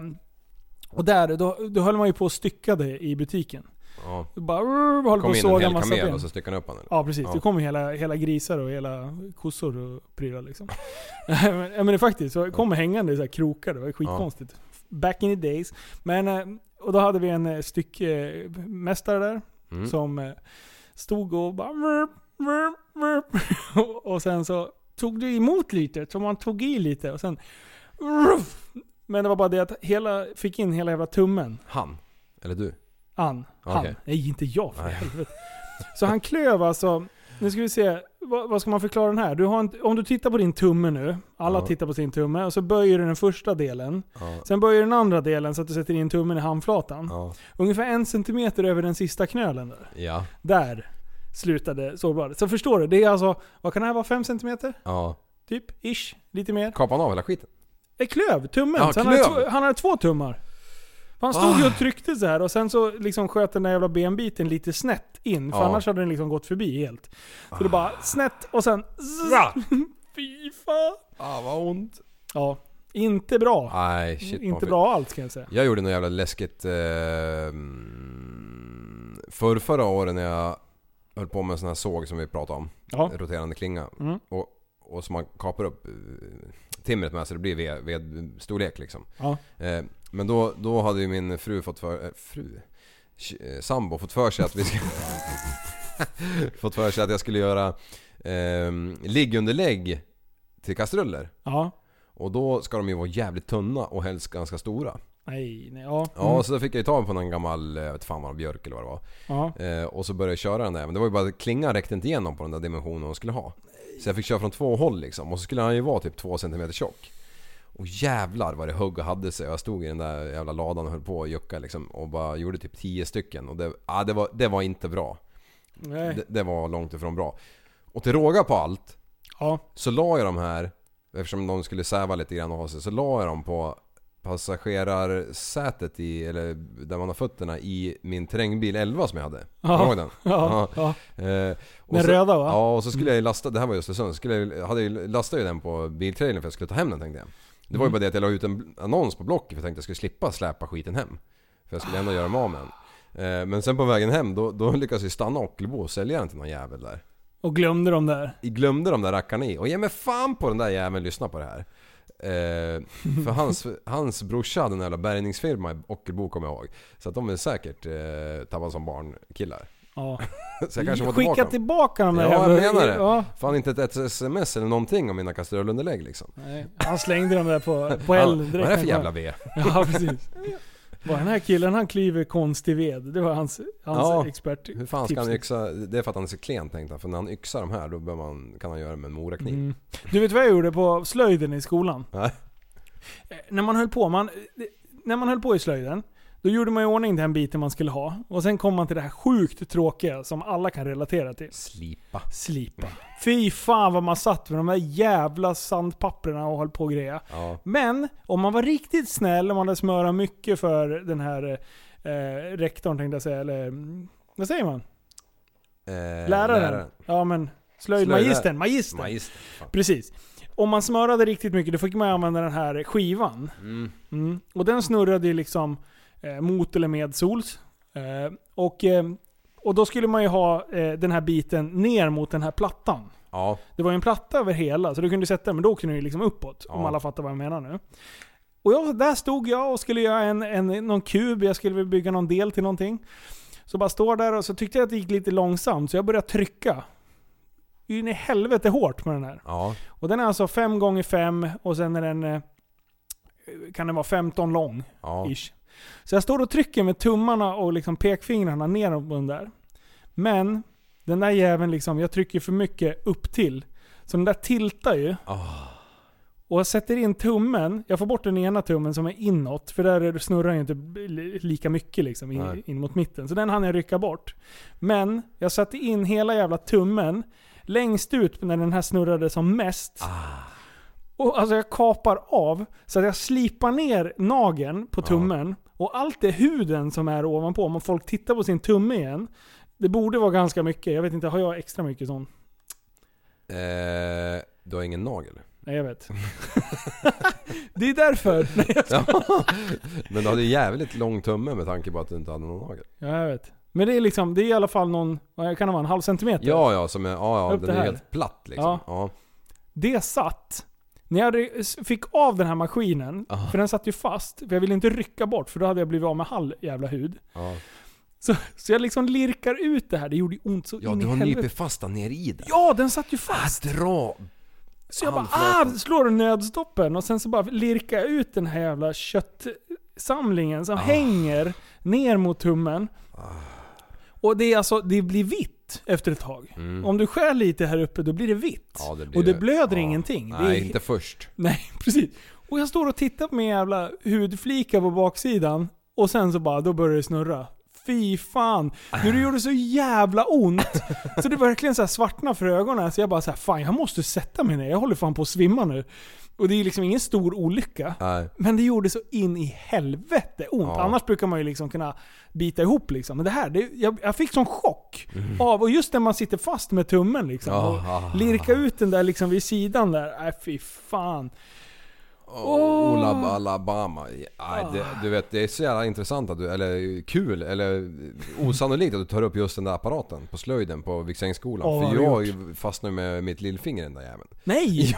A: och där, då, då höll man ju på och styckade i butiken.
B: ja.
A: Du bara "Rrr", håller på
B: Kom
A: och
B: in en
A: såga
B: hel
A: massa
B: kamel
A: ben.
B: och så styckade han upp honom.
A: Ja precis,
B: Ja.
A: det kommer hela, hela grisar och hela kossor och prylar liksom. [laughs] ja, men ja, men det är faktiskt, så det kommer hängande i så här krokar, det var skitkonstigt. Back in the days. Men, eh, och då hade vi en eh, styckmästare där
B: Mm.
A: som eh, stod [laughs] och bara vrp, vrp, vrp. och sen så tog det emot lite, så man tog i lite och sen... Ruff! Men det var bara det att hela, fick in hela jävla tummen.
B: Han? Eller du?
A: Mm. Han. Han.
B: Okej.
A: Nej, inte jag för
B: Nej.
A: helvete. Så han klöv alltså... Nu ska vi se, vad, vad ska man förklara den här? Du har en, om du tittar på din tumme nu, alla
B: Ja.
A: tittar på sin tumme, och så böjer du den första delen.
B: Ja.
A: Sen böjer du den andra delen så att du sätter in tummen i handflatan.
B: Ja.
A: Ungefär en centimeter över den sista knölen där.
B: Ja.
A: Där slutade sårbladet. Så förstår du, det är alltså, vad kan det här vara? 5 centimeter?
B: Ja.
A: Typ, ish. Lite mer.
B: Kapade han av hela skiten?
A: Eh, klöv, tummen.
B: Ja,
A: så Han, hade
B: klöv. Ah.
A: två, han hade två tummar. Han stod ju och tryckte så här och sen så liksom sköt den där jävla benbiten lite snett in. För
B: Ja. Ah.
A: annars hade den liksom gått förbi helt. Så det bara snett och sen... [laughs] Fy fan.
B: Ah, vad ont.
A: Ja, inte bra.
B: Nej, Ah, shit. man
A: inte
B: fick-
A: bra allt kan jag säga.
B: Jag gjorde något jävla läskigt... Eh, mm, för förra året när jag höll på med en sån här såg som vi pratade om.
A: Ja.
B: Roterande klinga.
A: Mm.
B: Och, och som man kapar upp eh, timret med så det blir ved, vedstorlek liksom.
A: Ja.
B: Eh, men då, då hade ju min fru fått för... Eh, fru? Sh- eh, Sambo fått för sig att vi ska... [laughs] fått för sig att jag skulle göra eh, liggunderlägg till kastruller.
A: Ja.
B: Och då ska de ju vara jävligt tunna och helst ganska stora.
A: Nej, nej, ja.
B: Ja,
A: Mm.
B: så då fick jag ju tag på någon gammal, eh, jag vet fan vad, björk eller vad det var.
A: Ja.
B: Eh, och så började jag köra den där. Men det var ju bara att klingan räckte inte igenom på den där dimensionen hon skulle ha. Så jag fick köra från två håll liksom. Och så skulle han ju vara typ två centimeter tjock. Och jävlar vad det högg och hade sig. Jag stod i den där jävla ladan och höll på och jucka liksom. Och bara gjorde typ tio stycken. Och det, ah, det, var, det var inte bra.
A: Nej.
B: Det, det var långt ifrån bra. Och till råga på allt.
A: Ja.
B: Så la jag de här, eftersom de skulle säva lite grann och ha sig, så la jag dem på passagerarsätet i, eller där man har fötterna i min terrängbil 11 som jag hade.
A: Ja.
B: Kommer du ihåg den?
A: Ja,
B: Eh, och
A: Den
B: så-
A: röda, va? Mm.
B: Ja, och så skulle jag ju lasta, det här var ju Östersund, så skulle jag, hade jag, lastade ju den på biltrailern för att jag skulle ta hem den tänkte jag. Det var ju
A: Mm.
B: bara det att jag la ut en bl- annons på Blocket för jag tänkte att jag skulle slippa släpa skiten hem. För jag skulle ändå göra mig av med den. Eh, Men sen på vägen hem då, då lyckades vi stanna Ockelbo och sälja den till någon jävel där.
A: Och glömde de där.
B: Glömde de där rackarna i. Och ge mig fan på den där jäveln lyssna på det här. Eh,
A: [laughs]
B: för hans, hans brorsa hade en jävla bärgningsfirma i Ockelbo kommer jag ihåg. Så att de är säkert eh, tappade som barnkillar. [laughs]
A: Ja.
B: Så jag kanske får
A: Skicka
B: tillbaka dem.
A: tillbaka dem där
B: Ja, jag
A: jävla-
B: menar det.
A: Ja.
B: Fan inte ett sms eller någonting om mina kastrullunderlägg liksom.
A: Nej, han slängde dem där på, på
B: Ja,
A: eld
B: vad
A: direkt.
B: är det för jävla ved?
A: Ja, precis. Bara den här killen han klyver konstig ved. Det var hans, hans
B: Ja,
A: expert.
B: Hur fan ska
A: tips.
B: han yxa? Det är för att han är så klen tänkte han. För när han yxar de här då bör man, kan han göra det med en morakniv.
A: Mm. Du vet vad jag gjorde på slöjden i skolan?
B: Nej.
A: Eh, När man höll på, man, det- när man höll på i slöjden, då gjorde man i ordning den biten man skulle ha. Och sen kom man till det här sjukt tråkiga som alla kan relatera till.
B: Slipa.
A: Slipa. Fy fan vad man satt med de där jävla sandpapperna och höll på och greja.
B: Ja.
A: Men om man var riktigt snäll och man hade smörat mycket för den här eh, rektorn tänkte jag säga, eller mm, vad säger man?
B: Eh,
A: Läraren. Ja men slöjdmagistern,
B: Slöjdlärare.
A: magistern.
B: Magistern, fan.
A: Precis. Om man smörade riktigt mycket då fick man använda den här skivan.
B: Mm.
A: Mm. Och den snurrade ju liksom eh, mot eller med sols. Eh, och, eh, och då skulle man ju ha eh, den här biten ner mot den här plattan.
B: Ja.
A: Det var ju en platta över hela, så du kunde sätta den, men då åkte den ju liksom uppåt. Om
B: Ja.
A: alla fattar vad jag menar nu. Och jag, där stod jag och skulle göra en, en, någon kub, jag skulle väl bygga någon del till någonting. Så bara står där och så tyckte jag att det gick lite långsamt, så jag började trycka. In i helvete hårt med den här.
B: Ja.
A: Och den är alltså 5 gånger 5 och sen är den... eh, Kan den vara 15 lång?
B: Ja.
A: Ish. Så jag står och trycker med tummarna och liksom pekfingrarna neråt på den där. Men den där jäveln liksom, jag trycker för mycket upp till. Så den där tiltar ju.
B: Ah.
A: Och jag sätter in tummen, jag får bort den ena tummen som är inåt, för där är det- snurrar ju inte li- lika mycket liksom in,
B: Nej.
A: in mot mitten. Så den hann jag rycka bort. Men jag satte in hela jävla tummen längst ut när den här snurrade som mest. Och alltså jag kapar av så att jag slipar ner nageln på tummen. Och allt det är huden som är ovanpå. Om folk tittar på sin tumme igen. Det borde vara ganska mycket. Jag vet inte, har jag extra mycket sån?
B: Eh, du har ingen nagel?
A: Nej jag
B: [laughs]
A: vet. det är därför. Nej, jag skojar.
B: Men du hade ju jävligt lång tumme med tanke på att du inte hade någon nagel.
A: Ja, jag vet. Men det är liksom, det är i alla fall någon, vad kan det vara, en halv centimeter?
B: Ja, ja, som är, ja, ja
A: Upp
B: den
A: det
B: är
A: här.
B: helt platt liksom. Ja.
A: Det satt. När jag ry- s- fick av den här maskinen,
B: Aha.
A: för den satt ju fast, för jag ville inte rycka bort för då hade jag blivit av med all jävla hud.
B: Ja,
A: Så, så jag liksom lirkar ut det här, det gjorde ju ont så
B: ja
A: in
B: du
A: i
B: har
A: helvete.
B: nypit fast den ner i den.
A: Ja, den satt ju fast!
B: Dra
A: Så jag bara ah, slår nödstoppen och sen så bara lirkar jag ut den här jävla köttsamlingen
B: Ah.
A: som hänger ner mot tummen. Och det, är alltså, det blir vitt efter ett tag.
B: Mm.
A: Om du skär lite här uppe, då blir det vitt.
B: Ja, det blir
A: och det
B: det.
A: blöder ingenting. Det
B: Nej,
A: är-
B: inte först.
A: [laughs] Nej, precis. Och jag står och tittar på min jävla hudflika på baksidan och sen så bara, då börjar det snurra. Fy fan. Du, det gjorde så jävla ont. Så det verkligen så här svartna för ögonen. Så jag bara så här, fan jag måste sätta mig ner. Jag håller fan på att svimma nu. Och det är liksom ingen stor olycka.
B: Nej.
A: Men det gjorde så in i helvete ont.
B: Ja.
A: Annars brukar man ju liksom kunna bita ihop liksom. Men det här, det, jag, jag fick sån chock av, och just när man sitter fast med tummen liksom.
B: Mm. Ja.
A: Och lirka ut den där liksom vid sidan där. Nej fy fan.
B: Oh. Ola Alabama. Aj, det,
A: Ah.
B: du vet, det är så jävla intressant att du, eller kul, eller osannolikt att du tar upp just den där apparaten på slöjden på Viksängsskolan.
A: Ja,
B: För
A: vad har
B: jag fastnade med mitt lillfinger i den där jäveln. [laughs]
A: Nej!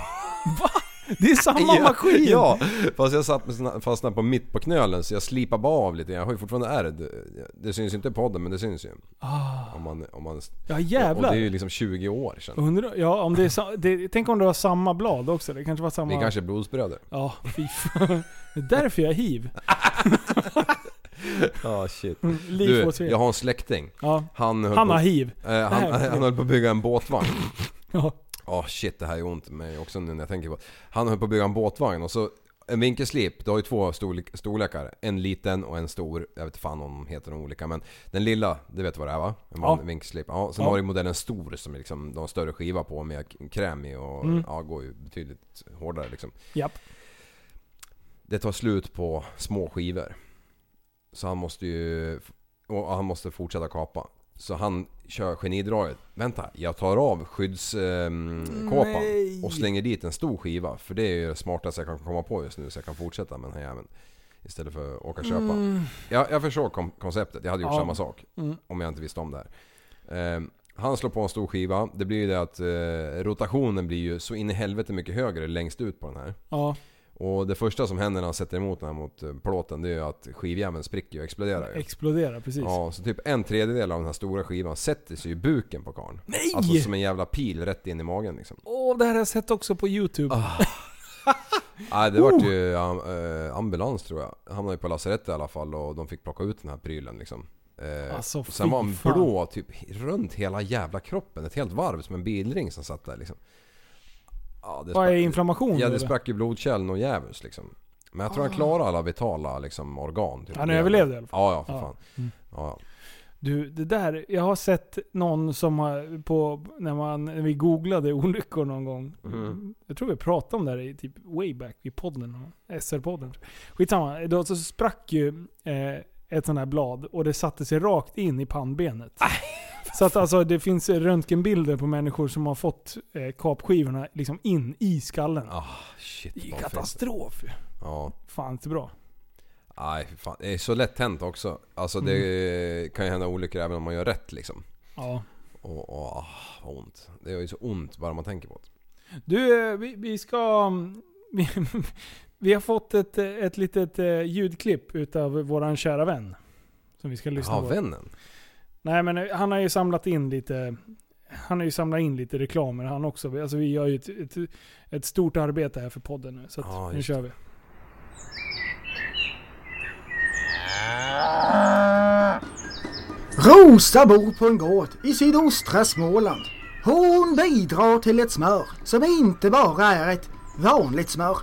A: Va? Det är samma maskin!
B: Ja, fast jag satt, fastnade på mitt på knölen så jag slipade bara av lite. Jag har ju fortfarande ärr. Det- Det syns ju inte i podden men det syns ju.
A: Ah.
B: Om man, om man,
A: Ja,
B: och det
A: jävlar.
B: är ju liksom 20 år sedan.
A: Undrar, ja, om det är sa, det, tänk om det var samma blad också. Det kanske var samma...
B: Vi kanske är blodsbröder.
A: Ja, fy fan. Det är därför jag har hiv.
B: Ja shit.
A: Mm, liv
B: Du,
A: får se.
B: jag har en släkting.
A: Ja.
B: Han, höll
A: Han
B: på-
A: har hiv.
B: Eh, han,
A: Nej.
B: han höll på att bygga en båtvagn.
A: Ja.
B: Ja Ah, shit, det här är ont med mig också nu när jag tänker på det. Han höll på att bygga en båtvagn och så en vinkelslip, det har ju två storlek- storlekar. En liten och en stor. Jag vet inte fan om de heter de olika men den lilla, det vet du vad det är va? En
A: Ja.
B: ja. vinkelslip. Ja, sen
A: Ja.
B: har du ju modellen stor som är liksom, de har större skiva på med k- kräm i och
A: Mm.
B: ja, går ju betydligt hårdare liksom.
A: Japp.
B: Det tar slut på små skivor. Så han måste ju... Och han måste fortsätta kapa. Så han kör genidraget. Vänta, jag tar av ehm, skyddskåpan
A: Nej.
B: och slänger dit en stor skiva. För det är ju det smartaste jag kan komma på just nu så jag kan fortsätta med den här jäveln. Istället för att åka och köpa.
A: Mm.
B: Jag, jag förstår kom- konceptet, jag hade gjort
A: Ja.
B: samma sak.
A: Mm.
B: Om jag inte visste om det här. Ehm, han slår på en stor skiva. Det blir ju det att eh, rotationen blir ju så in i helvete mycket högre längst ut på den här.
A: Ja.
B: Och det första som händer när han sätter emot den här mot eh, plåten det är ju att skivjäveln spricker och exploderar ju.
A: Explodera, precis.
B: Ja, så typ en tredjedel av den här stora skivan sätter sig i buken på karln.
A: Nej!
B: Alltså som en jävla pil rätt in i magen liksom.
A: Åh, det här har jag sett också på YouTube.
B: Ah, Nej, det vart ju
A: Oh.
B: am- eh, ambulans tror jag. Hamnade ju på lasarettet i alla fall och de fick plocka ut den här prylen liksom. Eh,
A: Alltså,
B: och
A: fy
B: sen var han
A: fan.
B: blå typ he- runt hela jävla kroppen. Ett helt varv som en bilring som satt där liksom. Ja, det
A: Vad är
B: sprack-
A: inflammation?
B: Ja, det
A: eller?
B: sprack ju blodkärlen och djävulskt liksom. Men jag tror han klarade alla vitala liksom, organ. Typ.
A: Han överlevde i alla fall.
B: Ja, ja för
A: Ja.
B: fan.
A: Mm.
B: Ja,
A: Du, det där. Jag har sett någon som har, på, när, man, när vi googlade olyckor någon gång.
B: Mhm.
A: Jag tror vi pratade om det här i typ way back i podden. SR-podden. Skitsamma. Då så sprack ju eh, ett sånt här blad och det satte sig rakt in i pannbenet.
B: Ah.
A: [laughs] Så att alltså det finns röntgenbilder på människor som har fått eh, kapskivorna liksom in i skallen.
B: Ah, shit.
A: det är ju
B: vad fint.
A: katastrof ju.
B: Ja.
A: Fan inte bra.
B: Nej, för fan. Det är så lätt hänt också. Alltså det
A: Mm.
B: kan ju hända olyckor även om man gör rätt liksom.
A: Ja.
B: Och, och ah, vad ont. Det gör ju så ont bara man tänker på det.
A: Du, eh, vi, vi ska... mm, [laughs] Vi, vi har fått ett, eh, ett litet eh, ljudklipp utav våran kära vän. Som vi ska lyssna
B: Ja,
A: på.
B: vännen.
A: Nej men eh, han har ju samlat in lite... Han har ju samlat in lite reklamer han också. Alltså vi gör ju ett, ett, ett stort arbete här för podden nu. Så att
B: Ja,
A: nu
B: just
A: kör vi.
J: Rosa bor på en gård i sydostra Småland. Hon bidrar till ett smör som inte bara är ett vanligt smör.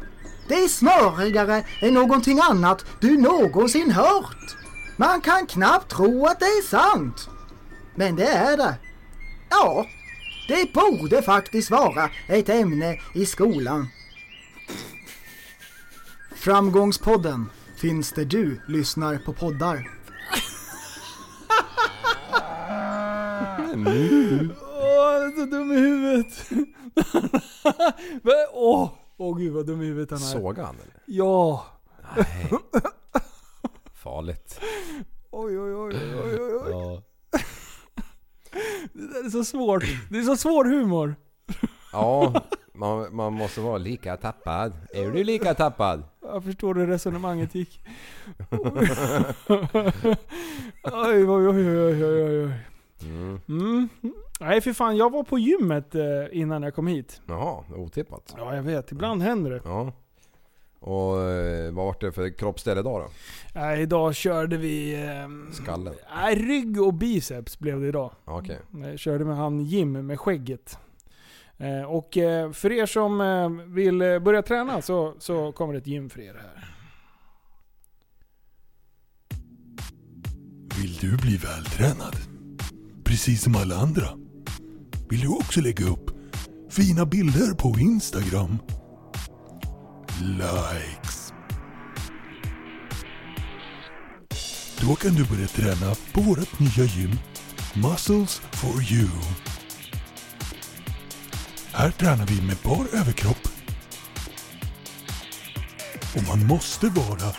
J: Det är smörigare än någonting annat du någonsin hört. Man kan knappt tro att det är sant. Men det är det. Ja, det borde faktiskt vara ett ämne i skolan. Framgångspodden finns där du lyssnar på poddar.
A: Åh, han är så dum i huvudet. [laughs] Men, Åh, åh gud vad dum i huvudet han är.
B: Såg han eller?
A: Ja. [laughs]
B: Nej. Farligt.
A: Oj, oj, oj, oj, oj, oj.
B: Ja.
A: Det där är så svårt. Det är så svår humor.
B: Ja, man, man måste vara lika tappad. Är du lika tappad?
A: Jag förstår hur resonemanget gick. Oj, oj, oj, oj, oj, oj, oj.
B: Mm.
A: Mm. Nej för fan, jag var på gymmet eh, innan jag kom hit.
B: Jaha, otippat.
A: Ja jag vet, ibland händer det.
B: Ja. Och eh, vad var det för kroppsdel idag då?
A: Nej, idag körde vi... ehm,
B: Skallen?
A: Nej, rygg och biceps blev det idag.
B: Ja, Okej.
A: Jag Eh, körde med han Jim med skägget. Eh, Och eh, för er som eh, vill eh, börja träna så, så kommer det ett gym för er här.
G: Vill du bli vältränad? Precis som alla andra? Vill du också lägga upp fina bilder på Instagram? Likes. Då kan du börja träna på vårt nya gym Muscles for you. Här tränar vi med bar överkropp. Och man måste vara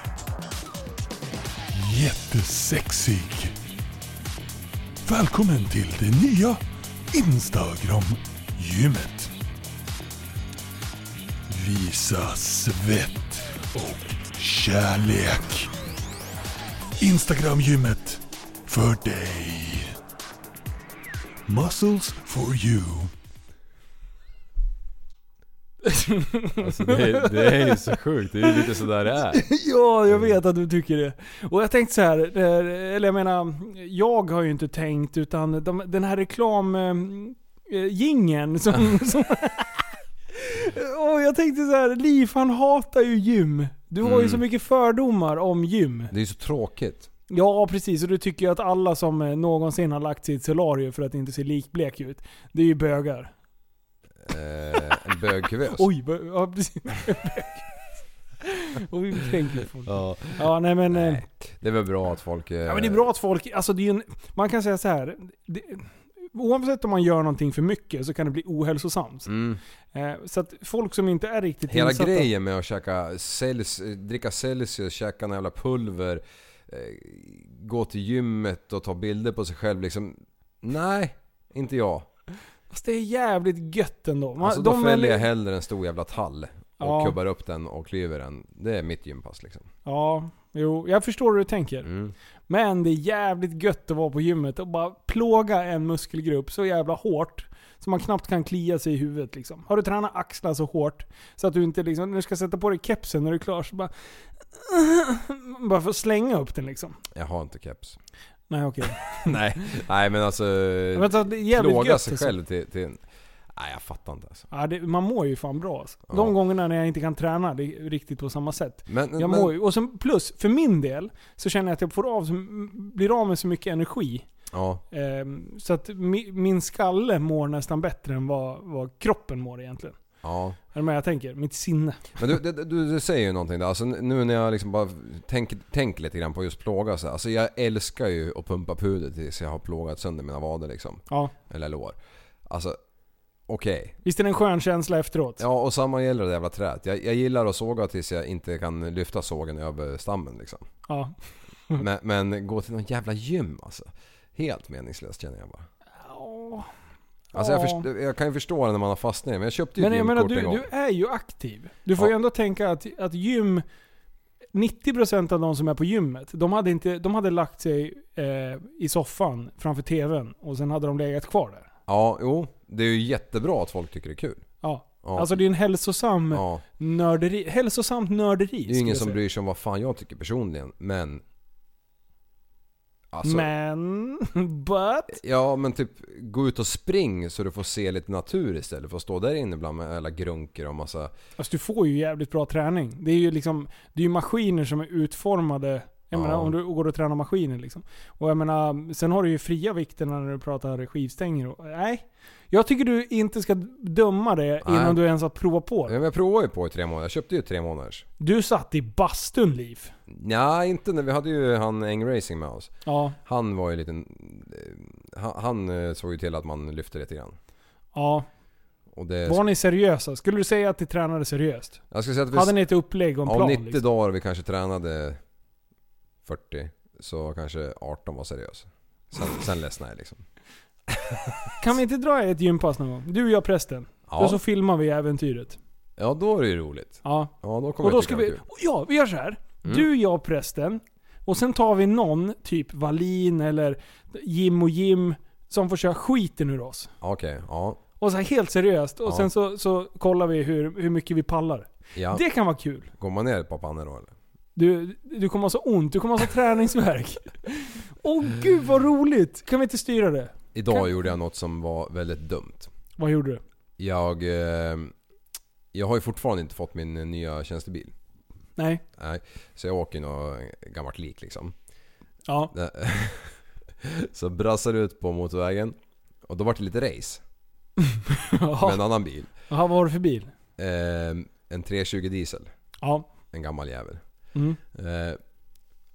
G: jättesexig. Välkommen till det nya Instagram-gymmet. Visa svett och kärlek. Instagram-gymmet för dig. Muscles for you.
K: [laughs] Alltså, det, är- det är ju så sjukt, det är ju lite sådär det är.
A: [laughs] ja, jag vet att du tycker det. Och jag tänkte så här, eh, eller jag menar, jag har ju inte tänkt utan de, den här reklam... eh, eh, Gingen [laughs] som... som och jag tänkte så här, Liv han hatar ju gym. Du har ju
B: Mm.
A: så mycket fördomar om gym.
B: Det är ju så tråkigt.
A: Ja, precis. Och du tycker jag att alla som eh, någonsin har lagt sitt solarium för att inte se likblek ut, det är ju bögar.
B: Eh, en bögkuvös.
A: Oj, bö- ja precis. [laughs] Och vi kränker folk.
B: Ja.
A: Ja, nej men... eh,
B: Det är väl bra att folk... eh,
A: Ja men det är bra att folk, alltså det är ju en, man kan säga så här. Det, oavsett om man gör någonting för mycket så kan det bli ohälsosamt.
B: Mm.
A: Eh, så att folk som inte är riktigt
B: Hela
A: insatta...
B: grejen med att käka cels, dricka Celsius, käka några jävla pulver, eh, gå till gymmet och ta bilder på sig själv liksom. Nej, inte jag.
A: Fast det är jävligt gött ändå. Man,
B: Alltså, då fäller jag
A: väl-
B: hellre en stor jävla tall och
A: Ja.
B: kubbar upp den och klyver den. Det är mitt gympass liksom.
A: Ja, jo, jag förstår hur du tänker. Men det är jävligt gött att vara på gymmet och bara plåga en muskelgrupp så jävla hårt. Så man knappt kan klia sig i huvudet liksom. Har du tränat axlar så hårt så att du inte liksom, när du ska sätta på dig kepsen när du är klar så bara... [laughs] Bara för att slänga upp den liksom.
B: Jag har inte keps. [laughs]
A: Nej okej.
B: Nej, nej men alltså...
A: Men alltså, det är jävligt
B: plåga
A: gött,
B: sig
A: alltså.
B: själv till, till en... Nej jag fattar inte alltså.
A: Ja, det, man mår ju fan bra alltså. De gångerna när jag inte kan träna det är riktigt på samma sätt.
B: Men-
A: jag
B: men-
A: mår ju, och sen, plus, för min del, så känner jag att jag får av, så- m- blir av med så mycket energi.
B: Ja.
A: Ehm, så att mi, min skalle mår nästan bättre än vad, vad kroppen mår egentligen.
B: Ja.
A: Är du med jag tänker? Mitt sinne.
B: Men du, du, du, du säger ju någonting där. Alltså nu när jag liksom bara tänker tänk lite grann på just plåga så här. Alltså jag älskar ju att pumpa puder tills jag har plågat sönder mina vader liksom.
A: Ja.
B: Eller lår. Alltså, okej.
A: Visst är det en skön känsla efteråt?
B: Ja och samma gäller det jävla träet. Jag, jag gillar att såga tills jag inte kan lyfta sågen över stammen liksom.
A: Ja. Mm.
B: Men, men gå till någon jävla gym alltså. Helt meningslöst känner jag bara. Alltså jag,
A: Ja.
B: först, jag kan ju förstå det när man har fastnat i det, men jag köpte ju
A: Men
B: ett
A: jag menar,
B: gymkort
A: du,
B: en gång.
A: du är ju aktiv. Du får
B: Ja.
A: ju ändå tänka att, att gym... 90% av de som är på gymmet, de hade, inte, de hade lagt sig eh, i soffan framför TVn och sen hade de legat kvar där.
B: Ja, jo. Det är ju jättebra att folk tycker det är kul.
A: Ja.
B: Ja.
A: Alltså det är en hälsosam
B: Ja.
A: nörderi, hälsosamt nörderi.
B: Det är ju ingen som bryr sig om vad fan jag tycker personligen, men... Alltså,
A: Men... [laughs] But...
B: Ja, men typ gå ut och spring så du får se lite natur istället för att stå där inne bland med alla grunker och massa...
A: Alltså du får ju jävligt bra träning. Det är ju liksom, det är ju maskiner som är utformade. Jag
B: Ja.
A: menar om du går och tränar maskiner liksom. Och jag menar, sen har du ju fria vikter när du pratar skivstänger och, Nej. Jag tycker du inte ska döma det
B: Nej.
A: innan du ens har provat på
B: Ja,
A: det.
B: men jag provade ju på i tre månader, jag köpte ju tre månaders.
A: Du satt i bastun Liv.
B: Nej, inte när vi hade ju han Eng Racing med oss.
A: Ja.
B: Han var ju lite... Han, han eh, såg ju till att man lyfte lite grann.
A: Ja.
B: Och det...
A: Var ni seriösa? Skulle du säga att ni tränade seriöst?
B: Jag ska säga att vi...
A: Hade ni ett upplägg och en
B: Av
A: plan?
B: 90
A: liksom?
B: dagar vi kanske tränade 40, så kanske 18 var seriös. Sen, sen ledsnade jag liksom.
A: Kan vi inte dra ett gympass någon gång? Du och jag prästen.
B: Ja.
A: Och så filmar vi äventyret.
B: Ja, då är det ju roligt.
A: Ja.
B: Ja, då kommer
A: Och då
B: jag
A: ska
B: tycka
A: vi...
B: det var kul.
A: Ja, vi gör så här.
B: Mm.
A: Du, jag, prästen. Och sen tar vi någon, typ Valin eller Jim och Jim. som får köra skiten ur oss.
B: Okej, ja.
A: Och så här helt seriöst. Och
B: Ja.
A: sen så, så kollar vi hur, hur mycket vi pallar.
B: ja.
A: Det kan vara kul.
B: Går man ner ett par pannor då eller?
A: Du, du kommer ha så ont, du kommer ha så
B: [laughs]
A: träningsvärk. Åh gud vad roligt! Kan vi inte styra det?
B: Idag
A: Kan-
B: gjorde jag något som var väldigt dumt.
A: Vad gjorde du?
B: Jag... Eh, jag har ju fortfarande inte fått min eh, nya tjänstebil.
A: Nej.
B: Nej. Så jag åker i något gammalt lik liksom. [laughs]
A: Ja.
B: Så brassar ut på motorvägen. Och då vart det lite race. Med en annan bil.
A: Jaha, vad var det för bil?
B: Eh, en 320 diesel.
A: Ja.
B: En gammal jävel.
A: Mm.
B: Eh,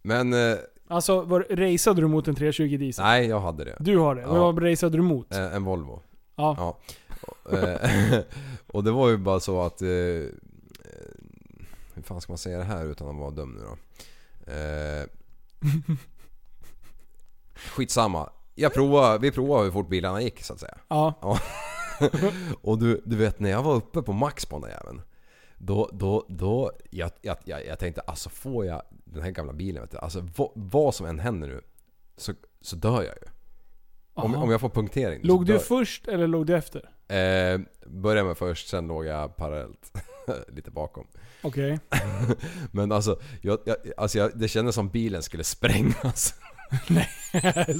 B: men... Eh,
A: Alltså, var, raceade du mot en 320 diesel?
B: nej, jag hade det.
A: Du har det?
B: Ja.
A: Vad raceade du mot?
B: Eh, En Volvo.
A: Ja.
B: Och, eh, [laughs] och det var ju bara så att... Eh, eh, hur fan ska man säga det här utan att vara dum nu då? Eh, [laughs] skitsamma. Jag provar, vi provar hur fort bilarna gick så att säga.
A: Ja.
B: och du, du vet när jag var uppe på max på den där jäveln. Då, då, då, jag, jag, jag, jag tänkte alltså får jag den här gamla bilen vet du. Alltså vad, vad som än händer nu så, så dör jag ju. Om,
A: Aha.
B: om jag får punktering. nu, så
A: Låg
B: Liksom, dör
A: du
B: jag.
A: först eller låg du efter?
B: Eh, började med först, sen låg jag parallellt. [laughs] Lite bakom. [laughs]
A: Okej.
B: Men alltså, jag, jag, alltså jag, det kändes som bilen skulle sprängas. [laughs]
A: Nej,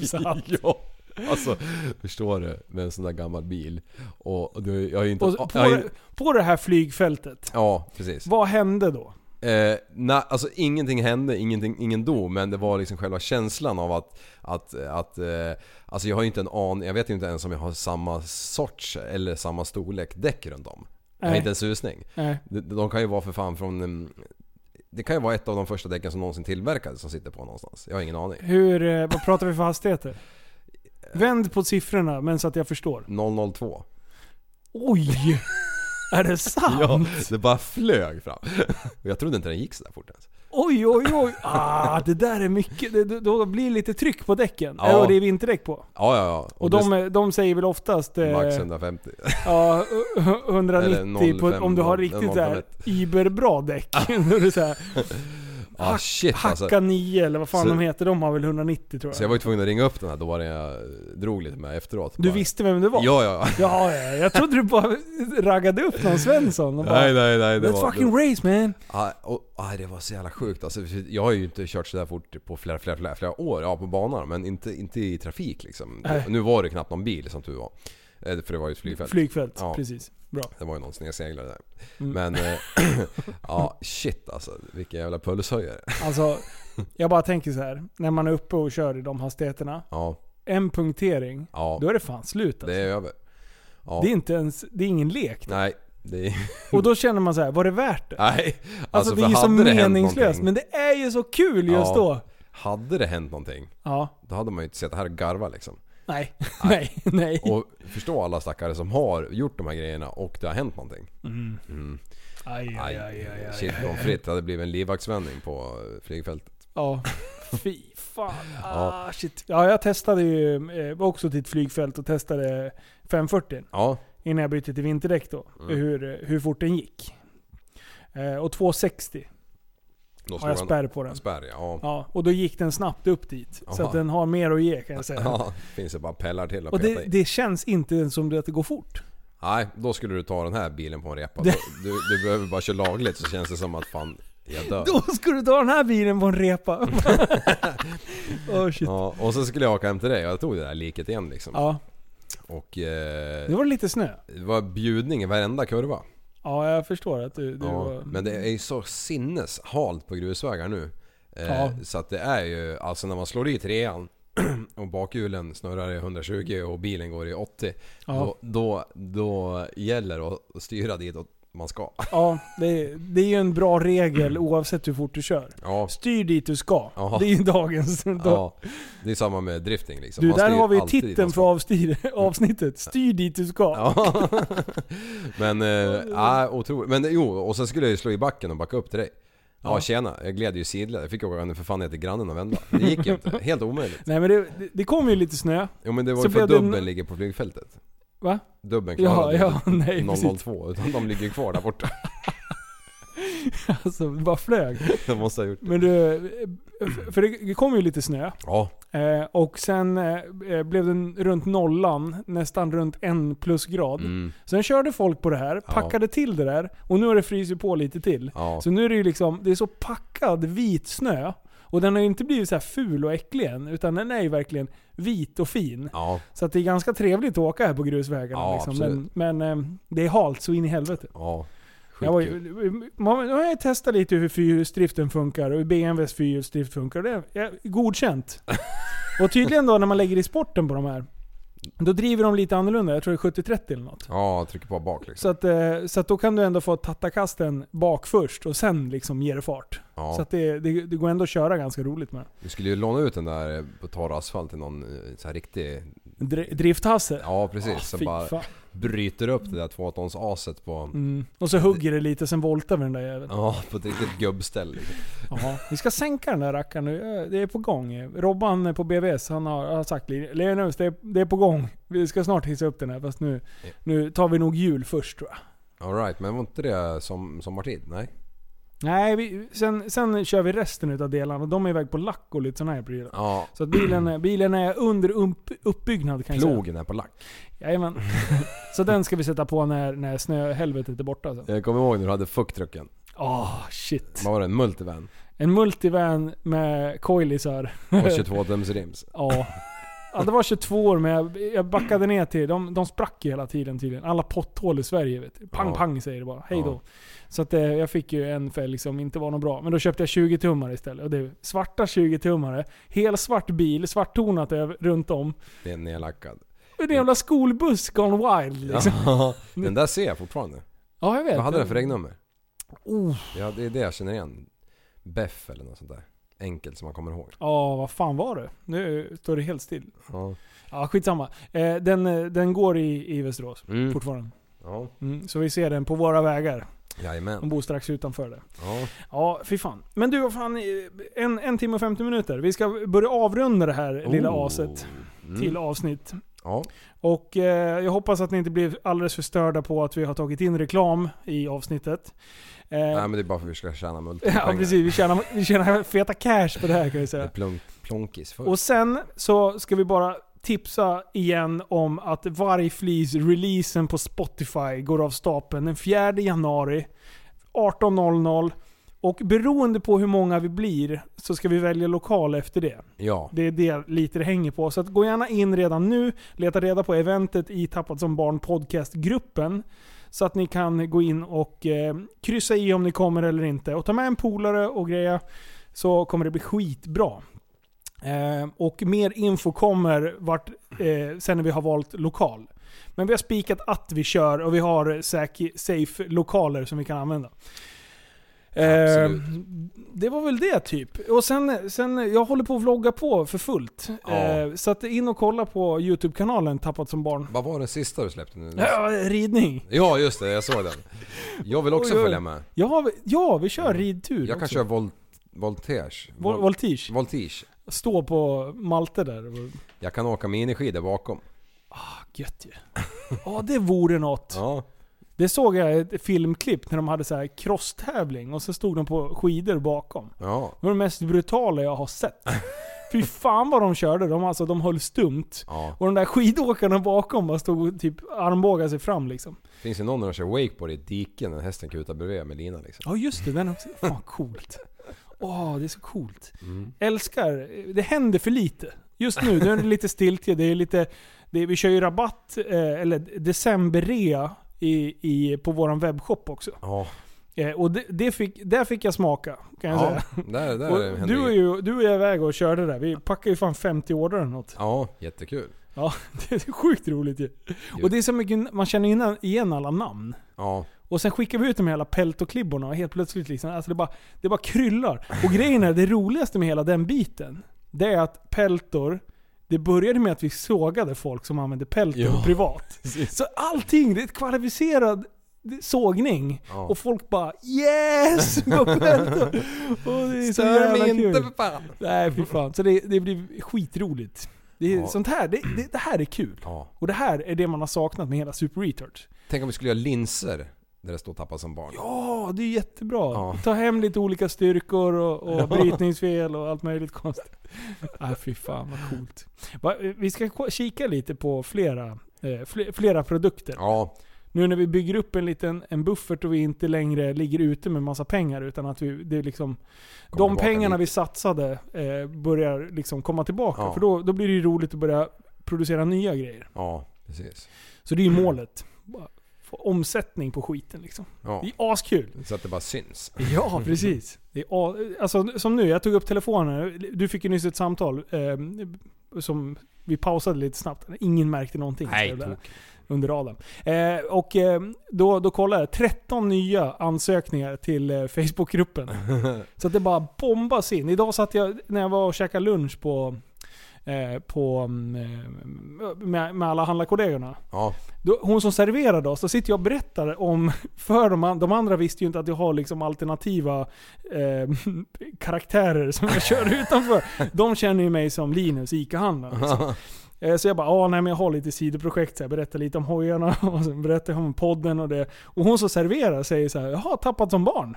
A: sant.
B: ja. Alltså, förstår du? Med en sån där gammal bil. Och, och du, jag har ju inte...
A: Och på,
B: jag har ju,
A: på det här flygfältet,
B: ja, precis.
A: vad hände då?
B: Eh, nej, alltså ingenting hände, ingenting, ingen dog, men det var liksom själva känslan av att... att, att eh, alltså jag har ju inte en aning, jag vet ju inte ens om jag har samma sorts eller samma storlek däck runt om. Jag har
A: Nej.
B: inte en susning.
A: Nej.
B: De, de kan ju vara för fan från... mm, Det kan ju vara ett av de första däcken som någonsin tillverkades som sitter på någonstans. Jag har ingen aning.
A: Hur, eh, vad pratar vi för hastigheter? Vänd på siffrorna men så att jag förstår.
B: 002.
A: Oj! Är det sant?
B: Ja, det bara flög fram. [laughs] Och jag trodde inte den gick sådär fort ens.
A: Oj, oj, oj. Ah, det där är mycket. Det, det- då blir det lite tryck på däcken.
B: Ja.
A: Ja. Och det är vinterdäck på.
B: Ja, ja, ja.
A: Och de, är- de säger väl oftast...
B: det...
A: eh,
B: Max 150.
A: Ja,
B: Eller
A: 190 på,
B: 05,
A: om du har
B: 0,
A: riktigt
B: 0,5.
A: där iberbra däck. [laughs] Då är det så här,
B: [laughs] Ah, shit alltså.
A: hacka 9 eller vad fan
B: Så-
A: de heter. De har väl 190 tror
B: Så Alltså, jag
A: jag.
B: var ju tvungen att ringa upp den här då var det jag drog lite med efteråt.
A: Du
B: Bara-
A: visste vem det var?
B: Ja, ja, ja.
A: Ja, ja, jag trodde du bara [laughs] raggade upp någon Svensson och bara,
B: Nej, nej, nej. Det
A: Let's
B: var,
A: fucking race man!
B: Ja, och, aj, det var så jävla sjukt alltså, för Jag har ju inte kört sådär fort på flera, flera, flera, flera år. Ja, på banan. Men inte, inte i trafik liksom.
A: Nej.
B: Nu var det knappt någon bil som tur var. Eh, För det var ju ett flygfält.
A: Flygfält,
B: Ja.
A: precis. Bra.
B: Det var ju någon snedseglare där.
A: Mm.
B: Men... eh,
A: [laughs]
B: [clears throat] ja, shit alltså. Vilken jävla pulshöjare.
A: Alltså, jag bara tänker så här. när man är uppe och kör i de hastigheterna.
B: Ja,
A: En punktering,
B: ja.
A: då är det fan slut alltså.
B: Det är över. Ja.
A: Det är inte ens, det är ingen lek.
B: Nej, det är... [laughs]
A: Och då känner man så här, var det värt det?
B: Nej.
A: Alltså, det är
B: för
A: ju så
B: hade det hänt
A: meningslöst,
B: någonting-
A: men det är ju så kul just
B: Ja.
A: då.
B: Hade det hänt någonting,
A: Ja.
B: då hade man ju inte sett det här och garva liksom. [laughs]
A: Nej, nej, [laughs] nej.
B: Och förstå alla stackare som har gjort de här grejerna och det har hänt någonting.
A: Mm.
B: Mm.
A: Aj, aj, aj, aj, aj.
B: Shit pommes frites, det hade blivit en livvaktsvändning på eh, flygfältet.
A: Ja. Fy
B: [laughs]
A: fan. Ah, shit. Ja, jag testade ju eh, var också till ett flygfält och testade 540
B: Ja,
A: innan jag bytte till vinterdäck då.
B: Mm.
A: Hur, eh, hur fort den gick. Eh, och 260
B: då
A: har jag
B: slog
A: spärr på den.
B: Spärr ja.
A: Ja, och då gick den snabbt upp dit. Så
B: Jaha.
A: att den har mer att ge kan jag säga.
B: [laughs] Ja, finns det bara pellar till att
A: Och
B: peta
A: det,
B: i.
A: det känns inte ens som att det går fort.
B: Nej, då skulle du ta den här bilen på en repa. Du, du, du behöver bara köra lagligt så känns det som att fan, jag
A: [laughs]
B: dör.
A: Då ska du ta den här bilen på en [laughs] repa. oh, shit.
B: Ja, och så skulle jag åka hem till dig och jag tog det där liket igen liksom.
A: Ja,
B: Och... Eh,
A: det var lite snö.
B: Det var bjudning i varenda kurva.
A: Ja, jag förstår att du... du
B: Ja,
A: var-
B: men det är ju så sinneshalt på grusvägar nu. Eh,
A: Ja.
B: Så att det är ju, alltså när man slår i trean [clears throat] och bakhjulen snurrar i 120 och bilen går i 80.
A: Ja.
B: Då, då, då gäller det att styra dit åt man ska. [laughs]
A: Ja, det, det är ju en bra regel oavsett hur fort du kör.
B: Mm. Ja.
A: Styr dit du ska.
B: Ja.
A: Det är ju dagens...
B: Ja, det är samma med drifting liksom.
A: du,
B: Man
A: där
B: styr
A: har vi ju
B: alltid dit man
A: titeln
B: ska.
A: för avstyr, [laughs] avsnittet. Styr dit du ska.
B: [laughs] Ja. Men, eh, ja, otroligt. Men jo, och sen skulle jag ju slå i backen och backa upp till dig. Ja,
A: Ja.
B: tjena. Jag gled ju sidled. Jag fick åka ner för fan ner till grannen och vända. Det gick
A: [laughs]
B: ju inte. Helt omöjligt.
A: Nej men det, det- det kom ju lite snö.
B: Jo men det var
A: Så
B: ju för
A: blev det
B: dubben
A: no-
B: ligger på flygfältet.
A: Va?
B: Dubben
A: Ja,
B: klarade
A: ja,
B: inte
A: nej, precis.
B: 002 utan de ligger kvar där borta. [laughs]
A: Alltså, det bara flög.
B: De måste ha gjort
A: eh, Men du, för det kom ju lite snö.
B: Ja.
A: Eh, och sen eh, eh, blev den runt nollan, nästan runt en plusgrad.
B: Mm.
A: Sen körde folk på det här,
B: Ja.
A: packade till det där och nu har det frysit på lite till.
B: Ja.
A: Så nu är det ju liksom, det är så packad vit snö. Och den har ju inte blivit så här ful och äcklig än, utan den är ju verkligen vit och fin.
B: Ja.
A: Så att det är ganska trevligt att åka här på grusvägarna.
B: Ja,
A: liksom. Men,
B: absolut.
A: men eh, det är halt så in i helvete.
B: Ja.
A: Jag var, ju- man, nu har jag testat lite hur fyrhjulsdriften funkar och hur BMWs fyrhjulsdrift funkar. Och Det är jag-
B: [laughs]
A: godkänt. Och tydligen då när man lägger i sporten på de här, då driver de lite annorlunda. Jag tror det är 70-30 eller något.
B: Ja, trycker på bak liksom.
A: Så att, eh, så att då kan du ändå få tattakasten bak först och sen liksom ger det fart.
B: Ja.
A: Så att det, det, det går ändå att köra ganska roligt med.
B: Vi skulle ju låna ut den där eh, på torr asfalt till någon eh, så här riktig...
A: Dri- drifthasse?
B: Ja precis, som
A: Ah, fy
B: bara
A: fan.
B: bryter upp det där tvåtons-aset på...
A: Mm. Och så hugger det lite, sen voltar vi den där jäveln.
B: Ja, på ett riktigt gubbställ liksom.
A: Ja, vi ska sänka den där rackaren nu. Eh, Det är på gång. Robban på BVS han har, har sagt Lenus, det, är- det är på gång. Vi ska snart hissa upp den här fast nu, nu tar vi nog jul först tror jag.
B: Alright, men var inte det som, sommartid? Nej?
A: Nej, vi, sen, sen kör vi resten av delarna. De är iväg på lack och lite sådana här prylar.
B: Ja.
A: Så att bilen, är- bilen är under upp, uppbyggnad kan jag säga.
B: Plogen är på lack.
A: Jajamän. Så den ska vi sätta på när, när snöhelvetet är borta sen.
B: Jag kommer ihåg när du hade fucktrucken.
A: Åh, shit.
B: Vad var det? En multivan?
A: En multivan med coilisar. [laughs]
B: Och 22 tums rims.
A: Ja. ja. Det var 22 år men jag, jag backade ner till... De, de sprack ju hela tiden tydligen. Alla potthål i Sverige vet du. Pang
B: Ja.
A: pang säger det bara. Hej då.
B: Ja.
A: Så att, eh, jag fick ju en fälg som inte var något bra. Men då köpte jag 20 tummar istället. Och det är svarta 20 tummare. Hel svart bil, svarttonat över- runt om.
B: Det är nedlackad.
A: En jävla skolbuss gone wild liksom. Ja,
B: Ja, den där ser jag fortfarande.
A: jag vet.
B: Vad hade den för regnummer?
A: Oh.
B: Ja, det är det jag känner igen. Beff eller något sånt där. Enkelt som man kommer ihåg.
A: Ja, vad fan var det? Nu står det helt still.
B: Ja.
A: Ja, skitsamma. Eh, den, eh, den går i, i Västerås
B: Mm.
A: fortfarande.
B: Ja.
A: Mm, så vi ser den på våra vägar. De
B: Jajamän.
A: bor strax utanför det.
B: Ja.
A: Ja, fy fan. Men du, vad fan. eh, En, en timme och 50 minuter. Vi ska börja avrunda det här lilla
B: Oh.
A: aset
B: Mm.
A: till avsnitt.
B: Ja.
A: Och eh, jag hoppas att ni inte blir alldeles förstörda på att vi har tagit in reklam i avsnittet. Eh,
B: Nej men det är bara för att vi ska tjäna multipengar.
A: [laughs] ja, precis. Vi tjänar, vi tjänar feta cash på det här kan vi
B: Det är
A: säga.
B: plunk, plonkis först.
A: Och sen så ska vi bara tipsa igen om att Vargflis-releasen på Spotify går av stapeln den 4 januari 18.00. Och beroende på hur många vi blir så ska vi välja lokal efter det.
B: Ja.
A: Det är det lite det hänger på. Så att gå gärna in redan nu, leta reda på eventet i Tappat som barn podcastgruppen. Så att ni kan gå in och eh, kryssa i om ni kommer eller inte. Och ta med en polare och greja så kommer det bli skitbra. Eh, och mer info kommer vart, eh, sen när vi har valt lokal. Men vi har spikat att vi kör och vi har säk- safe lokaler som vi kan använda. Eh,
B: Absolut.
A: det var väl det typ. Och sen, sen jag håller på att vlogga på för fullt.
B: Ja.
A: Eh, så att in och kolla på YouTube-kanalen Tappat som barn.
B: Vad var den sista du släppte nu?
A: Ja, ridning.
B: Ja just det, jag såg den. Jag vill också
A: Oj, oj.
B: följa med.
A: Ja, vi- ja vi kör ridtur
B: Mm. Jag kan
A: också.
B: köra vol- voltage.
A: Vol- voltige.
B: Voltige.
A: Stå på Malte där.
B: Jag kan åka miniskidor bakom.
A: Gött ju. [laughs] Ja, det vore något.
B: Ja.
A: Det såg jag i ett filmklipp när de hade så här crosstävling och så stod de på skidor bakom.
B: Ja.
A: Det var det mest brutala jag har
B: [laughs]
A: sett. Fy fan vad de körde. De, alltså, de höll stumt.
B: Ja.
A: Och de där skidåkarna bakom bara stod och typ armbågade sig fram liksom.
B: Finns det någon när de kör wakeboard i diken när hästen kutar bredvid med lina liksom?
A: Ja just det, den också. [laughs] Fan coolt. Åh, det är så coolt.
B: Mm.
A: Älskar, det händer för lite. Just nu, nu är det lite stiltje. Det är lite, det är, vi kör ju rabatt, eh, eller decemberrea i, i, på våran webbshop också.
B: Ja.
A: Eh, och det, det fick, där fick jag smaka, kan jag
B: Ja,
A: säga.
B: där, där händer
A: Och du, är
B: det.
A: ju, du är iväg och körde där. Vi packade ju fan 50 order eller något. [laughs]
B: Ja, jättekul.
A: Ja, det är sjukt roligt ju. Och det är så mycket, man känner innan- igen alla namn.
B: Ja.
A: Och sen skickar vi ut de här jävla peltoklibborna och helt plötsligt liksom, alltså det bara, det bara kryllar. Och grejen är, det roligaste med hela den biten, det är att peltor, det började med att vi sågade folk som använde peltor
B: Ja.
A: privat. Så allting, det är ett kvalificerad sågning.
B: Ja.
A: Och folk bara 'Yes!' [laughs] på peltor. Och det är så jävla kul.
B: fan.
A: Nej fy fan. Så det, det blir skitroligt. Det, är
B: Ja.
A: Sånt här, det, det, det här är kul.
B: Ja.
A: Och det här är det man har saknat med hela Super Retard.
B: Tänk om vi skulle göra linser Där det står tappa som barn.
A: Ja, det är jättebra.
B: Ja.
A: Ta hem lite olika styrkor och, och brytningsfel och allt möjligt konstigt. Nej, fy fan vad coolt. Va, eh, vi ska ko- kika lite på flera, eh, fle- flera produkter.
B: Ja.
A: Nu när vi bygger upp en liten en buffert och vi inte längre ligger ute med massa pengar utan att vi, det är liksom, de
B: tillbaka
A: pengarna vi satsade eh, börjar liksom komma tillbaka.
B: Ja.
A: För då, då blir det ju roligt att börja producera nya grejer.
B: Ja, precis.
A: Så det är
B: Mm.
A: ju målet. Bara Få omsättning på skiten liksom.
B: Ja.
A: Det är askul.
B: Så att det bara syns.
A: [laughs] Ja, precis. Det är, a- alltså, som nu, jag tog upp telefonen. Du fick ju nyss ett samtal eh, som vi pausade lite snabbt. Ingen märkte någonting.
B: Nej,
A: Så det där
B: tok.
A: under radarn. Eh, och eh, då, då kollade jag. 13 nya ansökningar till eh, Facebookgruppen. Så att det bara bombas in. Idag satt jag, när jag var och käkade lunch på, eh, på mm, eh, med, med alla handlarkollegorna.
B: Ja.
A: Då, hon som serverade oss, då sitter jag och berättar om... [laughs] För de, an- de andra visste ju inte att jag har liksom alternativa eh, [laughs] karaktärer som jag kör [laughs] utanför. De känner ju mig som Linus, ICA-handlaren. Liksom. Eh, Så jag bara, ah, nej men jag har lite sidoprojekt, så jag berättar lite om hojarna [laughs] och sen berättar jag om podden och det. Och hon som serverar säger så här, jaha, tappat som barn.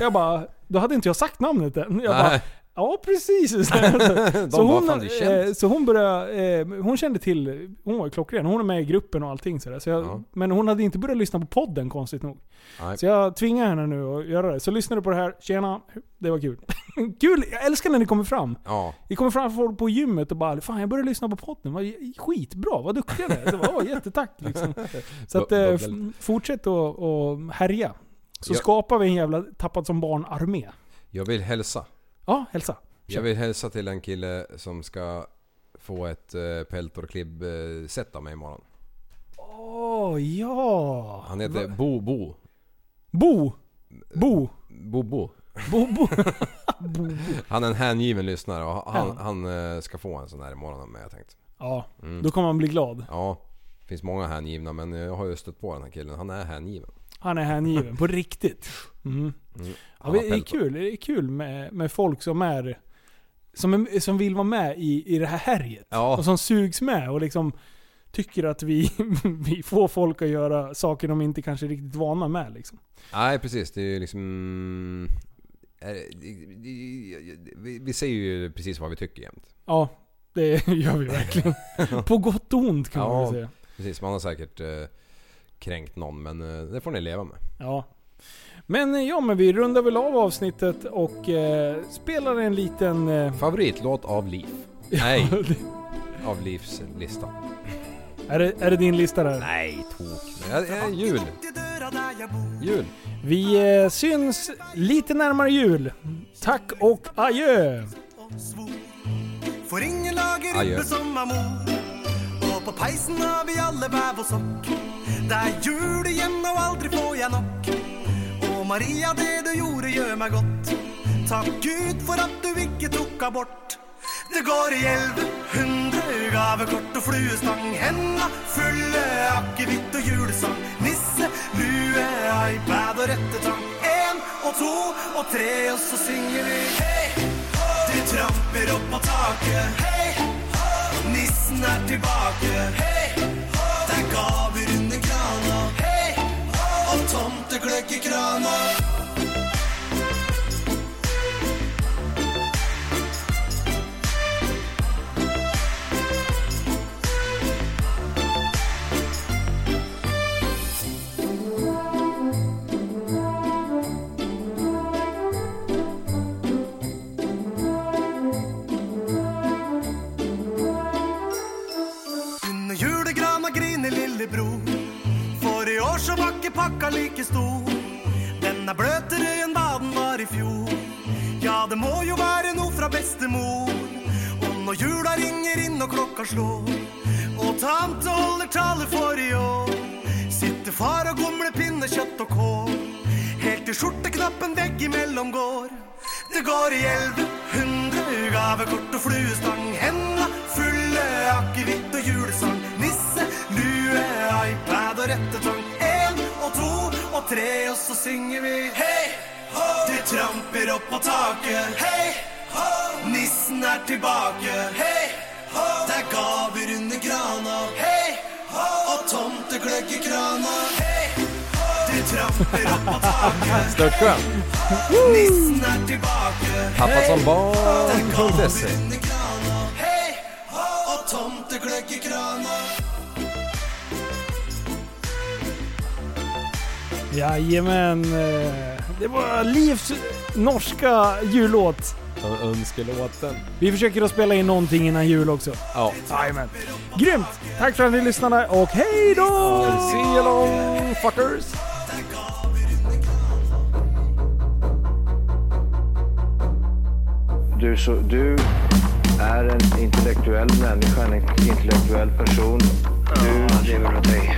A: Jag bara, då hade inte jag sagt namnet än. Jag bara,
B: Nej.
A: ja precis. [laughs]
B: [laughs]
A: Så,
B: bara,
A: hon,
B: "Fan, det känns."
A: eh, så hon började, eh, hon kände till, hon var ju klockren, hon är med i gruppen och allting sådär. Så jag,
B: Ja.
A: Men hon hade inte börjat lyssna på podden konstigt nog.
B: Nej.
A: Så jag tvingar henne nu att göra det. Så lyssnar du på det här, tjena, det var kul. [laughs] kul, jag älskar när ni kommer fram.
B: Ja.
A: Det kommer fram folk på gymmet och bara Fan jag började lyssna på podden, vad skitbra, vad duktiga ni är. Så jag bara, "Åh, Jättetack liksom. Så
B: [laughs]
A: att, eh, f- fortsätt att och härja. Så
B: Ja.
A: skapar vi en jävla tappad som barn-armé.
B: Jag vill hälsa.
A: Ja, hälsa.
B: Jag vill hälsa till en kille som ska få ett eh, Peltor Klibb eh, set av mig imorgon.
A: Åh ja!
B: Han heter Bo Bo.
A: Bo! Bo!
B: Bobo.
A: Bobo!
B: Han är en hängiven lyssnare och han,
A: Ja.
B: han eh, ska få en sån här imorgon av mig jag tänkt.
A: [laughs] Ja,
B: Mm.
A: då kommer man bli glad.
B: Ja. Det finns många hängivna men jag har ju stött på den här killen. Han är hängiven.
A: Han är hängiven, på riktigt. Mm.
B: Mm.
A: Ja,
B: Han
A: men det
B: har
A: är
B: päls på-
A: kul, det är kul med, med folk som är som, är, som vill vara med i, i det här härjet.
B: Ja.
A: Och som sugs med och liksom tycker att vi, [laughs] vi får folk att göra saker de inte kanske är riktigt vana med. Liksom.
B: Nej precis, det är ju liksom... är det- Vi vi säger ju precis vad vi
A: [laughs]
B: tycker jämt.
A: Ja, det [laughs] gör vi
B: [laughs]
A: verkligen. På gott och ont kan man väl säga.
B: precis. Man har säkert eh, kränkt någon men eh, det får ni leva med.
A: Ja. Men eh, ja, men vi rundar väl av avsnittet och eh, spelar en liten... Eh,
B: Favoritlåt av Liv. Nej. Av Livs lista.
A: är, det, är det din lista där?
B: Nej, tok. Jag, jag, jul. Jul.
A: Vi eh, syns lite närmare jul. Tack och adjö!
G: Får ingen lager
A: Adjö.
G: uppe som amor Och på pajsen har vi alla väv och sock Det är jul igen och aldrig får jag nog Och Maria det du gjorde gör mig gott Tack Gud för att du icke tog bort Det går i elva hundra gavekort och fluestång Hända fulla akevitt och julesång Nisse, lue, iPad och rättetång En och två och tre och så synger vi Hej! Det trapper opp på taket. Hei, hå! Nissen er tilbake. Hei, hå! Det er gaver under krana. Hei, hå! Og tomtegløgg i krana. Under julegrana griner lillebror. For i år så var ikke pakka like stor. Den er bløtere enn hva den var i fjor. Ja, det må jo være noe fra bestemor. Og når jula ringer inn og klokka slår, og tante holder tale for i år, sitter far og gomler pinnekjøtt og kål. Helt til skjorteknappen veggimellom går. Det går i elve hundre gavekort og fluestang. Henda fulle akevitt og julesang. Nisse, lue, iPad og rettetang. En og to og tre, og så synger vi hei hå! Det tramper opp på taket. Hei hå! Nissen er tilbake. Hei hå! Det er gaver under grana. Hei hå! Og tomtegløgg i krana. Hei hå! Det
C: trappor upp mot taket.
B: Störtsjön.
C: Nissnar tillbaka.
B: Tappat som barn.se.
C: Hej! Hå! Och tomteglögg i kranen.
A: Jajamän. eh, Det var Livs norska jullåt.
K: Önskelåten.
A: Vi försöker att spela in någonting innan jul också.
K: Ja.
A: Jajamän. Grymt! Tack för att ni lyssnade och hej då!
B: See you long fuckers!
L: Du, så, du är en intellektuell människa, en intellektuell person. Du lever åt dig.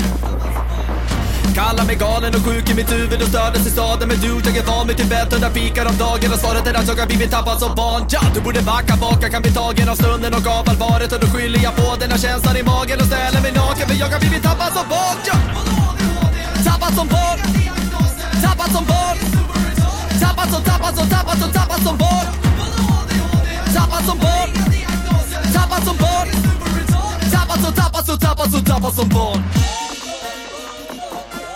I: Kallar mig galen och sjuk i mitt huvud och stördes i staden Men du, jag är van vid Tibet och där fikar om dagen Och svaret är att jag har blivit tappad som barn ja, Du borde backa bak, jag kan bli tagen av stunden och av allvaret Och då skyller jag på den här känslan i magen och ställer mig naken För jag har blivit tappad som barn ja. Tappad som barn Tappad som barn Tappad som, tappad som, tappad som, tappad som barn Tappad som barn Tappad som barn Tappad som, tappad som, tappad som, tappad som barn